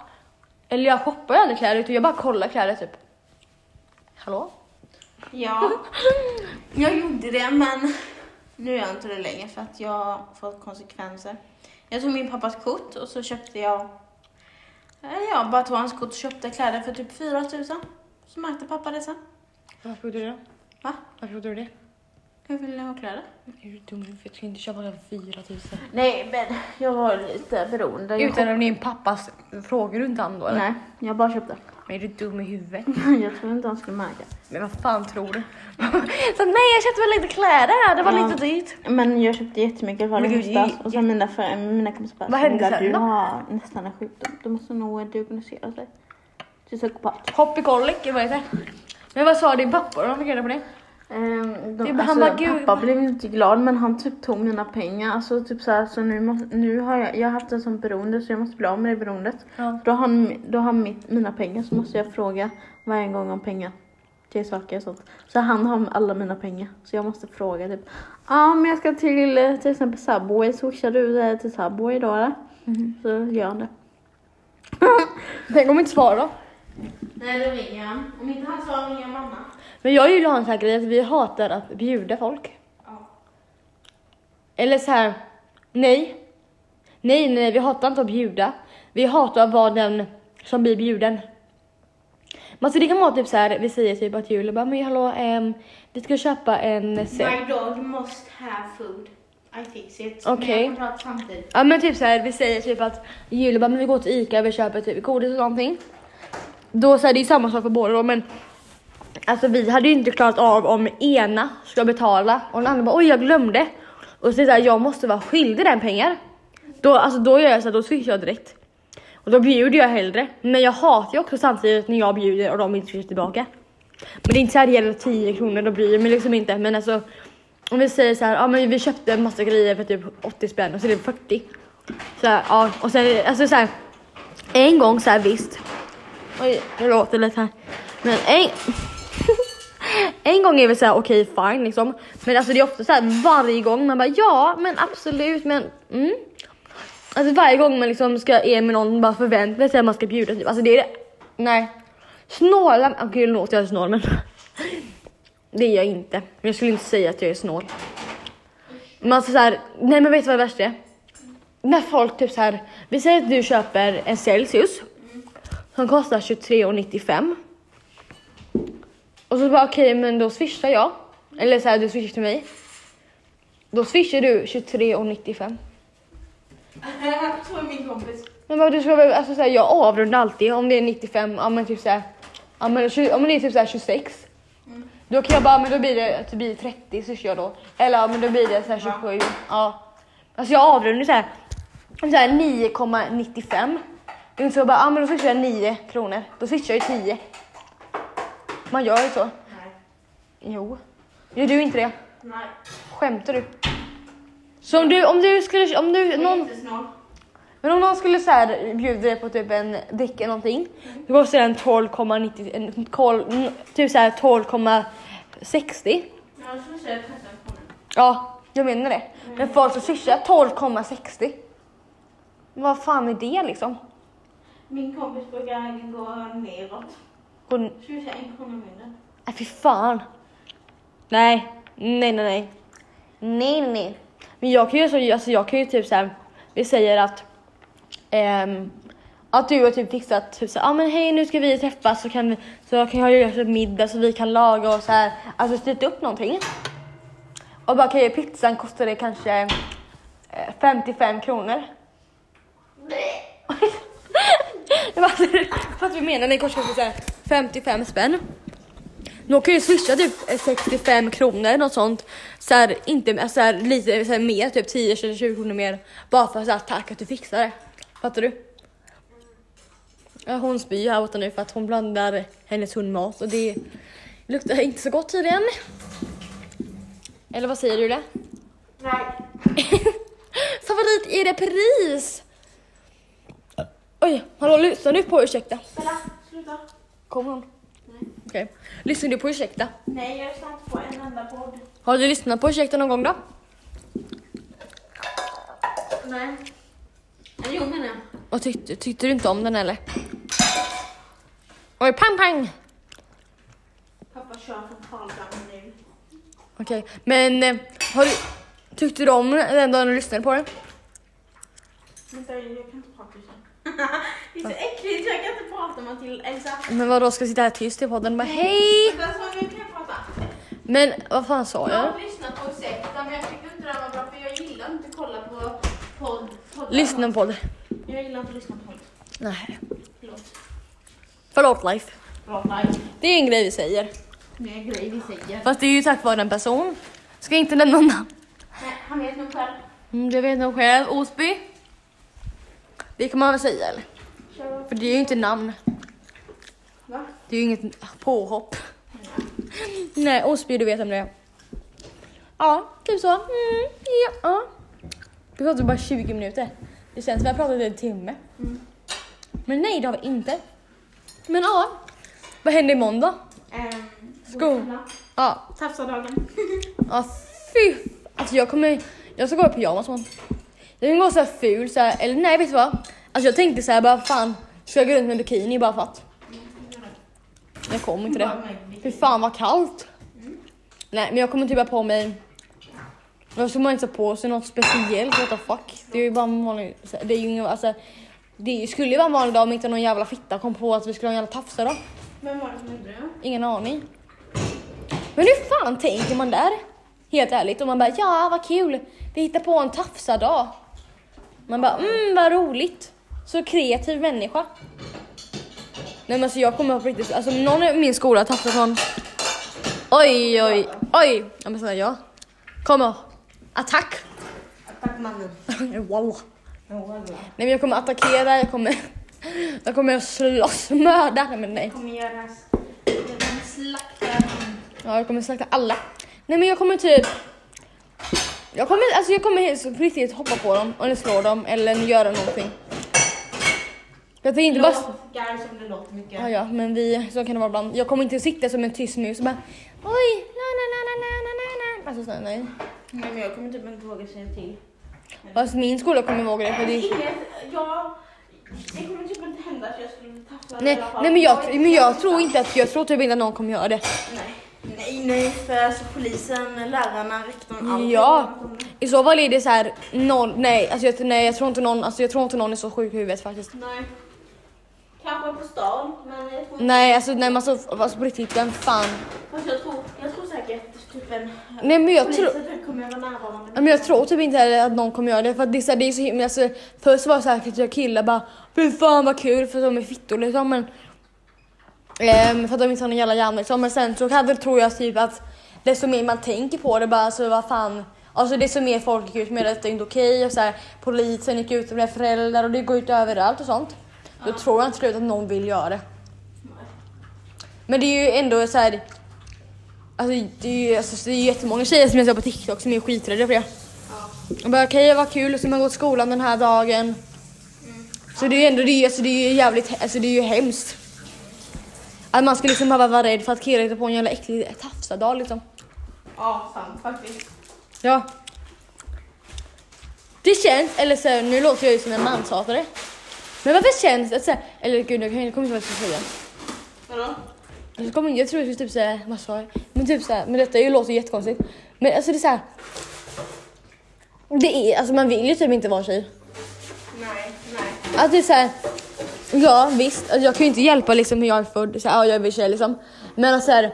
[SPEAKER 3] Eller jag shoppar ju aldrig kläder utan jag bara kollar kläder typ. Hallå?
[SPEAKER 5] Ja. Jag gjorde det men nu gör jag inte det längre för att jag har fått konsekvenser. Jag tog min pappas kort och så köpte jag Eh, jag bara tog hans kort och köpte kläder för typ 4 000. Så märkte pappa det sen.
[SPEAKER 3] Varför gjorde du det?
[SPEAKER 5] Va?
[SPEAKER 3] Varför gjorde du det?
[SPEAKER 5] Jag ville ha kläder.
[SPEAKER 3] Är du dum i huvudet? Ska inte köpa 4000?
[SPEAKER 5] Nej men jag var lite beroende. Jag
[SPEAKER 3] Utan om din pappas frågor du inte han då eller?
[SPEAKER 5] Nej, jag bara köpte.
[SPEAKER 3] Men är du dum i huvudet?
[SPEAKER 5] Jag tror inte han skulle märka.
[SPEAKER 3] Men vad fan tror du? Så nej jag köpte väl lite kläder här, det var
[SPEAKER 5] Ja.
[SPEAKER 3] lite dyrt.
[SPEAKER 5] Men jag köpte jättemycket varje
[SPEAKER 3] Men gud,
[SPEAKER 5] höstas och sen mina, för, mina kompisar bara
[SPEAKER 3] Vad hände
[SPEAKER 5] "Snälla,
[SPEAKER 3] sen
[SPEAKER 5] Du
[SPEAKER 3] då?"
[SPEAKER 5] har nästan en sjukdom. Du måste nog diagnosera dig. Till psykopat.
[SPEAKER 3] Hoppikollek, vad heter det? Men vad sa din pappa då? Fick reda på det?
[SPEAKER 5] Ehm, de,
[SPEAKER 7] Det är-
[SPEAKER 5] alltså,
[SPEAKER 7] han bara, "Gud,
[SPEAKER 5] pappa
[SPEAKER 7] vad-"
[SPEAKER 5] blev ju inte glad men han typ tog mina pengar. Alltså, typ så här, så nu, måste, nu har jag, jag har haft en sån beroende så jag måste bli av med det beroendet.
[SPEAKER 7] Ja.
[SPEAKER 5] Då har han, då har han mitt, mina pengar så måste jag fråga varje gång om pengar. Till saker och sånt. Så han har alla mina pengar. Så jag måste fråga typ. Ja men jag ska till eh, till exempel Subway. Swishar du det till Subway idag eller? Så gör han det.
[SPEAKER 7] Tänk om inte svarar då.
[SPEAKER 5] Nej då ringer han. Om inte han svarar ringer jag mamma.
[SPEAKER 7] Men jag gillar att ha en sån här grej att vi hatar att bjuda folk. Eller så här, nej. Nej, nej, nej, vi hatar inte att bjuda. Vi hatar att vara den som blir bjuden. Men alltså det kan vara typ så här, vi säger typ att julen bara, men hallå, ehm, vi ska köpa en set.
[SPEAKER 5] My dog must have food. I fix it.
[SPEAKER 7] Okej.
[SPEAKER 5] Men jag kan prata samtidigt.
[SPEAKER 7] Ja men typ så här, vi säger typ att Julia bara, men vi går till Ica, vi köper typ godis och någonting. Då så här, det är ju samma sak för båda då men Alltså vi hade ju inte klarat av om ena ska betala och den andra bara oj jag glömde. Och så är det så här, jag måste vara skyldig den pengar. Då, alltså, då gör jag så här, då swishar jag direkt. Och då bjuder jag hellre. Men jag hatar ju också samtidigt när jag bjuder och de inte swishar tillbaka. Men det är inte så här det gäller 10 kronor, då bryr jag mig liksom inte. Men alltså om vi säger så här, ja men vi köpte en massa grejer för typ 80 spänn och så är det 40. Så här, ja och sen alltså så här. En gång så här visst. Oj, det låter lite här. Men en, en gång är vi så här okej fine liksom. Men alltså det är ofta så här varje gång man bara ja men absolut men mm. Alltså varje gång man liksom ska är med någon bara förväntar sig att man ska bjuda typ. Alltså det är det. Nej. Snåla, okej okay, låter jag snål men. Det är jag inte. Men jag skulle inte säga att jag är snål. Men alltså såhär, nej men vet du vad det värsta är? När folk typ såhär, vi säger att du köper en Celsius som kostar 23,95. Och så bara okej men då swishar jag. Eller såhär du swishar till mig. Då swishar du 23,95.
[SPEAKER 5] Så är min kompis.
[SPEAKER 7] Men vad du ska väl, alltså såhär, jag avrundar alltid om det är 95, ja men typ såhär, ja men tju- om det är typ såhär 26.
[SPEAKER 5] Mm.
[SPEAKER 7] Då kan jag bara, men då blir det, det blir 30 så kör jag då. Eller ja men då blir det såhär 27, ja. Alltså jag avrundar såhär, såhär 9,95. Det är inte så jag bara, ja men då swishar jag 9 kronor, då swishar jag ju 10. Man gör ju så.
[SPEAKER 5] Nej.
[SPEAKER 7] Jo. Gör du inte det?
[SPEAKER 5] Nej.
[SPEAKER 7] Skämtar du? Så om du, om du skulle, om du, någon...
[SPEAKER 5] Jättesnål.
[SPEAKER 7] Men om någon skulle så här bjuda dig på typ en däck eller någonting. Då kostar den 12,90, en kol- n- typ så här 12,60.
[SPEAKER 5] Jag tror jag tvättar på
[SPEAKER 7] Ja, jag menar det. Men folk som swishar 12,60. Vad fan är det liksom?
[SPEAKER 5] Min kompis brukar gå neråt.
[SPEAKER 7] Går den-
[SPEAKER 5] Ska vi säga en krona mindre?
[SPEAKER 7] Nej Äh, fy fan. Nej, nej nej nej. Nej nej, nej. Men jag kan ju, så, alltså, jag kan ju typ såhär, vi säger att ehm, att du har typ fixat typ såhär, ah, men hej nu ska vi träffas så kan vi, så jag kan jag göra typ middag så vi kan laga och såhär, alltså styrt upp någonting. Och bara okej pizzan kostar det kanske eh, 55 kronor. Jag bara, Fast vi menar den kostar typ såhär 55 spänn. De kan ju swisha typ 65 kronor något sånt. Så här, inte, alltså så här, lite så här, mer, typ 10 eller 20 kronor mer. Bara för så här, tack att du fixar det. Fattar du? Ja, hon spyr här borta nu för att hon blandar hennes hund mat och det luktar inte så gott tydligen. Eller vad säger du det?
[SPEAKER 5] Nej.
[SPEAKER 7] Favorit i repris! Oj, hallå lyssnar du på ursäkta?
[SPEAKER 5] Bella, sluta.
[SPEAKER 7] Kommer hon? Okej. Lyssnar du på ursäkta?
[SPEAKER 5] Nej, jag lyssnar inte på en enda podd.
[SPEAKER 7] Har du lyssnat på ursäkta någon gång då?
[SPEAKER 5] Nej. Nej, Jo menar jag.
[SPEAKER 7] Och tyckte, tyckte du inte om den eller? Oj, pang pang!
[SPEAKER 5] Pappa kör från Karlshamn nu.
[SPEAKER 7] Okej, men eh, har du, tyckte du om den dagen du lyssnade på den?
[SPEAKER 5] Vänta, jag kan inte prata just nu. Det är så äckligt, jag kan inte prata med till Elsa.
[SPEAKER 7] Men vadå, ska jag sitta här tyst i podden och bara hej?
[SPEAKER 5] Vänta, så nu kan jag prata.
[SPEAKER 7] Men vad fan sa
[SPEAKER 5] Jag
[SPEAKER 7] jag?
[SPEAKER 5] har lyssnat på Ursäkta men jag tycker inte det var bra för jag gillar inte att kolla på podd. poddar.
[SPEAKER 7] Lyssna på det.
[SPEAKER 5] Jag gillar inte att lyssna på podd.
[SPEAKER 7] Nej.
[SPEAKER 5] Förlåt.
[SPEAKER 7] Förlåt life.
[SPEAKER 5] Bra nej.
[SPEAKER 7] Det är en grej vi säger.
[SPEAKER 5] Det är en grej vi säger.
[SPEAKER 7] Fast det är ju tack vare en person. Ska inte nämna namn.
[SPEAKER 5] Nej, han vet nog själv.
[SPEAKER 7] Mm, det vet nog själv. Osby. Det kan man väl säga eller? För det är ju inte namn.
[SPEAKER 5] Va?
[SPEAKER 7] Det är ju inget påhopp. Nej, Osby du vet om det är. Ja, typ så. Mm, ja, ja. Vi pratade bara 20 minuter. Det känns som vi har pratat i en timme. Men nej, det har vi inte. Men ja, vad händer imorgon då? Ja,
[SPEAKER 5] Tafsardagen.
[SPEAKER 7] Ja, fy. Alltså jag kommer, jag ska gå i pyjamas imorgon. Jag kommer gå så här ful så här, eller nej vet du vad? Alltså jag tänkte så här bara fan, ska jag gå runt med bikini bara för att? Jag kommer inte det. Fy fan vad kallt. Nej men jag kommer typ ha på mig, jag ska man inte ha på sig något speciellt, what the fuck. Det är ju bara en vanlig, så här, det är ju ingen, alltså det skulle ju vara en vanlig dag om inte någon jävla fitta kom på att vi skulle ha en jävla tafsa då.
[SPEAKER 5] Vem var det som gjorde det?
[SPEAKER 7] Ingen aning. Men hur fan tänker man där? Helt ärligt. Och man bara, ja vad kul. Vi hittar på en tafsardag. Man bara, mm vad roligt. Så kreativ människa. Nej men alltså jag kommer på riktigt, alltså om någon i min skola tafsar sån. Oj oj oj. Ja men snälla jag. Kommer. Attack.
[SPEAKER 5] Attackmannen.
[SPEAKER 7] Wallah. Nej men jag kommer attackera, jag kommer. Jag kommer slåss, mörda. Nej men nej.
[SPEAKER 5] Kommer göra... Jag kommer slakta honom.
[SPEAKER 7] Ja, jag kommer slakta alla. Nej men jag kommer typ... Jag kommer, alltså jag kommer helt, på riktigt hoppa på dem eller slå dem eller göra någonting. Jag tänker inte bara...
[SPEAKER 5] Låtgar som det låter mycket.
[SPEAKER 7] Ja, ja, men vi, så kan det vara ibland. Jag kommer inte sitta som en tyst mus och bara oj, na na na na na na na na. Alltså snälla nej.
[SPEAKER 5] Nej men jag kommer typ inte våga säga till.
[SPEAKER 7] Fast min skola kommer ihåg det för det
[SPEAKER 5] Inget, jag... Det kommer typ inte hända att jag skulle bli tafsad
[SPEAKER 7] Nej,
[SPEAKER 5] i alla fall.
[SPEAKER 7] nej men jag, men jag tror inte att, jag tror typ inte att någon kommer göra det.
[SPEAKER 5] Nej, nej, nej för alltså polisen, lärarna, rektorn,
[SPEAKER 7] Ja, i så fall är det så här noll, nej, alltså jag, nej, jag tror inte någon, alltså jag tror inte någon är så sjuk i huvudet faktiskt.
[SPEAKER 5] Nej. Kanske på stan, men jag tror,
[SPEAKER 7] Nej, alltså, nej, men alltså, alltså på riktigt, vem fan?
[SPEAKER 5] fast jag tror, jag tror säkert typ en
[SPEAKER 7] Nej, men jag tror...
[SPEAKER 5] polisen kommer vara närvarande.
[SPEAKER 7] Men jag tror typ inte heller att någon kommer göra det för att det är så, här, det är så himla, alltså, först var det säkert jag killar bara fy fan vad kul för de är fittor liksom men ehm, för att de inte har någon jävla hjärna liksom men sen så kan väl tror jag typ att desto mer man tänker på det bara alltså vad fan alltså desto mer folk gick ut med det, det är inte okej och så här, polisen gick ut och blev föräldrar och det går ut överallt och sånt. Då tror jag inte slut att någon vill göra det. Men det är ju ändå så här Alltså det är ju alltså, det är ju jättemånga tjejer som jag ser på TikTok som är skiträdda för det. Och bara okej vad kul, och så man går till skolan den här dagen.
[SPEAKER 5] Mm.
[SPEAKER 7] Så det är ju ändå det, är ju- alltså, det är ju jävligt, alltså det är ju hemskt. Att man ska liksom behöva vara rädd för att killar hittar på en jävla äcklig tafsardag liksom.
[SPEAKER 5] Ja, sant faktiskt.
[SPEAKER 7] Ja. Det känns, eller så här, nu låter jag ju som en manshatare. Men varför känns det att så här, eller gud jag kan- jag kommer inte ihåg vad jag ska säga.
[SPEAKER 5] Vadå?
[SPEAKER 7] Jag, kommer, jag tror jag skulle typ säga, vad sa jag? Men typ såhär, men detta ju låter jättekonstigt. Men alltså det är såhär. Det är, alltså man vill ju typ inte vara tjej.
[SPEAKER 5] Nej, nej.
[SPEAKER 7] Att det är såhär, ja visst, alltså jag kan ju inte hjälpa liksom hur jag är född, såhär, ja jag är väl tjej liksom. Men alltså såhär,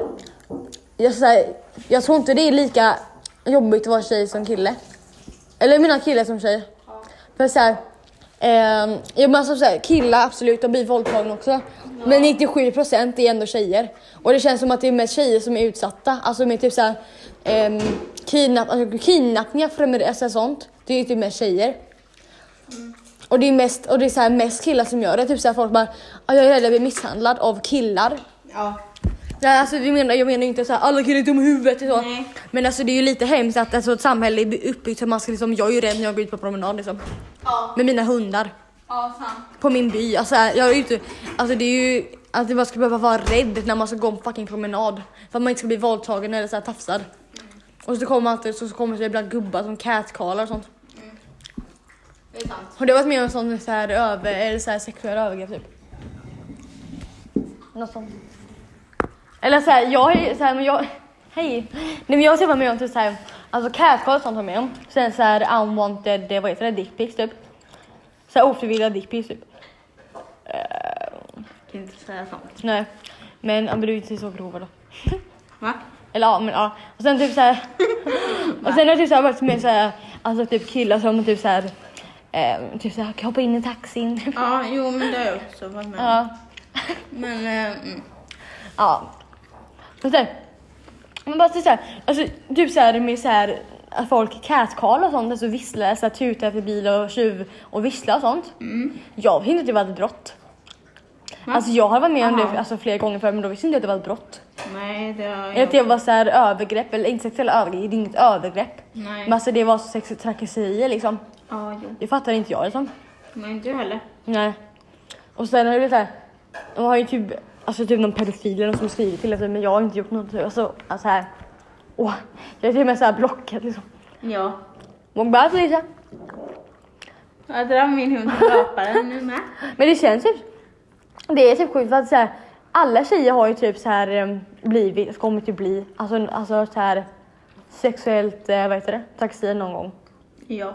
[SPEAKER 7] jag, såhär, jag tror inte det är lika jobbigt att vara tjej som kille. Eller mina killar som tjej. För såhär, ehm, ja men alltså såhär, killar absolut, de blir våldtagna också. Men 97% är ändå tjejer. Och det känns som att det är mest tjejer som är utsatta. Alltså med typ såhär, um, kidnapp, alltså, kidnappningar, främmer- alltså sånt. Det är ju typ mest tjejer. Och det är mest, och det är så här mest killar som gör det. Typ så här folk bara, "Ah, jag är rädd att bli misshandlad av killar.
[SPEAKER 5] Ja.
[SPEAKER 7] Nej, alltså, vi menar, jag menar inte så här, alla killar är dumma i huvudet och så.
[SPEAKER 5] Nej.
[SPEAKER 7] Men alltså det är ju lite hemskt att alltså, ett samhälle är uppbyggt så man ska liksom, jag är ju rädd när jag går ut på promenad liksom.
[SPEAKER 5] Ja,
[SPEAKER 7] Med mina hundar.
[SPEAKER 5] ja sant.
[SPEAKER 7] På min by. Alltså här, jag är ute, alltså det är ju, att man ska behöva vara rädd när man ska gå en fucking promenad. För att man inte ska bli våldtagen eller så här tafsad.
[SPEAKER 5] Mm.
[SPEAKER 7] Och så kommer man alltid, så så kommer det ibland gubbar som catcallar och sånt.
[SPEAKER 5] Mm. Det är sant.
[SPEAKER 7] Har du varit med om sån så här, över, eller så här sexuella övergrepp typ? Något sånt. Eller så här, jag är så här, men jag... Hej! Nej men jag har typ varit med om typ så här, alltså catcall och sånt har jag med om. Sen så här unwanted, eh, vad heter det, dickpics typ. Så här ofrivilliga dickpics typ.
[SPEAKER 5] Kan inte säga sånt.
[SPEAKER 7] Nej. Men, ja, men du är inte så grova då.
[SPEAKER 5] Va?
[SPEAKER 7] Eller ja, men ja. Och sen typ såhär. och sen har jag typ såhär varit med såhär, alltså typ killar som typ såhär, eh, typ såhär, hoppa in i taxin.
[SPEAKER 5] Ja, jo men det har jag också varit med om.
[SPEAKER 7] ja.
[SPEAKER 5] Men, eh, mm.
[SPEAKER 7] Ja. Och sen, men bara så här, alltså, typ så här med så här att folk catcall och sånt, alltså visslar, så här, tutar efter bilar och tjuv och visslar och sånt. Jag visste inte att det var ett brott. Alltså jag har varit med om det alltså, flera gånger förr men då visste jag inte att det var ett brott.
[SPEAKER 5] Nej, det har jag
[SPEAKER 7] Eller att det var så här övergrepp, eller inte sexuella övergrepp, det är inget övergrepp.
[SPEAKER 5] Nej.
[SPEAKER 7] Men alltså det var så sexuella trakasserier liksom.
[SPEAKER 5] Ja, jo.
[SPEAKER 7] Det fattar inte jag liksom.
[SPEAKER 5] Nej, inte jag heller.
[SPEAKER 7] Nej. Och sen har det blivit såhär, de har ju typ, alltså typ någon pedofil eller någon som skrivit till alltså, men jag har inte gjort något. Alltså, alltså här. Åh, jag är till och med såhär blockad liksom.
[SPEAKER 5] Ja.
[SPEAKER 7] Man bara alltså, Lisa.
[SPEAKER 5] Jag drar min hund till raparen nu med.
[SPEAKER 7] Men det känns typ, det är typ sjukt för att så här, alla tjejer har ju typ så här em, blivit, kommit att bli, alltså, alltså så här sexuellt, eh, vad heter det, taxi någon gång.
[SPEAKER 5] Ja.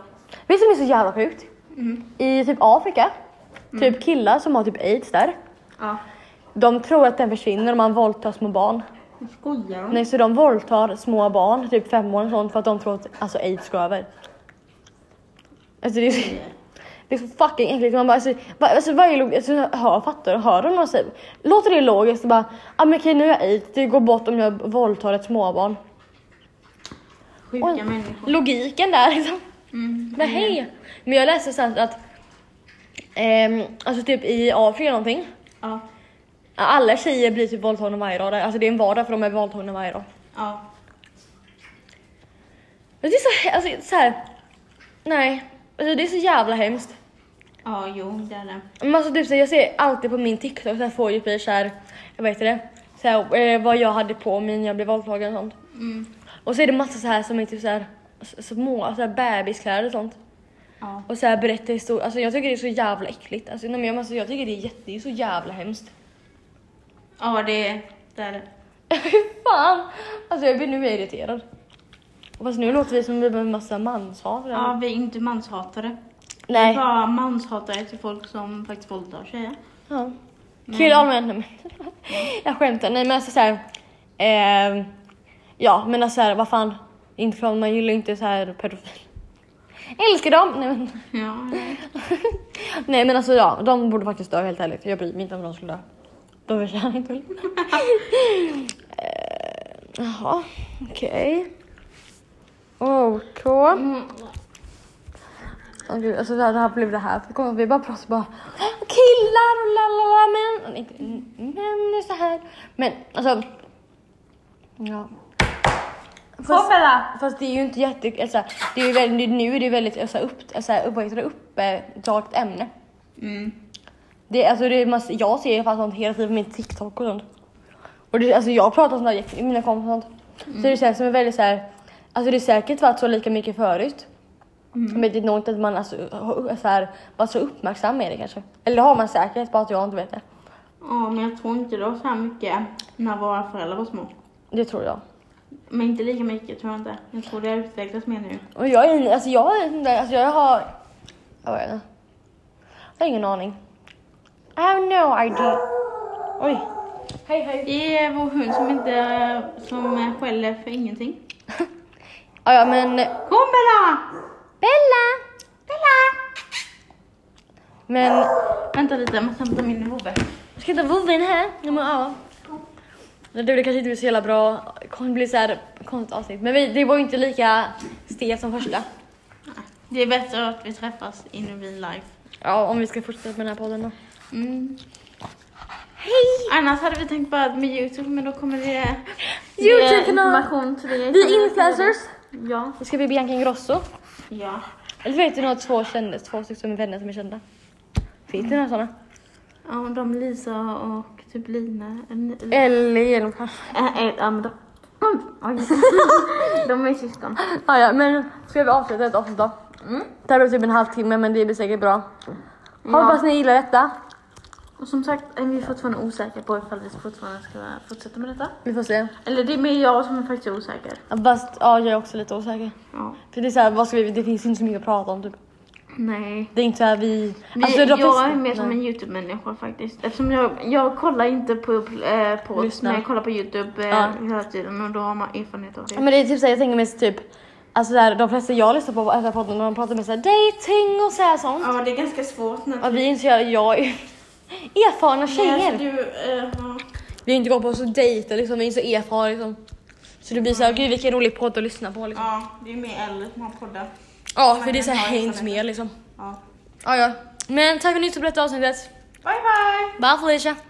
[SPEAKER 7] Vet du vad som är så jävla sjukt? I typ Afrika, typ killar som har typ aids där,
[SPEAKER 5] Ja.
[SPEAKER 7] de tror att den försvinner om man våldtar små barn.
[SPEAKER 5] Nu skojar hon.
[SPEAKER 7] Nej, så de våldtar små barn, typ fem år och sånt, för att de tror att alltså, aids går över. Alltså det är så, det är så fucking äckligt. Man bara, alltså, va, alltså, vad är log- alltså, hör, fattar du? Hör de någon säger? Låter det logiskt? Bara, ah, men okej nu är jag aids, det går bort om jag våldtar ett småbarn.
[SPEAKER 5] Sjuka
[SPEAKER 7] Oj.
[SPEAKER 5] människor.
[SPEAKER 7] Logiken där liksom.
[SPEAKER 5] Mm.
[SPEAKER 7] Men hej! Men jag läste sen att, ehm, alltså typ i Afrika eller någonting,
[SPEAKER 5] Ja.
[SPEAKER 7] alla tjejer blir typ våldtagna varje dag. Alltså det är en vardag för de är våldtagna varje dag.
[SPEAKER 5] Ja.
[SPEAKER 7] Men det är så, alltså, så här. Nej, alltså, det är så jävla hemskt.
[SPEAKER 5] Ja, jo, det är det.
[SPEAKER 7] Men alltså, typ, så här, jag ser alltid på min TikTok så här, får ju bli så här, jag vet inte det, så här, eh, vad jag hade på mig när jag blev våldtagen och sånt.
[SPEAKER 5] Mm.
[SPEAKER 7] Och så är det massa så här som är typ så här s- små, så här bebiskläder och sånt.
[SPEAKER 5] Ja.
[SPEAKER 7] Och så här berättar historier, alltså jag tycker det är så jävla äckligt. Alltså, nej, men, alltså, jag tycker det är, jätte, det är så jävla hemskt.
[SPEAKER 5] Ja, det, det är det.
[SPEAKER 7] Fy fan! Alltså jag blir nu mer irriterad. Fast nu låter vi som en massa manshat. eller?
[SPEAKER 5] Ja, vi är inte manshatare.
[SPEAKER 7] Nej.
[SPEAKER 5] Bara manshatare till folk som faktiskt våldtar tjejer.
[SPEAKER 7] Ja. Kul allmänt. Nej, men- Jag skämtar. Nej men alltså såhär. Eh, ja men alltså såhär vad fan. Inte klart man gillar ju inte såhär pedofil. Älskar dem! Nej men,
[SPEAKER 5] Ja, nej.
[SPEAKER 7] nej men alltså ja, de borde faktiskt dö helt ärligt. Jag bryr mig inte om de skulle dö. De förtjänar inte väl. Eh, Jaha, okej. OK.
[SPEAKER 5] Mm.
[SPEAKER 7] Åh gud, alltså det här, det här blev det här. För kommer vi bara prata bara killar och la la la men inte män är så här. Men alltså. Ja. Fast,
[SPEAKER 5] Hoppala!
[SPEAKER 7] fast det är ju inte jätte, alltså, det är ju väldigt, nu är det ju väldigt alltså, upp, alltså, upp, vad heter det, upptagt ämne.
[SPEAKER 5] Mm.
[SPEAKER 7] Det, är- alltså, det är massa, jag ser ju fan sånt hela tiden på min TikTok och sånt. Och det, alltså, jag pratar om sånt där jätte- med mina kompisar och sånt. Så det känns som en väldigt så här, alltså det är säkert varit så lika mycket förut. Men det är nog inte att man alltså, har- så här, varit så uppmärksam med det kanske. Eller det har man säkert, bara att jag inte vet det.
[SPEAKER 5] Ja, men jag tror inte det var så här mycket när våra föräldrar var små.
[SPEAKER 7] Det tror jag.
[SPEAKER 5] Men inte lika mycket tror jag inte. Jag tror det har utvecklats mer nu.
[SPEAKER 7] Och jag är in- alltså jag är inte- alltså jag har, jag vet inte. Jag har ingen aning. I have no idea. Oj. Hej hej.
[SPEAKER 5] Det är vår hund som inte som skäller för ingenting.
[SPEAKER 7] Ja, ja men
[SPEAKER 5] Kom Bella!
[SPEAKER 7] Bella! Bella! Men,
[SPEAKER 5] Vänta lite, jag måste hämta min vovve.
[SPEAKER 7] ska inte vovven här? Ja, men, ja. Det blev kanske inte blir så jävla bra, det kommer bli så här konstigt avsnitt. Men vi, det var ju inte lika stelt som första.
[SPEAKER 5] Det är bättre att vi träffas in real life.
[SPEAKER 7] Ja, om vi ska fortsätta med den här podden då.
[SPEAKER 5] Mm. Hej! Annars hade vi tänkt bara med Youtube, men då kommer det... det är
[SPEAKER 7] YouTube-kanal.
[SPEAKER 5] information till dig.
[SPEAKER 7] Vi är influencers.
[SPEAKER 5] Ja.
[SPEAKER 7] Då ska vi bli Bianca Ingrosso.
[SPEAKER 5] Ja.
[SPEAKER 7] Eller vet du några två kändes, två stycken vänner som är kända? Finns det några sådana?
[SPEAKER 5] Ja, och de Lisa och typ Lina. Eller-
[SPEAKER 7] Eller genom...
[SPEAKER 5] Äh, äh, Eh, Ja, men de... Oj. De är syskon.
[SPEAKER 7] Ah, ja, men ska vi avsluta ett avsnitt då? Det här blev typ en halvtimme men det blir säkert bra. Hoppas ni gillar detta.
[SPEAKER 5] Och som sagt är vi fortfarande osäkra på ifall vi fortfarande ska fortsätta med detta.
[SPEAKER 7] Vi får se.
[SPEAKER 5] Eller det är mer jag som är faktiskt osäker.
[SPEAKER 7] Ja, Fast ja, jag är också lite osäker.
[SPEAKER 5] Ja.
[SPEAKER 7] För det är så här, vad ska vi, det finns inte så mycket att prata om typ.
[SPEAKER 5] Nej.
[SPEAKER 7] Det är inte så här vi...
[SPEAKER 5] Vi,
[SPEAKER 7] alltså, de flesta-
[SPEAKER 5] jag är mer som
[SPEAKER 7] nej.
[SPEAKER 5] en YouTube-människa faktiskt. Eftersom jag, jag kollar inte på eh, på
[SPEAKER 7] Lyssna.
[SPEAKER 5] men jag kollar på YouTube eh,
[SPEAKER 7] Ja.
[SPEAKER 5] hela tiden och då har man erfarenhet av det.
[SPEAKER 7] Men det är typ så här, jag tänker mest typ... Alltså så här, de flesta jag lyssnar på efter podden, de pratar med så här dating och så här sånt.
[SPEAKER 5] Ja, det är ganska svårt när...
[SPEAKER 7] Och vi är inte så jävla, jag är erfarna tjejer.
[SPEAKER 5] du, eh, ja.
[SPEAKER 7] Vi har inte gått på så dejter liksom, vi är inte så erfarna liksom. Så det blir såhär, gud vilken rolig podd att lyssna på liksom.
[SPEAKER 5] ja, det är mer äldre som har poddar.
[SPEAKER 7] Ja, för det är
[SPEAKER 5] Ja,
[SPEAKER 7] såhär
[SPEAKER 5] jag
[SPEAKER 7] hängs
[SPEAKER 5] fattar.
[SPEAKER 7] med liksom.
[SPEAKER 5] Ja.
[SPEAKER 7] Ja, ja. Men tack för att ni lyssnade på detta avsnittet.
[SPEAKER 5] Bye bye!
[SPEAKER 7] Bye Felicia!